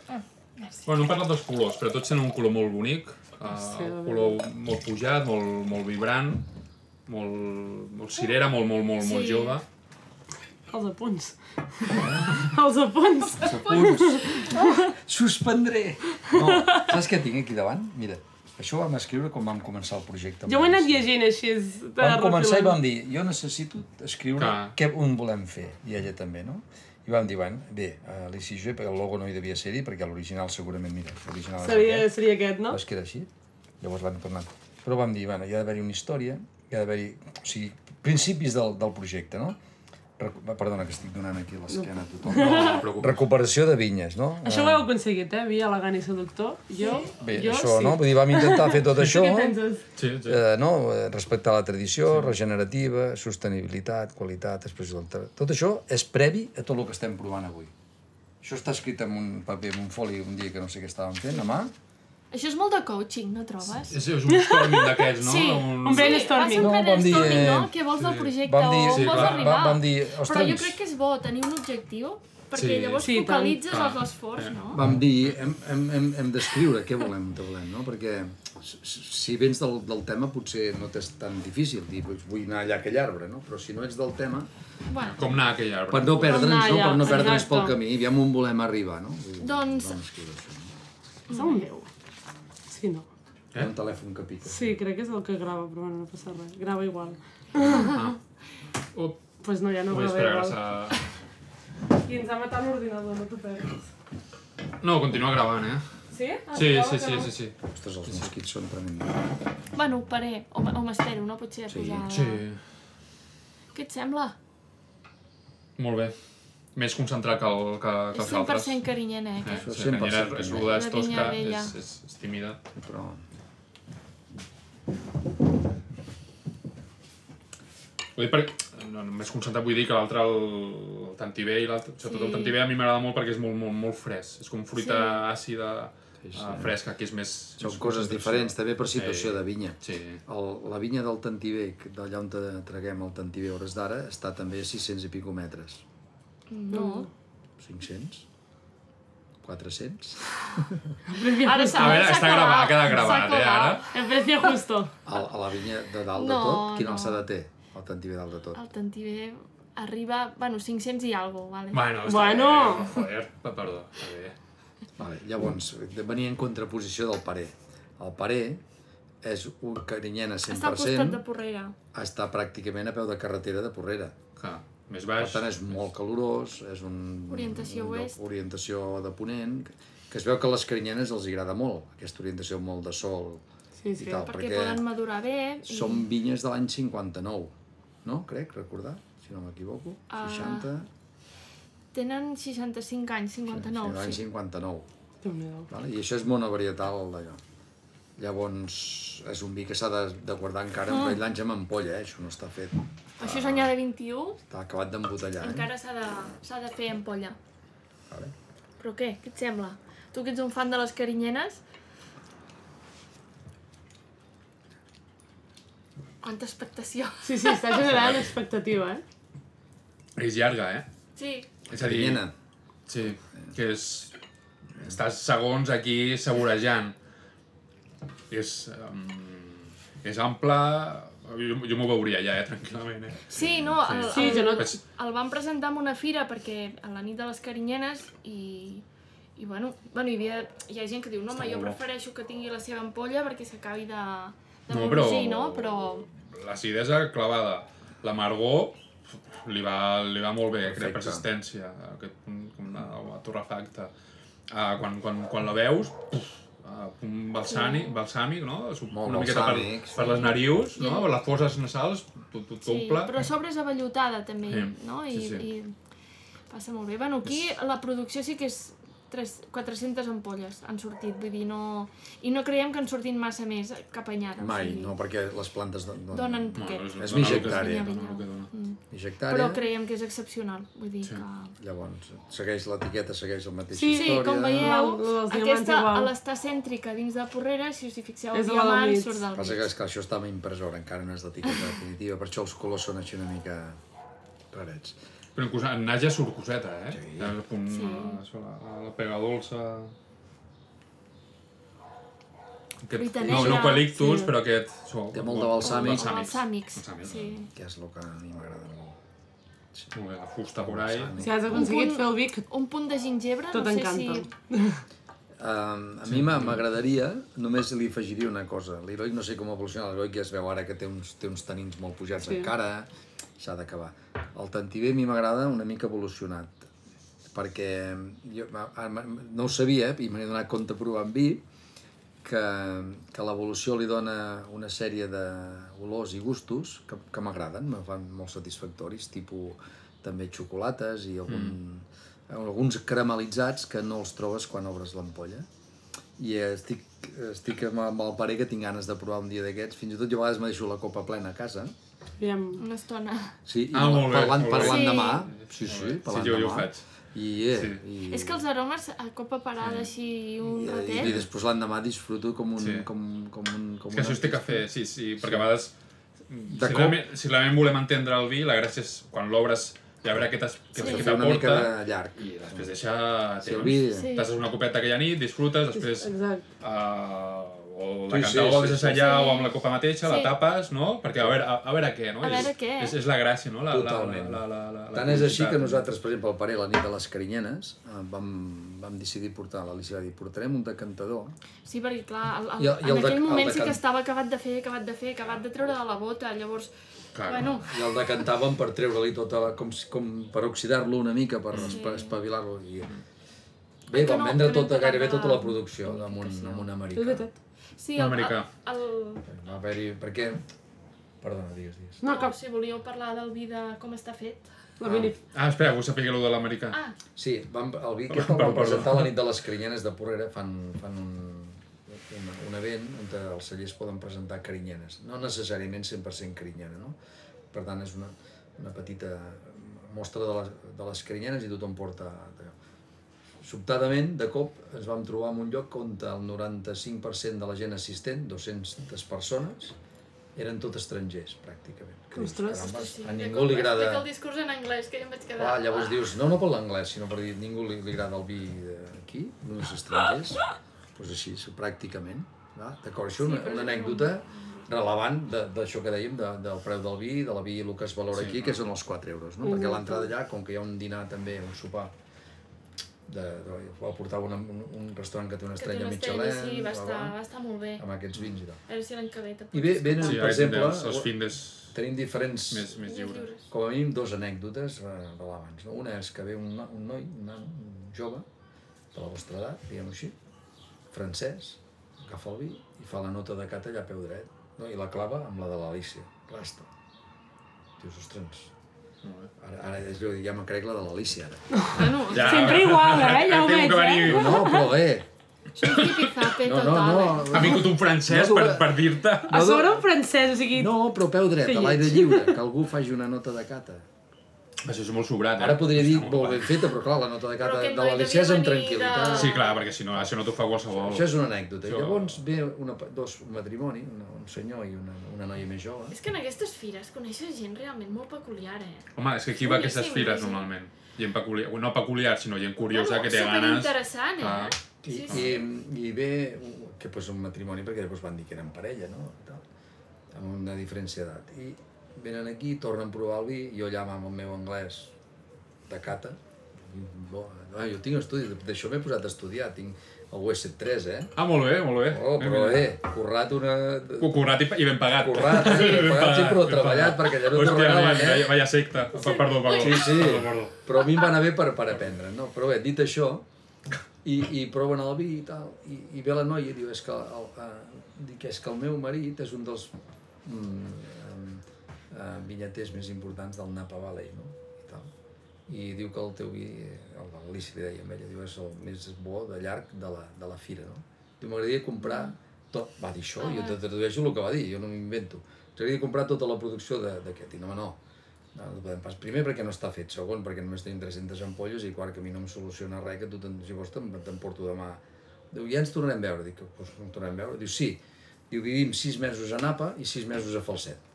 Speaker 4: Ah,
Speaker 1: Bueno, no hem parlat dels colors, però tots tenen un color molt bonic,
Speaker 4: Ah,
Speaker 1: eh, un color molt pujat, molt, molt vibrant, molt, molt cirera, molt, molt, molt, molt
Speaker 4: Sí.
Speaker 1: jove.
Speaker 2: Els apunts. [LAUGHS] Els apunts.
Speaker 5: Sapunts! Suspendré! No, saps què tinc aquí davant? Mira, això ho vam escriure quan vam començar el projecte.
Speaker 2: Jo ho he anat llegint així. és de
Speaker 5: Vam començar i
Speaker 2: refilant.
Speaker 5: vam dir, jo necessito escriure
Speaker 4: Ah.
Speaker 1: Clar.
Speaker 5: què on volem fer, i ella també, no? I vam dir, bueno, bé, eh, a Alicia i jo, perquè el logo no hi devia ser-hi, perquè l'original segurament, mira, l'original és
Speaker 2: Seria,
Speaker 5: aquest,
Speaker 2: seria aquest, no?
Speaker 5: però es queda així. Llavors l'hem tornat. Però vam dir, bueno, hi ha d'haver-hi una història, hi ha d'haver-hi, o sigui, principis del, del projecte, no? Recu Perdona, que estic donant aquí l'esquena a tothom.
Speaker 1: No et preocupis.
Speaker 5: Recuperació de vinyes, no?
Speaker 2: Això ho heu aconseguit, eh? Via elegant i seductor. Jo,
Speaker 5: Bé,
Speaker 2: Ah, jo
Speaker 5: això,
Speaker 2: sí.
Speaker 5: no? Vull dir, vam intentar fer
Speaker 2: [LAUGHS]
Speaker 5: tot
Speaker 2: Tu
Speaker 5: això,
Speaker 2: què penses?
Speaker 1: Sí, sí.
Speaker 5: eh, no? Eh, Respectar la tradició, regenerativa, sostenibilitat, qualitat, expressió del territori... Tot això és previ a tot el que estem provant avui. Això està escrit en un paper, en un foli, un dia que no sé què estàvem fent, a mà.
Speaker 4: Això és molt de coaching, no trobes?
Speaker 1: És, és un storming d'aquests, no?
Speaker 4: Sí,
Speaker 1: un...
Speaker 2: un
Speaker 4: Sí, va
Speaker 2: brainstorming.
Speaker 4: ser un
Speaker 5: No, vam dir,
Speaker 4: brainstorming, no?
Speaker 5: eh,
Speaker 4: Què vols del projecte
Speaker 5: vam dir-
Speaker 4: o on
Speaker 5: sí,
Speaker 4: vols
Speaker 1: clar,
Speaker 4: arribar?
Speaker 5: vam- vam dir,
Speaker 4: Però jo
Speaker 5: "Ostres".
Speaker 4: crec que és bo tenir un objectiu, perquè
Speaker 1: Sí.
Speaker 4: llavors
Speaker 2: Sí, tant.
Speaker 4: focalitzes
Speaker 1: Clar.
Speaker 4: els esforços, no?
Speaker 3: Vam dir, hem, hem, hem, hem d'escriure què volem, què volem, no? Perquè s- si vens del, del tema potser no t'és tan difícil dir, doncs vull anar allà a aquell arbre, no? Però si no ets del tema,
Speaker 4: Bueno,
Speaker 1: Com anar a aquell arbre.
Speaker 3: per no perdre'ns, no?
Speaker 2: allà,
Speaker 3: Per no perdre'ns
Speaker 2: exacte.
Speaker 3: pel camí, aviam on volem arribar, no? Vull dir,
Speaker 4: Doncs-
Speaker 3: Vam escriure això, no?
Speaker 2: Som meu. Sí, no.
Speaker 3: Hi
Speaker 1: Eh?
Speaker 3: ha un telèfon que pica.
Speaker 2: Sí, crec que és el que grava, però bueno, no passa res. Grava igual.
Speaker 1: Up,
Speaker 2: Doncs pues no, ja no
Speaker 1: vull
Speaker 2: grava
Speaker 1: esperar
Speaker 2: igual.
Speaker 1: gràcies a...
Speaker 2: Qui ens ha matat l'ordinador, no t'ho perdis.
Speaker 1: No, continua gravant, eh?
Speaker 2: Sí?
Speaker 1: Sí, sí, sí, sí, sí.
Speaker 5: Ostres, els mosquits són tremends.
Speaker 4: Bueno, ho paré, o, m- o m'espero, no? Potser sí. posar...
Speaker 1: Sí.
Speaker 4: Què et sembla?
Speaker 1: Molt bé. Més concentrat que, el, que, que
Speaker 4: És
Speaker 1: els altres.
Speaker 4: 100% carinyena, eh?
Speaker 1: [LAUGHS] Eh, sí,
Speaker 4: Aquest.
Speaker 5: Això és
Speaker 1: Canyera
Speaker 5: 100%
Speaker 1: és
Speaker 5: primer.
Speaker 1: ruda, és
Speaker 4: Una vinya
Speaker 1: tosca,
Speaker 4: vella.
Speaker 1: és, és, és tímida.
Speaker 5: Però...
Speaker 1: Vull dir, perquè, no, només concentrat vull dir que l'altre, el, el tantivé i l'altre, sobretot el tantivé a mi m'agrada molt perquè és molt, molt, molt fresc. És com fruita àcida, sí, sí. fresca, que és Eh, més...
Speaker 5: Són
Speaker 1: més
Speaker 5: coses
Speaker 1: concentració.
Speaker 5: diferents, també per situació
Speaker 1: Sí.
Speaker 5: de vinya.
Speaker 1: Sí.
Speaker 5: El, la vinya del Tantivé, que- d'allà on te traguem el Tantivé a hores d'ara, està també a 600 i pico metres. Mm.
Speaker 4: No.
Speaker 5: 500? 400?
Speaker 2: Ara
Speaker 4: s'ha-
Speaker 1: A
Speaker 4: Ah,
Speaker 1: veure,
Speaker 4: s'ha
Speaker 1: està
Speaker 4: colat,
Speaker 1: gravat, queda
Speaker 4: s'ha
Speaker 1: gravat, eh,
Speaker 4: colat.
Speaker 1: ara?
Speaker 2: El precio justo.
Speaker 5: A, a la vinya de dalt de
Speaker 4: No,
Speaker 5: tot, quina
Speaker 4: no.
Speaker 5: alçada té? El Tantivé dalt de tot.
Speaker 4: El tantivé arriba, bueno, 500 i algo, vale?
Speaker 1: Bueno, està
Speaker 2: Bueno.
Speaker 1: bé, eh, joder, pe- perdó, està bé.
Speaker 5: Vale, llavors, venia en contraposició del parer. El parer és un carinyena
Speaker 4: Està al costat de
Speaker 5: 100%,
Speaker 4: Porrera.
Speaker 5: està pràcticament a peu de carretera de Porrera.
Speaker 1: Clar, més
Speaker 5: Per
Speaker 1: baix.
Speaker 5: tant, és molt calorós, és un...
Speaker 4: Orientació
Speaker 5: un lloc-
Speaker 4: oest.
Speaker 5: Orientació de ponent, que es veu que a les carinyenes els hi agrada molt, aquesta orientació molt de sol
Speaker 2: Sí,
Speaker 5: i
Speaker 2: sí.
Speaker 5: tal,
Speaker 4: Perquè
Speaker 5: perquè,
Speaker 4: poden madurar bé. i-
Speaker 5: són vinyes de l'any 59, no? Crec, recordar, si no m'equivoco,
Speaker 4: Ah,
Speaker 5: 60...
Speaker 4: Tenen 65 anys, 59,
Speaker 5: l'any
Speaker 4: sí.
Speaker 5: 59.
Speaker 2: Déu-n'hi-do.
Speaker 5: Vale? I això és monovarietal d'allò. Llavors, és un vi que s'ha de, de guardar
Speaker 4: Ah.
Speaker 5: encara un parell d'anys amb ampolla, eh? això no està fet.
Speaker 4: Això és
Speaker 5: Ah.
Speaker 4: enllà de 21,
Speaker 5: Està acabat d'embotellar, eh?
Speaker 4: encara s'ha de, s'ha de fer ampolla.
Speaker 5: Vale.
Speaker 4: Però què? Què et sembla? Tu que ets un fan de les carinyenes... Quanta expectació!
Speaker 2: Sí, sí, està generant expectativa, eh?
Speaker 1: És llarga, eh?
Speaker 4: Sí,
Speaker 1: És a dir,
Speaker 5: Carinyena.
Speaker 1: sí,
Speaker 5: Eh.
Speaker 1: que és... Estàs segons aquí saborejant. És... Um, és ample... Jo, jo m'ho veuria allà, eh, tranquil·lament, eh?
Speaker 4: sí, no, el,
Speaker 2: Sí, jo no-
Speaker 1: Vaig-
Speaker 4: el van presentar en una fira perquè a la nit de les carinyenes i, i bueno, bueno hi, havia, hi ha gent que diu no, home, jo
Speaker 1: molt bo."
Speaker 4: prefereixo que tingui la seva ampolla perquè s'acabi de, de
Speaker 1: No,
Speaker 4: no,
Speaker 1: però-
Speaker 4: no? Però
Speaker 1: L'acidesa clavada. L'amargor li va, li va molt bé, Perfecte.
Speaker 5: Perfecte.
Speaker 1: crea persistència, aquest, punt com una, una torrefacta. Uh, quan, quan, quan la veus, puf, uh, un balsàmic, balsàmic, no? És un-
Speaker 5: Molt
Speaker 1: una miqueta per,
Speaker 5: balsàmic, sí.
Speaker 1: per les narius, no? Les foses nasals, tot, tot
Speaker 4: sí,
Speaker 1: omple.
Speaker 4: però a sobre és avellotada també,
Speaker 1: Sí,
Speaker 4: no? I,
Speaker 1: sí, sí.
Speaker 4: I passa molt bé. Bueno, aquí la producció sí que és 3, 400 ampolles han sortit, vull dir, no... I no creiem que en sortin massa més cap anyada. o
Speaker 5: Mai,
Speaker 4: sigui,
Speaker 5: no, perquè les plantes doncs, don-
Speaker 4: Donen
Speaker 1: Bueno,
Speaker 4: poquet.
Speaker 5: És
Speaker 1: dona el que-
Speaker 5: migectària.
Speaker 1: dona el que dona.
Speaker 5: Mig
Speaker 4: però
Speaker 5: hectàrea,
Speaker 4: creiem que és excepcional, vull dir que...
Speaker 5: llavors, segueix l'etiqueta, segueix la mateixa
Speaker 2: Sí,
Speaker 4: Sí,
Speaker 5: història.
Speaker 4: com veieu,
Speaker 2: Igual, lo dels diamants
Speaker 4: aquesta,
Speaker 2: igual.
Speaker 4: a l'està cèntrica dins de Porrera, si us hi fixeu, el
Speaker 2: És la del
Speaker 4: diamant
Speaker 2: mig.
Speaker 4: surt del
Speaker 5: Passa que,
Speaker 4: mig.
Speaker 5: és que això està amb impressora, encara no és l'etiqueta definitiva, per això els colors són així una mica rarets.
Speaker 1: Però inclús en nas ja surt coseta, eh?
Speaker 5: Sí.
Speaker 1: Ja el punt,
Speaker 4: Sí.
Speaker 1: sí. La, la, la pega dolça... Aquest,
Speaker 4: Fruita
Speaker 1: no, no
Speaker 4: negra.
Speaker 1: qualictus,
Speaker 2: Sí.
Speaker 1: però aquest... so-
Speaker 5: Té molt de balsàmic.
Speaker 4: O balsàmics,
Speaker 1: Balsàmics.
Speaker 4: sí.
Speaker 5: Que és el que a mi m'agrada molt.
Speaker 1: Molt bé, la fusta por ahí.
Speaker 5: Balsàmic.
Speaker 2: Si has aconseguit fer el Vic,
Speaker 4: Un punt de gingebre,
Speaker 2: Tot
Speaker 4: no sé
Speaker 2: encanta.
Speaker 4: si...
Speaker 5: Um, a mi m'ha- m'agradaria, només li afegiria una cosa. L'Heroi no sé com evoluciona, l'Heroi ja es veu ara que té uns, té uns tanins molt pujats
Speaker 2: Sí.
Speaker 5: sí. encara, s'ha d'acabar. El Tantivé a mi m'agrada una mica evolucionat, perquè jo ma- ara ma- no ho sabia eh, i me n'he donat compte provant vi, que, que l'evolució li dona una sèrie d'olors i gustos que, que m'agraden, me fan molt satisfactoris, tipus també xocolates i algun, mm. alguns caramelitzats que no els trobes quan obres l'ampolla. I eh, estic, estic amb amb el parer que tinc ganes de provar un dia d'aquests, fins i tot jo a vegades me deixo la copa plena a casa.
Speaker 2: aviam,
Speaker 4: Una estona.
Speaker 5: Sí, i
Speaker 1: Ah, molt bé,
Speaker 5: parlant,
Speaker 1: molt bé.
Speaker 5: parlant
Speaker 4: Sí.
Speaker 5: demà, sí,
Speaker 1: Eh, Molt
Speaker 5: sí,
Speaker 1: bé.
Speaker 5: parlant
Speaker 1: Sí, jo-
Speaker 5: demà.
Speaker 1: jo ho faig.
Speaker 5: I, eh,
Speaker 1: Sí.
Speaker 5: i,
Speaker 4: És que els aromes, a copa parada, així, un
Speaker 5: i, i
Speaker 4: ratet...
Speaker 5: després l'endemà disfruto com un...
Speaker 1: Sí.
Speaker 5: Com, com un com
Speaker 1: És que
Speaker 5: un
Speaker 1: això es té
Speaker 5: artista.
Speaker 1: que fer, sí, sí, perquè a vegades... mm,
Speaker 5: De
Speaker 1: si,
Speaker 5: cop.
Speaker 1: realment, si realment volem entendre el vi, la gràcia és quan l'obres ja veure què t'has- què
Speaker 5: Has de
Speaker 1: què
Speaker 5: fer una mica
Speaker 1: t'aporta
Speaker 5: de llarg.
Speaker 1: i després deixar
Speaker 5: Si el
Speaker 1: temps.
Speaker 5: vi...
Speaker 4: Sí.
Speaker 1: Tasses una copeta aquella nit, disfrutes, després
Speaker 2: exacte.
Speaker 1: uh, o
Speaker 5: Sí,
Speaker 1: la
Speaker 5: sí,
Speaker 1: sí, o la
Speaker 5: sí,
Speaker 1: deixes
Speaker 5: sí.
Speaker 1: allà
Speaker 4: Sí.
Speaker 1: o amb la copa mateixa,
Speaker 4: Sí.
Speaker 1: la tapes, no? Perquè a veure, a, a veure què, no?
Speaker 4: A veure
Speaker 1: és,
Speaker 4: què.
Speaker 1: És, és la gràcia, no? La, la, la,
Speaker 5: Totalment.
Speaker 1: la, la, la, la
Speaker 5: Tant és així
Speaker 1: curiositat.
Speaker 5: que nosaltres, per exemple, al parer, la nit de les Carinyenes, eh, vam, vam decidir portar, l'Alicia va dir, portarem un decantador.
Speaker 4: Sí, perquè clar, el, el,
Speaker 5: I el- i el
Speaker 4: en
Speaker 5: de-
Speaker 4: aquell
Speaker 5: el
Speaker 4: moment
Speaker 5: de
Speaker 4: sí que
Speaker 5: Can-
Speaker 4: estava acabat de fer, acabat de fer, acabat de treure de la bota, llavors,
Speaker 1: Clar.
Speaker 4: bueno,
Speaker 5: I el decantàvem per treure-li tota la... Com, si- com per oxidar-lo una mica, per, sí. per espavilar-lo. I... Bé,
Speaker 4: Que
Speaker 5: vam
Speaker 4: no-
Speaker 5: vendre
Speaker 4: que no hem
Speaker 5: tota,
Speaker 4: parlat
Speaker 5: gairebé
Speaker 4: de la
Speaker 5: tota la producció amb un,
Speaker 4: comunicació.
Speaker 5: amb un
Speaker 2: És
Speaker 5: americà.
Speaker 2: veritat.
Speaker 4: sí, el, el,
Speaker 1: Americà.
Speaker 4: el,
Speaker 5: Va haver-hi... Perquè... Perdona, digues, digues.
Speaker 2: No,
Speaker 4: no,
Speaker 2: cap.
Speaker 4: si volíeu parlar del vi de com està fet.
Speaker 2: La mini...
Speaker 1: Ah, espera, vull saber allò de l'americà.
Speaker 4: Ah,
Speaker 5: Sí, vam, el vi aquest el
Speaker 1: Perdó.
Speaker 5: vam presentar a la nit de les carinyenes de Porrera, fan, fan un, un, un event on els cellers poden presentar carinyenes. No necessàriament 100% carinyena, no? Per tant, és una, una petita mostra de les, de les carinyenes i tothom porta... allò. Sobtadament, de cop, ens vam trobar en un lloc on el 95% de la gent assistent, 200 persones, eren tot estrangers, pràcticament. Que dius,
Speaker 2: Ostres,
Speaker 5: "Carambes,
Speaker 4: sí,
Speaker 5: a
Speaker 4: de
Speaker 5: ningú
Speaker 4: cop eh?
Speaker 5: li agrada...
Speaker 4: Explica el discurs en anglès, que jo em vaig quedar... ah.
Speaker 5: Clar, Ah, llavors dius, no, no per l'anglès, sinó per dir, ningú li, li agrada el vi eh, d'aquí, d'uns estrangers, doncs pues així, sí, pràcticament. Va? D'acord, això és una,
Speaker 4: però sí que
Speaker 5: una anècdota relevant de- d'això que dèiem, de, del preu del vi, de la vi i el que es valora
Speaker 1: Sí,
Speaker 5: sí, aquí,
Speaker 1: no.
Speaker 5: que són els 4 euros, no? Perquè l'entrada allà, com que hi ha un dinar també, un sopar, de, de, el portava una, un, un restaurant que té una
Speaker 4: que té
Speaker 5: estrella,
Speaker 4: una estrella,
Speaker 5: Michelin,
Speaker 4: sí, va
Speaker 5: bla,
Speaker 4: estar,
Speaker 5: bla,
Speaker 4: va estar molt bé.
Speaker 5: amb aquests vins i tal.
Speaker 4: A veure si l'any que ve te
Speaker 5: I bé, venen,
Speaker 1: sí,
Speaker 5: per
Speaker 1: ara
Speaker 5: exemple,
Speaker 1: tindrem els, els findes
Speaker 5: tenim diferents...
Speaker 1: més, més lliures.
Speaker 4: lliures.
Speaker 5: Com a mínim dues anècdotes eh, relevants. No? Una és que ve un, no- un noi, un nano, un jove, de la vostra edat, diguem-ho així, francès, agafa el vi i fa la nota de cata allà a peu dret, no? i la clava amb la de l'Alícia. Rasta. Dius, ostres, ara, ara és allò, ja me crec la de l'Alícia, ara.
Speaker 4: Bueno,
Speaker 1: Ja,
Speaker 2: Sempre igual, eh? Ja ho
Speaker 1: Temo
Speaker 2: veig,
Speaker 1: que
Speaker 2: eh?
Speaker 1: venir...
Speaker 5: No, però bé,
Speaker 4: això és un tipizape
Speaker 5: no, no,
Speaker 4: total, eh?
Speaker 5: no.
Speaker 1: Ha vingut un francès
Speaker 5: No,
Speaker 1: per,
Speaker 5: no. eh,
Speaker 1: per dir-te...
Speaker 2: A sobre un francès, o sigui...
Speaker 5: No, però a peu dret, a l'aire lliure, que algú faci una nota de cata.
Speaker 1: Això és molt sobrat, eh?
Speaker 5: Ara podria dir
Speaker 1: Està molt
Speaker 5: molt ben feta, però clar, la nota de
Speaker 4: Però
Speaker 5: cata
Speaker 4: aquest
Speaker 5: de
Speaker 4: noi
Speaker 5: l'Alícia
Speaker 4: devia
Speaker 5: és amb
Speaker 4: venir de-
Speaker 5: tranquil·litat.
Speaker 1: Sí, clar, perquè si no, això no t'ho fa qualsevol.
Speaker 5: Això és una anècdota. I
Speaker 1: Això-
Speaker 5: llavors ve una, pa- dos, un matrimoni, una, un senyor i una, una noia més jove.
Speaker 4: És que en aquestes fires coneixes gent realment molt peculiar, eh?
Speaker 1: Home, és que aquí va a aquestes
Speaker 4: Boníssim,
Speaker 1: fires
Speaker 4: boníssim.
Speaker 1: normalment. Gent peculiar, no peculiar, sinó gent curiosa que té ganes.
Speaker 4: superinteressant,
Speaker 1: Clar.
Speaker 4: eh?
Speaker 5: I,
Speaker 4: Sí,
Speaker 5: i,
Speaker 4: sí.
Speaker 5: i ve un- que pues, un matrimoni, perquè després van dir que eren parella, no? I Tal, amb una diferència d'edat. I venen aquí, tornen a provar el vi, jo llamo amb el meu anglès de cata, i, bo, ah, jo tinc estudis, d'això m'he posat a estudiar, tinc el US3, eh?
Speaker 1: Ah, molt bé, molt bé.
Speaker 5: Oh, però
Speaker 1: mira.
Speaker 5: bé, currat una...
Speaker 1: Cucurrat i, i ben pagat.
Speaker 5: Currat, eh? Ben pagat, sí, però
Speaker 1: [LAUGHS] ben
Speaker 5: treballat, perquè allà no te
Speaker 1: Hòstia,
Speaker 5: regalen,
Speaker 1: vaya,
Speaker 5: eh?
Speaker 1: vaya, vaya secta. Sí. Perdó, perdó.
Speaker 5: Sí, sí.
Speaker 1: Perdó, perdó.
Speaker 5: Però a mi em va anar bé per, per aprendre, no? Però bé, dit això, i, i proven el vi i tal, i, i ve la noia i diu, és que el, eh, dic, és que el meu marit és un dels mm, eh, eh, vinyaters més importants del Napa Valley, no? I, tal. I diu que el teu vi, eh, el de l'Alicia li deia a ella, diu, és el més bo de llarg de la, de la fira, no? Diu, m'agradaria comprar tot, va dir això, jo te tradueixo el que va dir, jo no m'invento. M'agradaria comprar tota la producció de- d'aquest, i no, home, no, no, no podem pas. Primer perquè no està fet, segon perquè només tenim 300 ampolles i quart que a mi no em soluciona res, que tu te'n, si vols te'n te'n porto demà. Diu, ja ens tornarem a veure. Dic, doncs no ens tornarem a veure. Diu, sí. Diu, vivim 6 mesos a Napa i 6 mesos a Falset.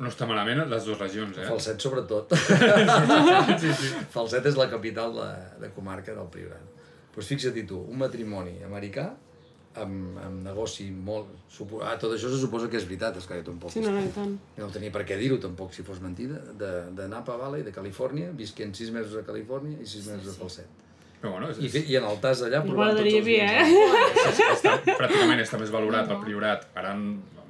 Speaker 1: No està malament les dues regions, eh?
Speaker 5: Falset sobretot.
Speaker 1: [LAUGHS] Sí, sí.
Speaker 5: Falset és la capital de, de comarca del Priorat. Doncs fixa't tu, un matrimoni americà amb, amb negoci molt... Supo... Ah, tot això se suposa que és veritat, és que jo tampoc
Speaker 2: Sí, no, no, i tant.
Speaker 5: no tenia per què dir-ho tampoc, si fos mentida, de, de Napa Valley, de Califòrnia, visquent sis mesos a Califòrnia i sis mesos a Falset.
Speaker 1: Però bueno, és,
Speaker 5: I, fi- i en el tas d'allà
Speaker 2: No
Speaker 5: provant tots
Speaker 2: m'agradaria
Speaker 5: els
Speaker 2: bé,
Speaker 5: vins.
Speaker 2: eh?
Speaker 4: [LAUGHS]
Speaker 1: està, pràcticament està més valorat el priorat. Ara,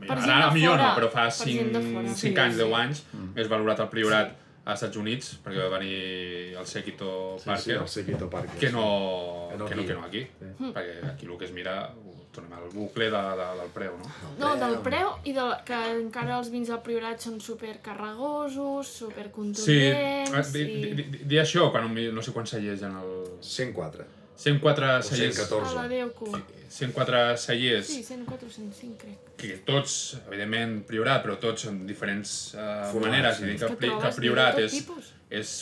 Speaker 4: Per
Speaker 1: ara,
Speaker 4: gent
Speaker 1: ara
Speaker 4: de
Speaker 1: millor no,
Speaker 4: fora,
Speaker 1: però fa
Speaker 4: per gent de
Speaker 1: 5, 5
Speaker 4: fora.
Speaker 1: anys,
Speaker 4: Sí,
Speaker 1: 10
Speaker 4: sí.
Speaker 1: anys,
Speaker 5: Mm.
Speaker 1: més valorat el priorat als Estats Units, perquè va venir el Sequito
Speaker 5: Sí,
Speaker 1: Parker,
Speaker 5: el Sequito Parker.
Speaker 1: que no,
Speaker 5: Que
Speaker 1: que
Speaker 5: no
Speaker 1: no, que no,
Speaker 5: aquí.
Speaker 1: aquí. Perquè aquí el que es mira, ho tornem al bucle de, de, del preu, no?
Speaker 4: No,
Speaker 5: eh, um,
Speaker 4: del preu i del, que encara els vins del Priorat són supercarregosos,
Speaker 1: Sí, Ah,
Speaker 4: supercontundents...
Speaker 1: di, di, di, di això, quan mi- no sé quan cellers en el...
Speaker 5: 104.
Speaker 1: 104
Speaker 5: O
Speaker 1: cellers,
Speaker 5: 114.
Speaker 4: A la Déu cu.
Speaker 1: 104 cellers
Speaker 4: Sí, 104, 105, crec.
Speaker 1: que tots, evidentment, priorat, però tots en diferents uh,
Speaker 5: Formats,
Speaker 1: maneres.
Speaker 5: sí.
Speaker 1: Vull dir
Speaker 4: És
Speaker 1: que,
Speaker 4: que
Speaker 1: pri, que
Speaker 4: trobes
Speaker 1: priorat
Speaker 4: de tot
Speaker 1: és,
Speaker 4: tipus.
Speaker 1: és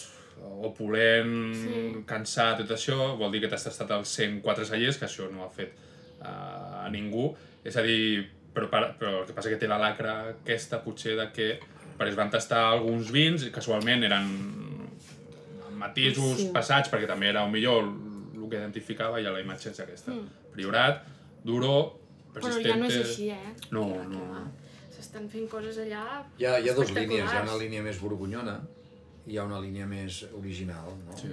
Speaker 1: opulent, sí.
Speaker 4: Sí.
Speaker 1: cansat, tot això. Vol dir que t'has tastat els 104 cellers, que això no ho ha fet uh, a ningú. És a dir, però, per- però el que passa que té la lacra aquesta, potser, de que perquè es van tastar alguns vins, i casualment eren amb matisos
Speaker 2: Sí.
Speaker 1: sí. passats, perquè també era o millor el que identificava i ja la imatge és aquesta. Mm. Priorat, duro,
Speaker 4: Però ja no és
Speaker 1: persistentes.
Speaker 4: així, eh?
Speaker 1: No,
Speaker 4: Que va, que
Speaker 1: no.
Speaker 4: va. S'estan fent coses allà
Speaker 5: Hi ha, hi ha dues línies, hi ha
Speaker 4: espectaculars.
Speaker 5: una línia més borgonyona i hi ha una línia més original, no?
Speaker 1: Sí.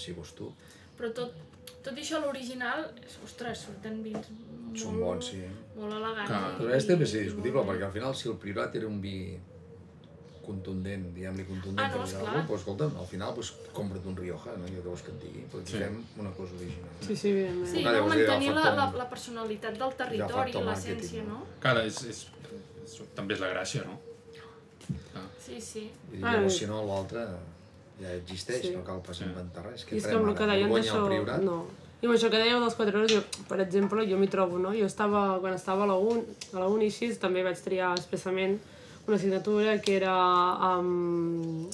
Speaker 5: Si vols tu.
Speaker 4: Però tot, tot i això, l'original, ostres, surten vins molt,
Speaker 5: Són bons, sí.
Speaker 4: molt elegants.
Speaker 1: Clar.
Speaker 4: i-
Speaker 5: Però és també és
Speaker 4: i
Speaker 5: discutible,
Speaker 4: molt bé.
Speaker 5: perquè al final si el privat era un vi contundent, diguem-li contundent,
Speaker 4: Ah, no,
Speaker 5: per dir
Speaker 4: esclar.
Speaker 5: alguna cosa, doncs escolta'm, al final doncs, compra't un Rioja, no? Jo què vols que et digui? Perquè
Speaker 1: Sí.
Speaker 5: sí. fem una cosa original.
Speaker 2: Sí, sí, evidentment.
Speaker 4: Sí,
Speaker 5: Clar,
Speaker 4: no,
Speaker 5: llavors hi ha el
Speaker 4: mantenir la, la,
Speaker 5: factor-
Speaker 4: la personalitat del
Speaker 5: factor
Speaker 4: territori,
Speaker 5: marketing,
Speaker 4: l'essència,
Speaker 5: no?
Speaker 4: no?
Speaker 1: Clar, és, és, és, també és la gràcia, no?
Speaker 4: Sí, sí.
Speaker 5: I
Speaker 2: Ah,
Speaker 5: llavors,
Speaker 2: bé.
Speaker 5: si no, l'altre ja existeix,
Speaker 2: Sí.
Speaker 5: no cal pas inventar res.
Speaker 2: I és que amb el que deien d'això... No. I amb això que dèieu dels 4 euros, jo, per exemple, jo m'hi trobo, no? Jo estava, quan estava a la UN, a la uni així, també vaig triar expressament una assignatura que era... Um,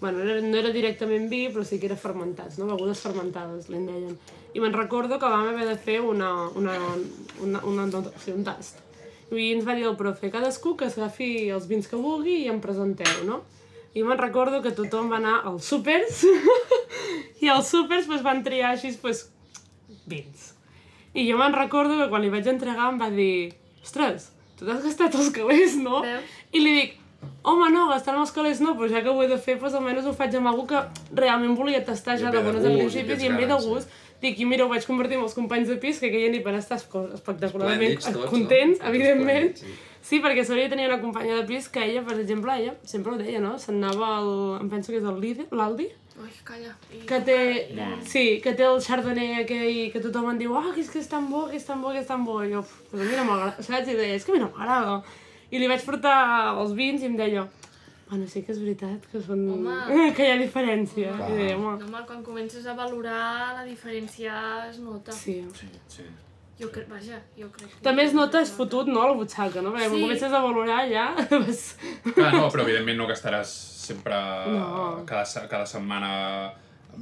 Speaker 2: bueno, no era, no era directament vi, però sí que era fermentats, no? Begudes fermentades, li'n deien. I me'n recordo que vam haver de fer una, una, una, una, una, un tast. I ens va dir el profe, cadascú que s'agafi els vins que vulgui i em presenteu, no? I me'n recordo que tothom va anar als súpers [LAUGHS] i als súpers pues, van triar així pues, vins. I jo me'n recordo que quan li vaig entregar em va dir ostres, tu t'has gastat els calés, no?
Speaker 4: Veus?
Speaker 2: I li dic, home, no, gastar-me els calés no, però ja que ho he de fer, pues, almenys ho faig amb algú que realment volia tastar ja
Speaker 5: ve
Speaker 2: de
Speaker 5: de
Speaker 2: bones
Speaker 5: gust,
Speaker 2: a
Speaker 5: i
Speaker 2: principis
Speaker 5: tens
Speaker 2: i em ve de
Speaker 5: ganes, sí.
Speaker 2: gust. Dic, i mira, ho vaig convertir amb els companys de pis, que aquella nit van estar esco- espectacularment
Speaker 5: Esplèndids tots, no?
Speaker 2: contents,
Speaker 5: Tots
Speaker 2: evidentment.
Speaker 5: esplèndids, sí.
Speaker 2: Sí, perquè a sobre jo tenia una companya de pis que ella, per exemple, ella sempre ho deia, no? Se'n anava al... em penso que és el líder, l'Aldi,
Speaker 4: Ui, calla. I...
Speaker 2: que té... Sí, que té el chardonnay aquell que tothom en diu ah, que és que és tan bo, que és tan bo, que és tan bo. I jo, "Uf, però a mi no m'agrada, saps? I deia, és que a mi no m'agrada. I li vaig portar els vins i em deia, bueno, sí que és veritat que són...
Speaker 4: Home.
Speaker 2: [LAUGHS] que hi ha diferència. I deia, home,
Speaker 4: No, home, quan comences a valorar la diferència es nota.
Speaker 2: sí.
Speaker 1: Sí, sí.
Speaker 4: Jo crec, vaja, jo crec que...
Speaker 2: També es nota, és fotut, no?, la butxaca, no? Perquè
Speaker 4: Sí.
Speaker 2: quan comences a valorar ja... [LAUGHS] Vas...
Speaker 1: Clar, no, però evidentment no gastaràs sempre
Speaker 2: No.
Speaker 1: cada, se- cada setmana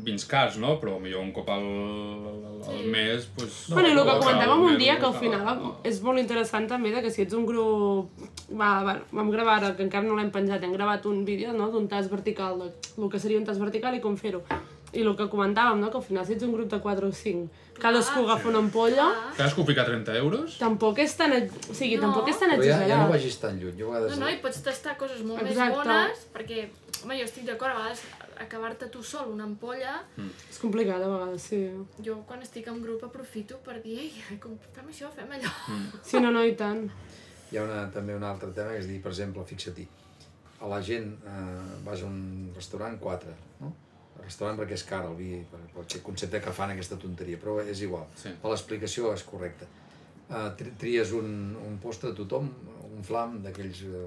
Speaker 1: vins cars, no? Però millor un cop al, al, al
Speaker 4: Sí.
Speaker 1: mes, doncs...
Speaker 2: No, bueno, i el que
Speaker 1: al-
Speaker 2: comentàvem
Speaker 1: al
Speaker 2: un
Speaker 1: mes,
Speaker 2: dia, que al
Speaker 1: no?
Speaker 2: final és molt interessant també de que si ets un grup... Va, va, vam gravar ara, que encara no l'hem penjat, hem gravat un vídeo no? d'un tas vertical, de el que seria un tas vertical i com fer-ho. I el que comentàvem, no? que al final si ets un grup de 4 o 5, cadascú agafa una ampolla,
Speaker 4: Ah.
Speaker 1: Cadascú fica 30 euros.
Speaker 2: tampoc és tan... ex- O sigui,
Speaker 4: No.
Speaker 2: tampoc és tan
Speaker 5: Però ja, ja no
Speaker 2: exagerat.
Speaker 5: vagis tan lluny. Jo a
Speaker 4: No,
Speaker 5: vegades...
Speaker 4: no, i pots tastar coses molt
Speaker 2: Exacte.
Speaker 4: més bones, perquè, home, jo estic d'acord, a vegades acabar-te tu sol una ampolla,
Speaker 2: és complicat a vegades, sí.
Speaker 4: jo quan estic en grup aprofito per dir, ei, com, fem això, fem allò. Mm.
Speaker 2: Sí, no, no, i tant.
Speaker 5: Hi ha una, també un altre tema que és dir, per exemple, fixa-t'hi, a la gent eh, vas a un restaurant, quatre, no? El restaurant perquè és car el vi, per, per aquest concepte que fan aquesta tonteria, però és igual,
Speaker 1: Sí.
Speaker 5: per l'explicació és correcta. Eh, tri- tries un, un postre de tothom, un flam d'aquells eh,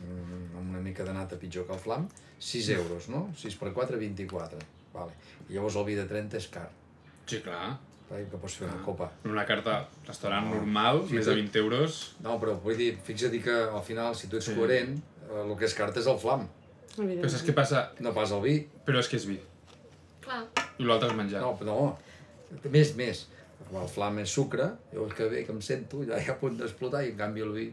Speaker 5: mm, amb una mica de nata pitjor que el flam, 6 euros, no? 6 per 4, 24. Vale. I llavors el vi de 30 és car,
Speaker 1: Sí, clar.
Speaker 5: clar, que pots fer una copa.
Speaker 1: Una carta restaurant normal,
Speaker 5: Sí,
Speaker 1: més de
Speaker 5: sí.
Speaker 1: 20 euros.
Speaker 5: No, però vull dir, fixa't que al final, si tu ets
Speaker 1: Sí.
Speaker 5: coherent, eh, el que es carta és el flam,
Speaker 1: Però
Speaker 2: Evidentment.
Speaker 1: saps què passa?
Speaker 5: no pas el vi.
Speaker 1: Però és que és vi.
Speaker 4: [LAUGHS] Clar,
Speaker 1: I l'altre és menjar.
Speaker 5: No, no, més, més. El flam és sucre, llavors que bé que em sento, ja ja a punt d'explotar, i en canvi el vi...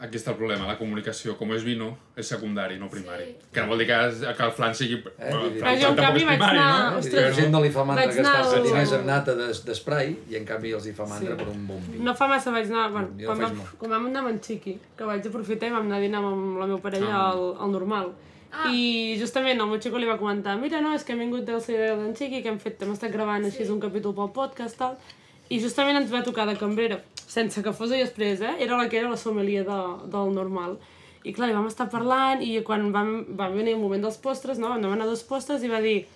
Speaker 1: Aquí està el problema, la comunicació. Com és vino, és secundari, no primari.
Speaker 4: Sí.
Speaker 1: Que no vol dir que, que el flan sigui...
Speaker 5: Eh, vull dir-
Speaker 1: el
Speaker 2: Però jo, en
Speaker 1: tampoc
Speaker 2: canvi,
Speaker 1: és
Speaker 2: vaig
Speaker 1: primari,
Speaker 2: anar-
Speaker 1: no?
Speaker 5: Vull dir,
Speaker 2: Ah, Ostres,
Speaker 5: a la gent no li fa mandra
Speaker 2: vaig anar
Speaker 5: gastar-se
Speaker 2: al-
Speaker 5: diners en nata d'es- d'espray, i en canvi els hi fa
Speaker 2: Sí.
Speaker 5: mandra per un bon vi.
Speaker 2: No fa massa vaig anar, bueno,
Speaker 5: Jo
Speaker 2: quan,
Speaker 5: faig
Speaker 2: vam,
Speaker 5: molt.
Speaker 2: quan vam anar amb en Xiqui, que vaig aprofitar i vam anar a dinar amb la meva parella
Speaker 1: Ah.
Speaker 2: al, al normal.
Speaker 4: Ah.
Speaker 2: I justament el meu xico li va comentar, mira, no, és que hem vingut del CD d'en Xiqui, que hem fet, hem estat gravant així un capítol pel podcast, tal. I justament ens va tocar de cambrera, sense que fos ell després, eh? Era la que era la sommelier de, del normal. I clar, i vam estar parlant i quan vam, vam venir el moment dels postres, no? Vam demanar dos postres i va dir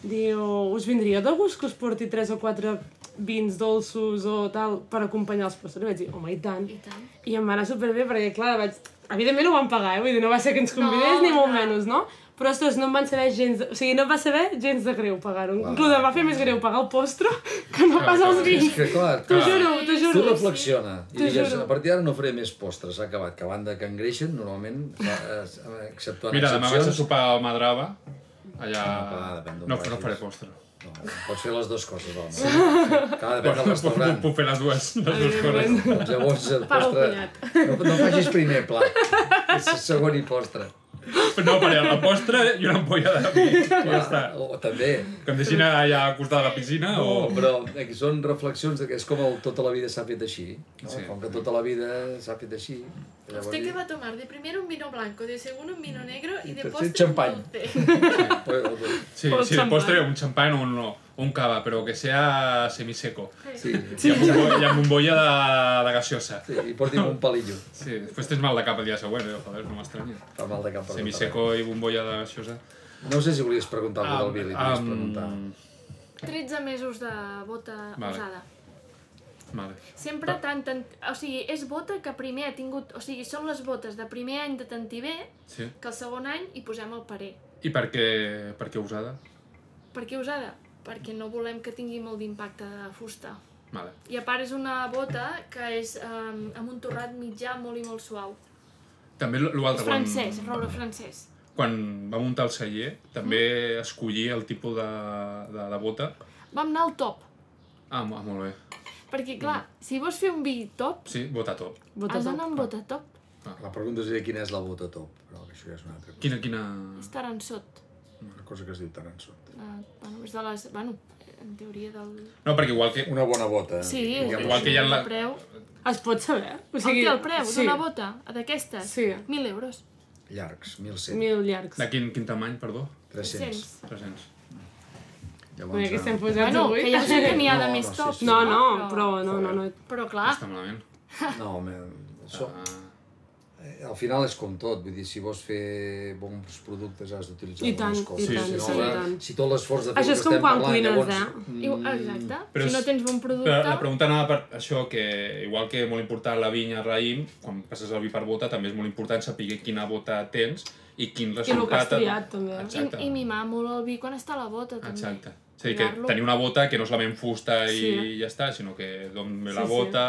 Speaker 2: Diu, us vindria de gust que us porti tres o quatre vins dolços o tal per acompanyar els postres? I vaig dir, home, i tant.
Speaker 4: i tant.
Speaker 2: I em va anar superbé perquè, clar, vaig... Evidentment ho van pagar, eh? Vull dir, no va ser que ens convidés
Speaker 4: No,
Speaker 2: ni molt
Speaker 4: no.
Speaker 2: menys, no? Però, ostres, no em van saber gens... De... O sigui, no em va saber gens de greu pagar-ho. Inclús em va fer més greu pagar el postre [LAUGHS] que no pas els
Speaker 5: És
Speaker 2: vins. [LAUGHS]
Speaker 5: que clar,
Speaker 2: T'ho
Speaker 5: clar,
Speaker 2: juro, t'ho
Speaker 5: tu
Speaker 2: juro.
Speaker 5: reflexiona i
Speaker 2: T'ho
Speaker 5: digues,
Speaker 2: juro.
Speaker 5: a partir d'ara no faré més postres, s'ha acabat, que a banda que engreixen, normalment, eh, exceptuant
Speaker 1: Mira, demà vaig a
Speaker 5: excepcions,
Speaker 1: sopar al Madrava, allà...
Speaker 5: clar, depèn d'on
Speaker 1: No,
Speaker 5: vagis.
Speaker 1: no faré postre.
Speaker 5: no, pots fer les dues coses, home. Sí. Clar, depèn del
Speaker 1: Puc,
Speaker 5: restaurant.
Speaker 1: puc fer les dues, les dues coses.
Speaker 5: Doncs llavors el
Speaker 2: Paga el
Speaker 5: postre... No, no facis primer plat, és el segon i postre.
Speaker 1: No, faré la postre i una ampolla de vi. Ja està.
Speaker 5: O, també,
Speaker 1: Que em deixin allà al costat de la piscina
Speaker 5: no,
Speaker 1: o...
Speaker 5: però aquí són reflexions de que és com el tota la vida s'ha fet així. No?
Speaker 1: Sí.
Speaker 5: Sí. Com que tota la vida s'ha fet així. llavors
Speaker 4: Usted que
Speaker 5: dic,
Speaker 4: va a tomar de primero un vino blanco, de segundo un vino negro y de
Speaker 5: Tercer
Speaker 4: postre
Speaker 5: champán.
Speaker 4: un dulce.
Speaker 5: [LAUGHS] pues, pues,
Speaker 1: Sí,
Speaker 2: O el
Speaker 1: sí, el
Speaker 2: xampany.
Speaker 1: postre, un xampany o un, o un cava, però que sea semiseco.
Speaker 5: Sí,
Speaker 1: I amb, bombo, i amb bombolla de, de gaseosa.
Speaker 5: sí, i porti'm un palillo.
Speaker 1: Sí, després tens mal de cap el dia següent, eh? joder, no m'estranya.
Speaker 5: Fa mal de cap per tot
Speaker 1: Semiseco i bombolla de gaseosa.
Speaker 5: arreu. No sé si volies preguntar alguna del Billy, volies preguntar.
Speaker 1: am-
Speaker 4: 13 mesos de bota
Speaker 1: Vale.
Speaker 4: usada.
Speaker 1: Vale.
Speaker 4: Sempre tant, tant... O sigui, és bota que primer ha tingut... O sigui, són les botes de primer any de tantiver
Speaker 1: Sí.
Speaker 4: que el segon any hi posem el parer.
Speaker 1: I per què, per què usada?
Speaker 4: Per què usada? Perquè no volem que tingui molt d'impacte de fusta.
Speaker 1: Vale.
Speaker 4: I a part és una bota que és um, amb un torrat mitjà molt i molt suau.
Speaker 1: També l- l'altre,
Speaker 4: És
Speaker 1: quan,
Speaker 4: francès, roure francès.
Speaker 1: quan va muntar el celler, també escollia el tipus de, de, de bota.
Speaker 4: Vam anar al top,
Speaker 1: Ah, mo- ah, molt bé.
Speaker 4: perquè clar,
Speaker 2: Mm.
Speaker 4: si vols fer un vi top,
Speaker 1: Sí, bota top.
Speaker 4: has
Speaker 2: Botatop.
Speaker 4: d'anar amb bota top.
Speaker 5: La pregunta seria quina és la bota top, però això ja és una altra cosa.
Speaker 1: Quina, quina...
Speaker 4: És taransot.
Speaker 5: Una cosa que es diu Taransot.
Speaker 4: Uh, bueno, és de les... Bueno, en teoria del...
Speaker 1: No, perquè igual que...
Speaker 5: Una bona bota.
Speaker 4: Sí,
Speaker 5: diguem-ho
Speaker 1: igual
Speaker 5: així.
Speaker 1: que hi ha la-
Speaker 4: El preu,
Speaker 2: Es pot saber? O
Speaker 4: o sigui, el, preu
Speaker 2: sí.
Speaker 4: d'una bota, d'aquestes,
Speaker 2: Sí.
Speaker 4: 1.000 euros.
Speaker 5: Llargs, 1.100,
Speaker 2: Mil llargs.
Speaker 1: De quin, quin tamany, perdó?
Speaker 5: 300.
Speaker 1: 300.
Speaker 2: Bé, que estem
Speaker 5: Llavors,
Speaker 2: posats
Speaker 4: Bueno,
Speaker 2: avui.
Speaker 4: Ah, que ja sé que n'hi ha
Speaker 5: No,
Speaker 4: de
Speaker 5: no,
Speaker 4: més
Speaker 5: sí,
Speaker 4: top.
Speaker 5: sí.
Speaker 2: [LAUGHS] No, no, però no, no, no.
Speaker 4: Però clar,
Speaker 1: Està malament.
Speaker 5: ah, no, home, això,
Speaker 1: Ah,
Speaker 5: al final és com tot, vull dir, si vols fer bons productes has d'utilitzar
Speaker 2: I tant,
Speaker 5: bones coses.
Speaker 1: i tant,
Speaker 5: si,
Speaker 1: i
Speaker 5: no,
Speaker 1: tant,
Speaker 5: la,
Speaker 2: i tant.
Speaker 5: si tot l'esforç de fer
Speaker 2: Això
Speaker 5: el
Speaker 2: és
Speaker 5: que
Speaker 2: com
Speaker 5: estem
Speaker 2: quan
Speaker 5: parlant,
Speaker 2: cuines,
Speaker 5: llavors...
Speaker 2: eh?
Speaker 4: Iu- Exacte.
Speaker 1: Però
Speaker 4: si no
Speaker 1: és-
Speaker 4: tens bon producte...
Speaker 1: Però la pregunta anava per això, que igual que molt important la vinya raïm, quan passes el vi per bota, també és molt important saber quina bota tens i quin
Speaker 2: I el que has
Speaker 1: resultat...
Speaker 2: triat, també.
Speaker 4: I, I mimar molt el vi quan està a la bota, també.
Speaker 1: Exacte. És a dir, que
Speaker 4: Mirar-lo.
Speaker 1: tenir una bota que no és la ment fusta i
Speaker 2: Sí.
Speaker 1: ja està, sinó que d'on ve la
Speaker 2: Sí, sí.
Speaker 1: bota,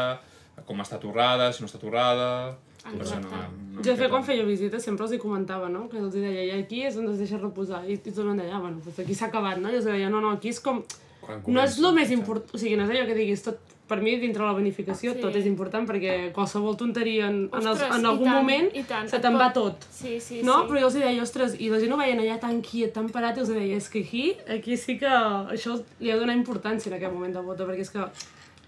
Speaker 1: com està torrada, si no està torrada...
Speaker 4: Exacte.
Speaker 1: Doncs una- una
Speaker 2: Jo de fet,
Speaker 1: miqueta.
Speaker 2: quan feia visites sempre els hi comentava, no? Que els hi deia, i aquí és on es deixa reposar. I, i tornen d'allà, bueno, doncs aquí s'ha acabat, no? I els deia, no, no, aquí és com...
Speaker 5: Quan
Speaker 2: No és el més important, o sigui, no és allò que diguis, tot, per mi, dintre la bonificació,
Speaker 4: Sí.
Speaker 2: tot és important perquè qualsevol tonteria en, en, els,
Speaker 4: Ostres,
Speaker 2: en
Speaker 4: i
Speaker 2: algun
Speaker 4: tant,
Speaker 2: moment
Speaker 4: i tant.
Speaker 2: se
Speaker 4: Et
Speaker 2: te'n
Speaker 4: pot-
Speaker 2: va tot.
Speaker 4: Sí, sí,
Speaker 2: No,
Speaker 4: sí.
Speaker 2: però jo els hi deia, ostres, i la gent ho veien allà tan quiet, tan parat, i els hi deia, és que aquí, aquí sí que això li ha de donar importància en aquest moment de vota, perquè és que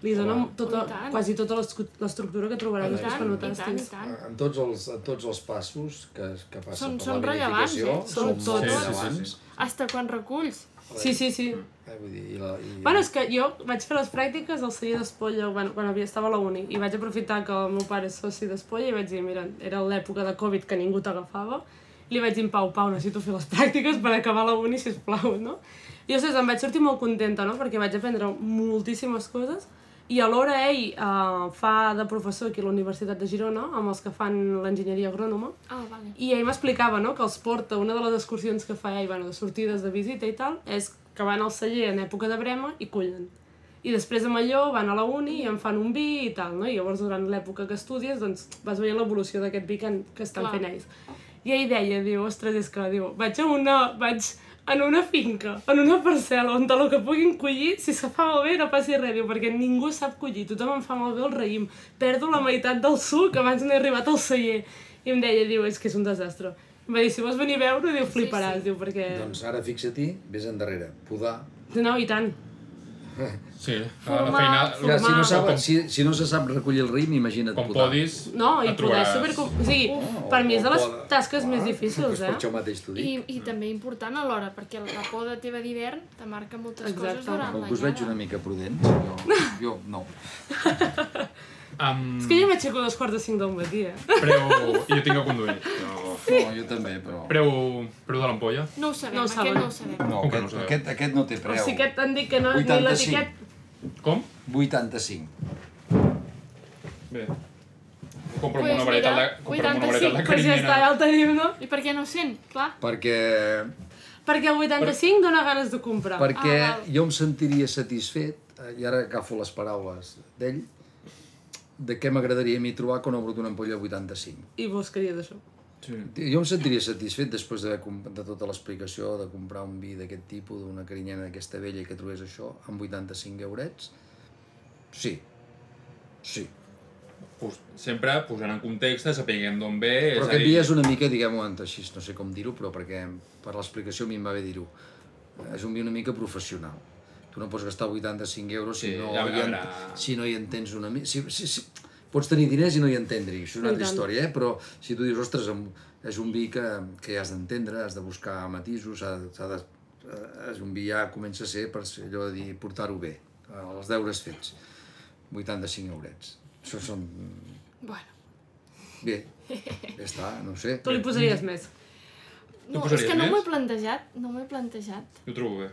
Speaker 2: li dona tota,
Speaker 4: I tant.
Speaker 2: quasi tota l'estru- l'estructura que trobaràs
Speaker 4: I
Speaker 2: després
Speaker 4: tant,
Speaker 2: quan ho
Speaker 4: i tant, i
Speaker 2: tastis.
Speaker 4: tant.
Speaker 5: En tots els, en tots els passos que, que passen
Speaker 4: Són-
Speaker 5: per
Speaker 4: són
Speaker 5: la
Speaker 4: rellevants,
Speaker 5: verificació,
Speaker 4: eh?
Speaker 5: són,
Speaker 2: Són
Speaker 5: molt
Speaker 2: tots.
Speaker 1: Sí, sí, sí,
Speaker 5: rellevants.
Speaker 1: sí.
Speaker 4: Hasta quan reculls.
Speaker 2: Sí, sí, sí.
Speaker 5: Eh, vull dir, i la, i...
Speaker 2: Bueno, és que jo vaig fer les pràctiques al celler d'Espolla bueno, quan havia estava a la uni i vaig aprofitar que el meu pare és soci d'Espolla i vaig dir, mira, era l'època de Covid que ningú t'agafava i li vaig dir, Pau, Pau, necessito fer les [LAUGHS] pràctiques per acabar la uni, sisplau, no? I, ostres, em vaig sortir molt contenta, no?, perquè vaig aprendre moltíssimes coses i alhora ell eh, fa de professor aquí a la Universitat de Girona amb els que fan l'enginyeria agrònoma
Speaker 4: Ah, vale.
Speaker 2: i ell m'explicava, no?, que els porta, una de les excursions que fa ell, bueno, de sortides de visita i tal, és que van al celler en època de brema i cullen. I després amb allò van a la uni i en fan un vi i tal, no? I llavors durant l'època que estudies, doncs vas veient l'evolució d'aquest vi que, en, que estan
Speaker 4: Clar.
Speaker 2: fent ells. I ell deia, diu, ostres, és que, diu, vaig a una, vaig en una finca, en una parcel·la, on el que puguin collir, si se fa malbé no passi res, diu, perquè ningú sap collir, tothom em fa malbé el raïm, perdo la meitat del suc abans no he arribat al celler. I em deia, diu, és que és un desastre. Em va dir, si vols venir a veure, diu, fliparàs, diu, perquè...
Speaker 5: Doncs ara fixa-t'hi, vés endarrere, podar.
Speaker 2: No, i tant.
Speaker 1: Sí, la, la
Speaker 4: Formar-
Speaker 1: feina...
Speaker 5: Ja, si, no
Speaker 2: Formar-
Speaker 5: sap, si, si no se sap recollir el rim, imagina't
Speaker 1: Com
Speaker 5: podar.
Speaker 1: podis,
Speaker 2: No, i
Speaker 1: et
Speaker 2: poder és
Speaker 1: trobaràs.
Speaker 2: super... O sigui, per mi és de les tasques més difícils,
Speaker 5: Doncs per això
Speaker 2: eh?
Speaker 5: mateix t'ho dic.
Speaker 4: I, I també important alhora, perquè la poda teva d'hivern te marca moltes
Speaker 2: Exacte.
Speaker 4: coses durant l'any.
Speaker 5: Com
Speaker 4: eh?
Speaker 5: que us veig una mica prudent, jo,
Speaker 2: [LAUGHS]
Speaker 5: jo no.
Speaker 1: Amb
Speaker 2: És que jo m'aixeco a dos quarts de cinc del matí, eh?
Speaker 1: preu... I jo tinc que conduir. Però...
Speaker 5: No, jo també, però...
Speaker 1: Preu, preu de l'ampolla?
Speaker 4: No ho sabem,
Speaker 2: No ho
Speaker 4: aquest
Speaker 2: saben.
Speaker 4: no ho sabem.
Speaker 5: No,
Speaker 1: Com que no
Speaker 5: aquest,
Speaker 1: sabeu?
Speaker 5: aquest, aquest no té
Speaker 2: O
Speaker 5: preu.
Speaker 2: sigui, aquest t'han dit que no, ni
Speaker 5: 85.
Speaker 2: l'etiquet...
Speaker 1: Com?
Speaker 5: 85.
Speaker 1: Bé. Compro
Speaker 4: Pues
Speaker 1: una vareta de...
Speaker 4: mira,
Speaker 1: Compro una
Speaker 4: 85,
Speaker 1: vareta de
Speaker 2: Pues ja està, ja
Speaker 1: carinyena.
Speaker 2: el tenim, no?
Speaker 4: I per què no ho sent? Clar.
Speaker 5: Perquè,
Speaker 2: Perquè el 85 dona ganes de comprar.
Speaker 5: perquè
Speaker 4: Ah, val.
Speaker 5: jo em sentiria satisfet, eh, i ara agafo les paraules d'ell, de què m'agradaria a mi trobar quan obro una ampolla 85.
Speaker 2: I buscaries això.
Speaker 1: Sí.
Speaker 5: Jo em sentiria satisfet després d'haver comp- de tota l'explicació, de comprar un vi d'aquest tipus, d'una carinyena d'aquesta vella i que trobés això, amb 85 eurets. Sí. Sí.
Speaker 1: pues, sempre posant en context, sapiguem d'on ve... és
Speaker 5: Però
Speaker 1: a
Speaker 5: aquest
Speaker 1: dir-
Speaker 5: dia és una mica, diguem-ho així, no sé com dir-ho, però perquè per l'explicació a mi em va bé dir-ho. És un vi una mica professional. Tu no pots gastar 85 euros si,
Speaker 1: Sí,
Speaker 5: no,
Speaker 1: ja
Speaker 5: hi en,
Speaker 1: veurà.
Speaker 5: si no hi entens una mica. Si, si, si, pots tenir diners i no hi entendre, això és una
Speaker 2: I
Speaker 5: altra
Speaker 2: tant.
Speaker 5: història, eh? però si tu dius, ostres, em- és un vi que, que has d'entendre, has de buscar matisos, s'ha de- s'ha de, eh, és un vi ja comença a ser per ser allò de dir portar-ho bé, eh, els deures fets. 85 eurets. Això són...
Speaker 4: Bueno.
Speaker 5: Bé, ja està, no ho sé.
Speaker 2: Tu li posaries
Speaker 1: mm.
Speaker 2: més.
Speaker 4: No, és
Speaker 1: posaries
Speaker 4: que no
Speaker 1: més?
Speaker 4: m'ho he plantejat, no m'ho he plantejat.
Speaker 1: Jo ho trobo bé.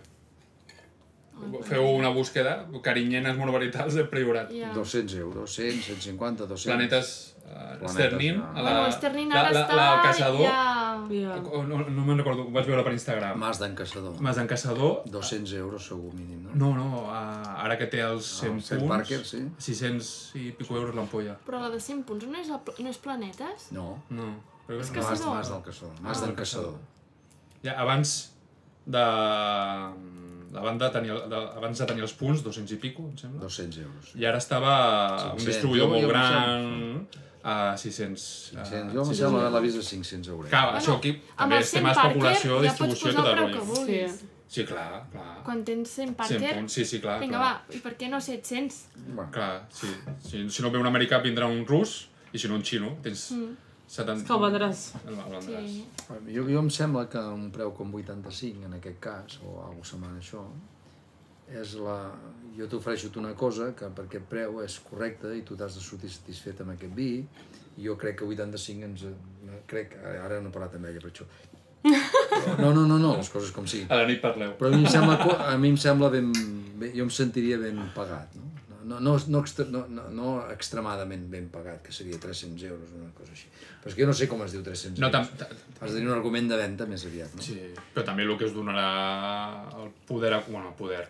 Speaker 4: Ah,
Speaker 1: Feu una búsqueda, carinyenes monoveritals del Priorat.
Speaker 4: Ja.
Speaker 5: 200 euros, 100, 150, 200...
Speaker 1: Planetes eh,
Speaker 5: Planetes,
Speaker 1: Sternin.
Speaker 5: no.
Speaker 1: a
Speaker 4: Bueno, Sternin
Speaker 1: la-
Speaker 4: ara
Speaker 1: la-
Speaker 4: està...
Speaker 1: La, el caçador.
Speaker 4: Ja...
Speaker 2: Ja.
Speaker 1: Oh, No, no me'n recordo, ho vaig veure per Instagram.
Speaker 5: Mas d'en Caçador.
Speaker 1: Mas en caçador.
Speaker 5: 200 euros segur mínim, no?
Speaker 1: No, no, eh, ara que té els 100
Speaker 5: el Ah, Seth
Speaker 1: punts,
Speaker 5: Parker, sí.
Speaker 1: 600 i pico euros l'ampolla.
Speaker 4: Però la de 100 punts no és, el, pl- no és planetes?
Speaker 5: No,
Speaker 1: No. Però
Speaker 4: És
Speaker 1: no.
Speaker 4: Caçador.
Speaker 5: Mas, Ah. mas del Caçador. Mas d'en Caçador.
Speaker 1: Ja, abans de... mm, Abans de, tenir, el- de, abans de tenir els punts, 200 i pico, em sembla.
Speaker 5: 200 euros.
Speaker 1: I ara estava un
Speaker 5: 500,
Speaker 1: distribuïdor
Speaker 5: jo- jo
Speaker 1: molt
Speaker 5: em
Speaker 1: gran a 600... a
Speaker 5: 500. Jo
Speaker 1: 600.
Speaker 5: em sembla que l'avís de 500
Speaker 1: Ah,
Speaker 5: euros.
Speaker 1: Clar, això aquí també és tema especulació,
Speaker 4: ja pots
Speaker 1: distribució i
Speaker 4: posar
Speaker 1: tot
Speaker 4: el
Speaker 1: el
Speaker 4: preu que
Speaker 1: rotllo.
Speaker 4: vulguis.
Speaker 2: Sí.
Speaker 1: Sí, clar, clar.
Speaker 4: Quan tens 100
Speaker 1: 100
Speaker 4: Parker...
Speaker 1: punts, sí, sí, clar.
Speaker 4: Vinga,
Speaker 1: clar.
Speaker 4: va, i per què no 700?
Speaker 5: Bueno,
Speaker 1: Clar, sí. Si, si no ve un americà vindrà un rus i si no un xino. Tens mm. 70...
Speaker 2: Que el vendràs.
Speaker 1: El, el vendràs.
Speaker 4: Sí.
Speaker 1: Sí.
Speaker 5: jo, jo em sembla que un preu com 85, en aquest cas, o alguna setmana això, és la... Jo t'ofereixo una cosa que per aquest preu és correcta i tu t'has de sortir satisfet amb aquest vi. I jo crec que 85 ens... eh, Crec, ara no he parlat amb ella per això. No, no, no, no, les coses com siguin.
Speaker 1: A la nit parleu.
Speaker 5: Però a mi em sembla, co- a mi em sembla ben, ben... Jo em sentiria ben pagat, no? No, no, no, extre, no, no, no extremadament ben pagat, que seria 300 euros o una cosa així. Però és que jo no sé com es diu 300
Speaker 1: No, tam,
Speaker 5: euros.
Speaker 1: ta,
Speaker 5: Has de tenir un argument de venda més aviat, no?
Speaker 1: sí. Però també el que es donarà el poder... a- Bueno, el poder.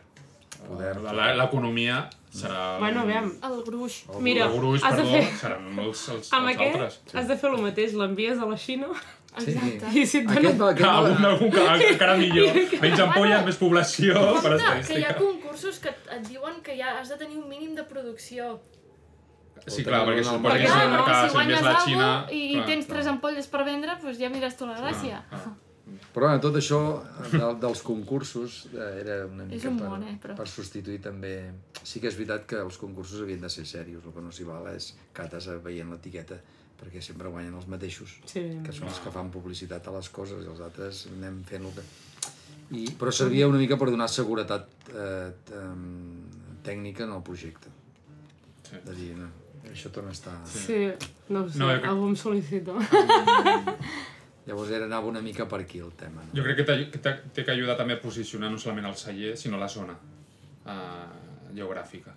Speaker 5: Poder.
Speaker 1: La- la- L'economia serà...
Speaker 2: Bueno, aviam.
Speaker 4: El gruix.
Speaker 2: Mira,
Speaker 1: el gruix,
Speaker 2: has de
Speaker 1: perdó,
Speaker 2: fer...
Speaker 1: seran els, els,
Speaker 2: Amb
Speaker 1: els altres.
Speaker 2: aquest has de fer el mateix, l'envies a la Xina
Speaker 4: Exacte.
Speaker 2: i si et donen...
Speaker 5: Aquest va,
Speaker 1: Que un,
Speaker 5: aquest
Speaker 1: eh?
Speaker 5: va...
Speaker 1: algun que, encara
Speaker 4: [LAUGHS]
Speaker 1: millor. Menys ampolles, més població, per
Speaker 4: Compte que hi
Speaker 1: estadística.
Speaker 4: ha concursos que et et diuen que ja has de tenir un mínim de producció.
Speaker 1: Sí, clar, perquè
Speaker 5: Clar,
Speaker 1: suposo que
Speaker 5: perquè
Speaker 1: és
Speaker 4: clar,
Speaker 1: un
Speaker 4: no?
Speaker 1: mercat, si
Speaker 4: si
Speaker 1: envies
Speaker 4: guanyes
Speaker 1: la
Speaker 4: alguna
Speaker 1: Xina...
Speaker 4: cosa i, i
Speaker 1: clar,
Speaker 4: tens
Speaker 1: clar,
Speaker 4: tres ampolles per vendre, doncs ja mires tu la gràcia.
Speaker 1: clar.
Speaker 5: Però bueno, tot això de, dels concursos eh, era una mica
Speaker 4: un
Speaker 5: per,
Speaker 4: món, eh, però.
Speaker 5: per substituir també... Sí que és veritat que els concursos havien de ser serios, el que no s'hi val és cates veient l'etiqueta, perquè sempre guanyen els mateixos,
Speaker 2: Sí.
Speaker 5: que són els que fan publicitat a les coses i els altres anem fent el que... I, però servia una mica per donar seguretat eh, t- em, tècnica en el projecte.
Speaker 1: Sí.
Speaker 5: De dir, no, això torna a estar...
Speaker 2: Sí, no ho sé,
Speaker 1: No, jo crec- Ah.
Speaker 2: algú em sol·licita.
Speaker 5: Llavors era anava una mica per aquí el tema. No?
Speaker 1: Jo crec que t'aj- que t'ha- té que ajudar també a posicionar no solament el celler, sinó la zona eh, geogràfica.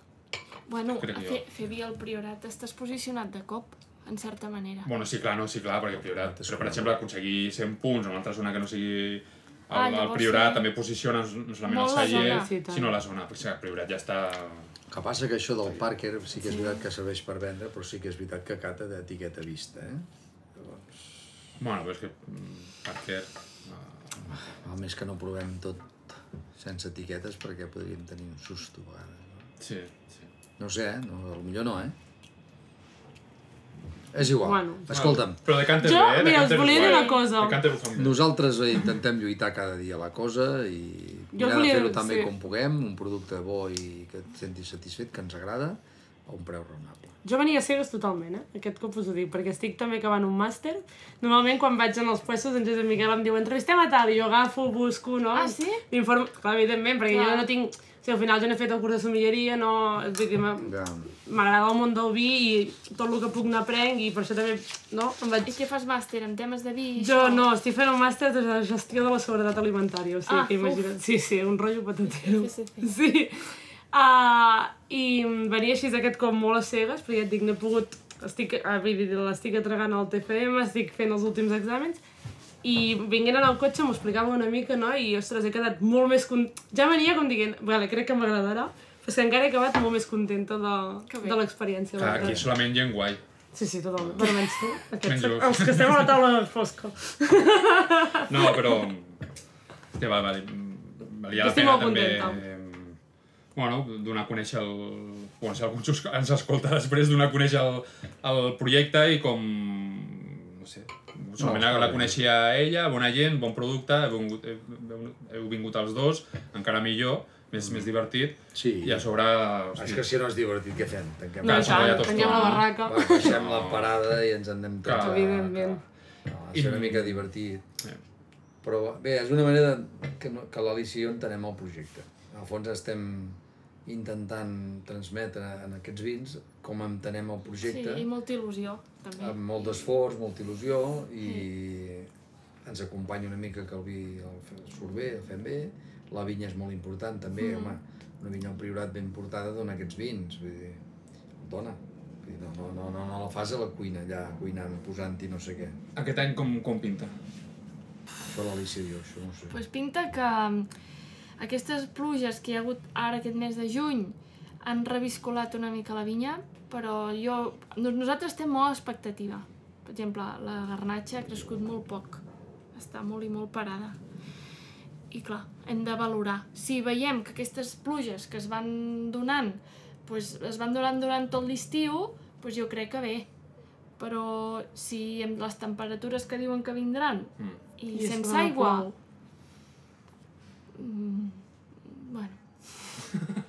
Speaker 4: Bueno,
Speaker 1: Crec
Speaker 4: a
Speaker 1: jo.
Speaker 4: fer, fer via al priorat estàs posicionat de cop, en certa manera.
Speaker 1: Bueno, sí, clar, no, sí, clar, perquè el priorat... Però, per exemple, aconseguir 100 punts en una altra zona que no sigui el,
Speaker 4: Ah,
Speaker 1: el
Speaker 4: llavors
Speaker 1: priorat
Speaker 4: sí.
Speaker 1: també posiciona no solament
Speaker 4: Molt la
Speaker 1: el celler,
Speaker 4: zona.
Speaker 2: Sí, tant.
Speaker 1: sinó la zona, perquè el priorat ja està...
Speaker 5: El que passa que això del Parker sí que és veritat que serveix per vendre, però sí que és veritat que cata d'etiqueta vista, eh?
Speaker 1: Bueno, però és que... mm, uh, Parker...
Speaker 5: Val més que no provem tot sense etiquetes perquè podríem tenir un susto a vegades. no?
Speaker 1: Sí, sí.
Speaker 5: No ho sé, eh? No, potser no, eh? És igual.
Speaker 2: Bueno.
Speaker 5: Escolta'm,
Speaker 1: Però de Canter
Speaker 2: Jo,
Speaker 1: bé, eh?
Speaker 2: mira, us
Speaker 1: Decanter
Speaker 2: volia
Speaker 1: és
Speaker 2: dir
Speaker 1: guai.
Speaker 2: una cosa.
Speaker 1: Decanter ho fan bé.
Speaker 5: nosaltres eh, intentem lluitar cada dia la cosa i
Speaker 2: Jo
Speaker 5: mirar de
Speaker 2: volia-
Speaker 5: fer-ho tan bé
Speaker 2: sí.
Speaker 5: com puguem, un producte bo i que et sentis satisfet, que ens agrada, a un preu raonable.
Speaker 2: Jo venia cegues totalment, eh? Aquest cop us ho dic, perquè estic també acabant un màster. Normalment quan vaig en els puestos en Josep Miquel em diu entrevistem a tal, i jo agafo, busco, no?
Speaker 4: Ah, sí?
Speaker 2: M'informo, clar, evidentment, perquè
Speaker 4: Clar.
Speaker 2: jo no tinc... O sigui, al final jo no he fet el curs de sommelleria, no... Vull dir, m'ha-
Speaker 5: Ja.
Speaker 2: m'agrada el món del vi i tot el que puc n'aprenc i per això també, no? Em
Speaker 4: I
Speaker 2: vaig...
Speaker 4: què fas màster en temes de vi? i
Speaker 2: Jo
Speaker 4: això?
Speaker 2: no, estic fent un màster de gestió de la seguretat alimentària, o sigui
Speaker 4: Ah,
Speaker 2: que imagina't. Sí, sí, un rotllo patatero.
Speaker 4: FSC.
Speaker 2: Sí. Uh, I em venia així d'aquest cop molt a cegues, però ja et dic, no he pogut... Estic, ah, vull dir, l'estic entregant al TFM, estic fent els últims exàmens, i vinguent en el cotxe m'ho explicava una mica, no? I, ostres, he quedat molt més... Con... Ja venia com dient, vale, crec que m'agradarà, però és que encara he acabat molt més contenta de,
Speaker 4: Que bé.
Speaker 2: de l'experiència. la
Speaker 1: Clar,
Speaker 2: veritat.
Speaker 1: aquí solament gent guai.
Speaker 2: Sí, sí, totalment. Però menys tu.
Speaker 1: Menys
Speaker 2: Aquests,
Speaker 1: jo.
Speaker 2: els que estem a la taula fosca.
Speaker 1: No, però... Hòstia, mm, va, va, valia la
Speaker 2: estic
Speaker 1: pena
Speaker 2: molt
Speaker 1: també...
Speaker 2: contenta.
Speaker 1: em, bueno, donar a conèixer el... Bueno, si algú ens us- ens escolta després, donar a conèixer el, el projecte i com... No sé, solament
Speaker 7: està
Speaker 1: no, la
Speaker 7: bé.
Speaker 1: coneixia ella, bona gent, bon producte, heu vingut, heu, heu vingut els dos, encara millor, més, més divertit,
Speaker 5: Sí.
Speaker 1: i a sobre...
Speaker 5: És que si no és divertit, què fem? Tanquem
Speaker 1: Clar,
Speaker 2: No, i
Speaker 1: si no
Speaker 2: tant,
Speaker 1: hi ha tots
Speaker 2: tanquem la
Speaker 1: dos, no?
Speaker 2: barraca.
Speaker 5: Va, Baixem la parada i ens en anem tots.
Speaker 1: Clar.
Speaker 5: a-
Speaker 2: Evidentment.
Speaker 5: No, va ser una mica divertit.
Speaker 1: Sí.
Speaker 5: Però bé, és una manera que, no, que l'Alicia i jo entenem el projecte. Al fons estem intentant transmetre en aquests vins com entenem el
Speaker 4: Sí,
Speaker 5: projecte,
Speaker 4: i molta il·lusió,
Speaker 1: Ah,
Speaker 4: també.
Speaker 5: amb molt d'esforç, molta il·lusió i
Speaker 4: Mm.
Speaker 5: ens acompanya una mica que el vi el fe- surt bé, el fem bé. La vinya és molt important també,
Speaker 4: Mm.
Speaker 5: home, una vinya al priorat ben portada dona aquests vins, vull dir, dona. Vull dir, no, no, no, no, no la fas a la cuina allà, cuinant, posant-hi no sé què.
Speaker 1: Aquest any com, com pinta?
Speaker 5: Això l'Alicia diu, això no ho sé.
Speaker 4: pues pinta que mm, aquestes pluges que hi ha hagut ara aquest mes de juny han reviscolat una mica la vinya, però jo, doncs nosaltres estem molt a expectativa. Per exemple, la garnatxa ha crescut molt poc, està molt i molt parada. I clar, hem de valorar. Si veiem que aquestes pluges que es van donant, doncs es van donant durant tot l'estiu, doncs jo crec que bé. Però si amb les temperatures que diuen que vindran
Speaker 1: Mm.
Speaker 4: i,
Speaker 2: I
Speaker 4: I
Speaker 2: és que
Speaker 4: sense
Speaker 2: no
Speaker 4: aigua,
Speaker 2: plou.
Speaker 4: Mm, bueno,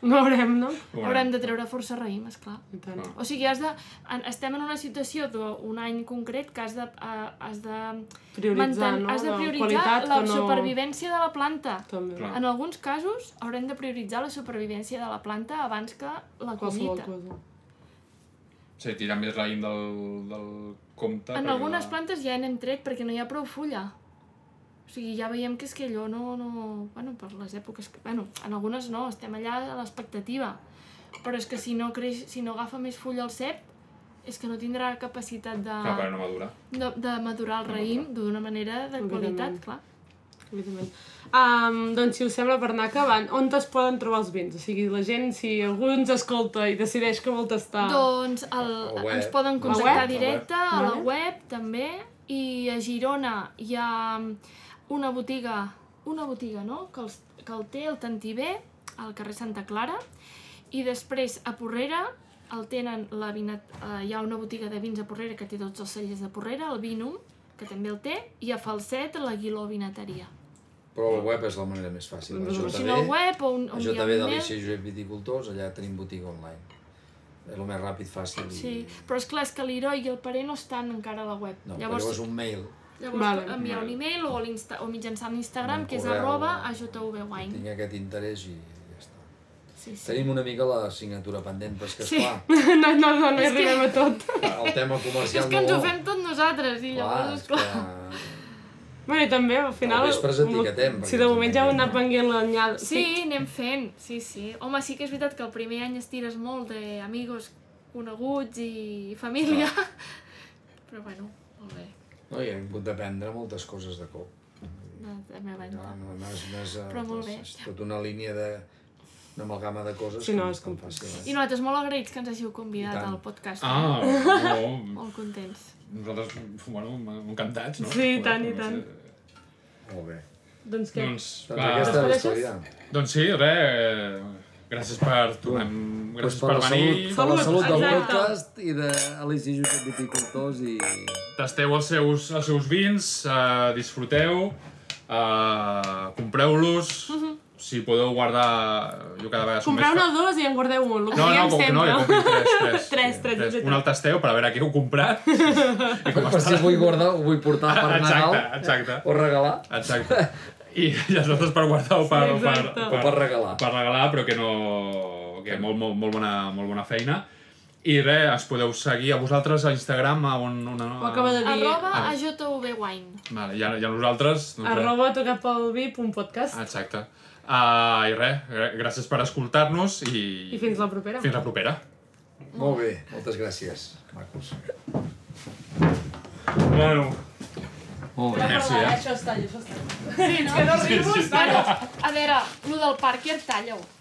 Speaker 2: No veurem, no?
Speaker 1: Veurem.
Speaker 4: haurem de treure força raïm, esclar.
Speaker 2: I tant.
Speaker 1: Ah.
Speaker 4: O sigui, has de, en, estem en una situació d'un any concret que has de, uh, has de,
Speaker 2: Prioritzar, no?
Speaker 4: has de
Speaker 2: La
Speaker 4: prioritzar
Speaker 2: qualitat
Speaker 4: la
Speaker 2: que no-
Speaker 4: supervivència de la planta.
Speaker 2: També.
Speaker 1: Clar.
Speaker 4: En alguns casos haurem de prioritzar la supervivència de la planta abans que la
Speaker 2: Qualsevol
Speaker 4: collita.
Speaker 2: cosa.
Speaker 1: Sí, tirar més raïm del, del compte.
Speaker 4: En
Speaker 1: perquè
Speaker 4: algunes
Speaker 1: la-
Speaker 4: plantes ja n'hem tret perquè no hi ha prou fulla. O sigui, ja veiem que és que allò no... no... Bueno, per les èpoques... Que... Bueno, en algunes no, estem allà a l'expectativa. Però és que si no, creix, si no agafa més fulla el cep, és que no tindrà capacitat de,
Speaker 1: Clar, perquè no madura.
Speaker 4: de, de madurar el raïm d'una manera de qualitat,
Speaker 2: Evidentment.
Speaker 4: clar.
Speaker 2: Evidentment. Um, doncs, si us sembla, per anar acabant, on es poden trobar els vins? O sigui, la gent, si algú ens escolta i decideix que vol tastar...
Speaker 4: Doncs el,
Speaker 5: La web.
Speaker 4: ens poden
Speaker 5: La
Speaker 4: contactar
Speaker 2: web?
Speaker 4: directe a
Speaker 2: Ah. La
Speaker 4: la
Speaker 2: web.
Speaker 4: web també i a Girona hi ha mm, una botiga, una botiga no? que, els, que el té el Tantibé al carrer Santa Clara i després a Porrera el tenen la vinat, eh, hi ha una botiga de vins a Porrera que té tots els cellers de Porrera, el Vinum, que també el té, i a Falset l'Aguiló Vinateria.
Speaker 5: Però el web és la manera més fàcil.
Speaker 2: Doncs
Speaker 5: Això
Speaker 2: la
Speaker 4: Si
Speaker 5: també,
Speaker 4: no el web o un, on
Speaker 5: això
Speaker 4: hi ha
Speaker 5: també
Speaker 4: un mail-
Speaker 5: d'Alicia i Josep Viticultors, allà tenim botiga online. És el més ràpid, fàcil. i-
Speaker 4: Sí, però és clar, és que l'Heroi i el Paré no estan encara a la web.
Speaker 5: No, Llavors... però és un mail.
Speaker 4: Llavors
Speaker 2: Vale.
Speaker 4: vale. enviar un email o, a l'insta- o mitjançant l'Instagram,
Speaker 5: Un
Speaker 4: que és
Speaker 5: correu.
Speaker 4: arroba ajvwine.
Speaker 5: Tinc aquest interès i ja està.
Speaker 4: Sí, sí.
Speaker 5: Tenim una mica la signatura pendent, però és que,
Speaker 2: Sí,
Speaker 5: esclar,
Speaker 2: [LAUGHS] no, no, no, no hi arribem a tot.
Speaker 5: el tema comercial
Speaker 4: És que ens
Speaker 5: no...
Speaker 4: ho fem tot nosaltres i llavors,
Speaker 5: és
Speaker 4: esclar...
Speaker 5: que...
Speaker 2: Bueno, i també, al final...
Speaker 5: Al vespre ens etiquetem,
Speaker 2: Si
Speaker 5: perquè
Speaker 2: de
Speaker 5: ens
Speaker 2: moment ja heu
Speaker 5: entenguem,
Speaker 2: anat
Speaker 5: no?
Speaker 2: venguent l'anyada...
Speaker 4: Sí, anem fent, sí, sí. Home, sí que és veritat que el primer any estires molt d'amigos coneguts i família, [LAUGHS] però bueno, molt bé,
Speaker 5: No, i hem pogut aprendre moltes coses de cop.
Speaker 4: de, de meva
Speaker 5: No,
Speaker 4: banda.
Speaker 5: no, no és, no és,
Speaker 4: Però molt bé.
Speaker 5: és, és tota una línia de... una amalgama de coses
Speaker 2: Sí, no,
Speaker 5: que
Speaker 2: és
Speaker 5: tan
Speaker 2: complex.
Speaker 5: fàcil,
Speaker 4: I nosaltres molt agraïts que ens hàgiu convidat
Speaker 5: I tant.
Speaker 4: al
Speaker 1: [LAUGHS]
Speaker 4: podcast. eh?
Speaker 1: Ah, no,
Speaker 4: Molt contents.
Speaker 1: nosaltres, bueno, encantats, no?
Speaker 2: Sí, i tant, i tant.
Speaker 5: eh? Molt bé.
Speaker 2: Doncs què?
Speaker 1: Doncs,
Speaker 5: Doncs aquesta és la
Speaker 2: Despedeixes?
Speaker 5: història.
Speaker 1: doncs sí, res, eh, gràcies per tornar, gràcies per, venir.
Speaker 5: Doncs, per la salut del
Speaker 2: Exacte.
Speaker 5: podcast i de Alice i Josep Viticultors i...
Speaker 1: Tasteu els seus, els seus vins, eh, disfruteu, eh, compreu-los,
Speaker 2: Mhm.
Speaker 1: si podeu guardar... Jo cada vegada som
Speaker 2: Compreu
Speaker 1: més...
Speaker 2: ne dos i en guardeu un, el que
Speaker 1: No, no,
Speaker 2: diem
Speaker 1: com que no,
Speaker 2: sempre.
Speaker 1: jo compro tres, tres.
Speaker 2: [LAUGHS] Tres, tres,
Speaker 1: tres.
Speaker 2: exacte.
Speaker 1: Un al tasteu per a veure què heu
Speaker 2: [LAUGHS]
Speaker 1: comprat.
Speaker 5: Per si vull guardar o vull portar per Nadal
Speaker 1: Exacte, exacte.
Speaker 5: o regalar.
Speaker 1: Exacte. I, i els altres per guardar o per,
Speaker 2: Sí,
Speaker 1: o per,
Speaker 2: exacte.
Speaker 1: o
Speaker 5: O per regalar.
Speaker 1: Per regalar, però que no... Que molt, molt, molt, bona, molt bona feina. I res, ens podeu seguir a vosaltres a Instagram, a on... on, on
Speaker 2: Ho acaba de dir.
Speaker 4: Arroba
Speaker 1: Ah.
Speaker 4: ajvwine.
Speaker 1: Vale, i, a, i a nosaltres... Doncs res.
Speaker 2: Arroba tocar pel vi, punt podcast.
Speaker 1: Exacte. Uh, I res, gr- gràcies per escoltar-nos i...
Speaker 2: I fins la propera.
Speaker 1: Fins la propera.
Speaker 5: Molt bé, moltes gràcies. Macos.
Speaker 1: Bueno.
Speaker 5: Molt bé.
Speaker 1: Merci, eh?
Speaker 2: Això es talla, això es talla.
Speaker 4: Sí, no? Que no rius, bueno, a veure, lo del Parker talla-ho.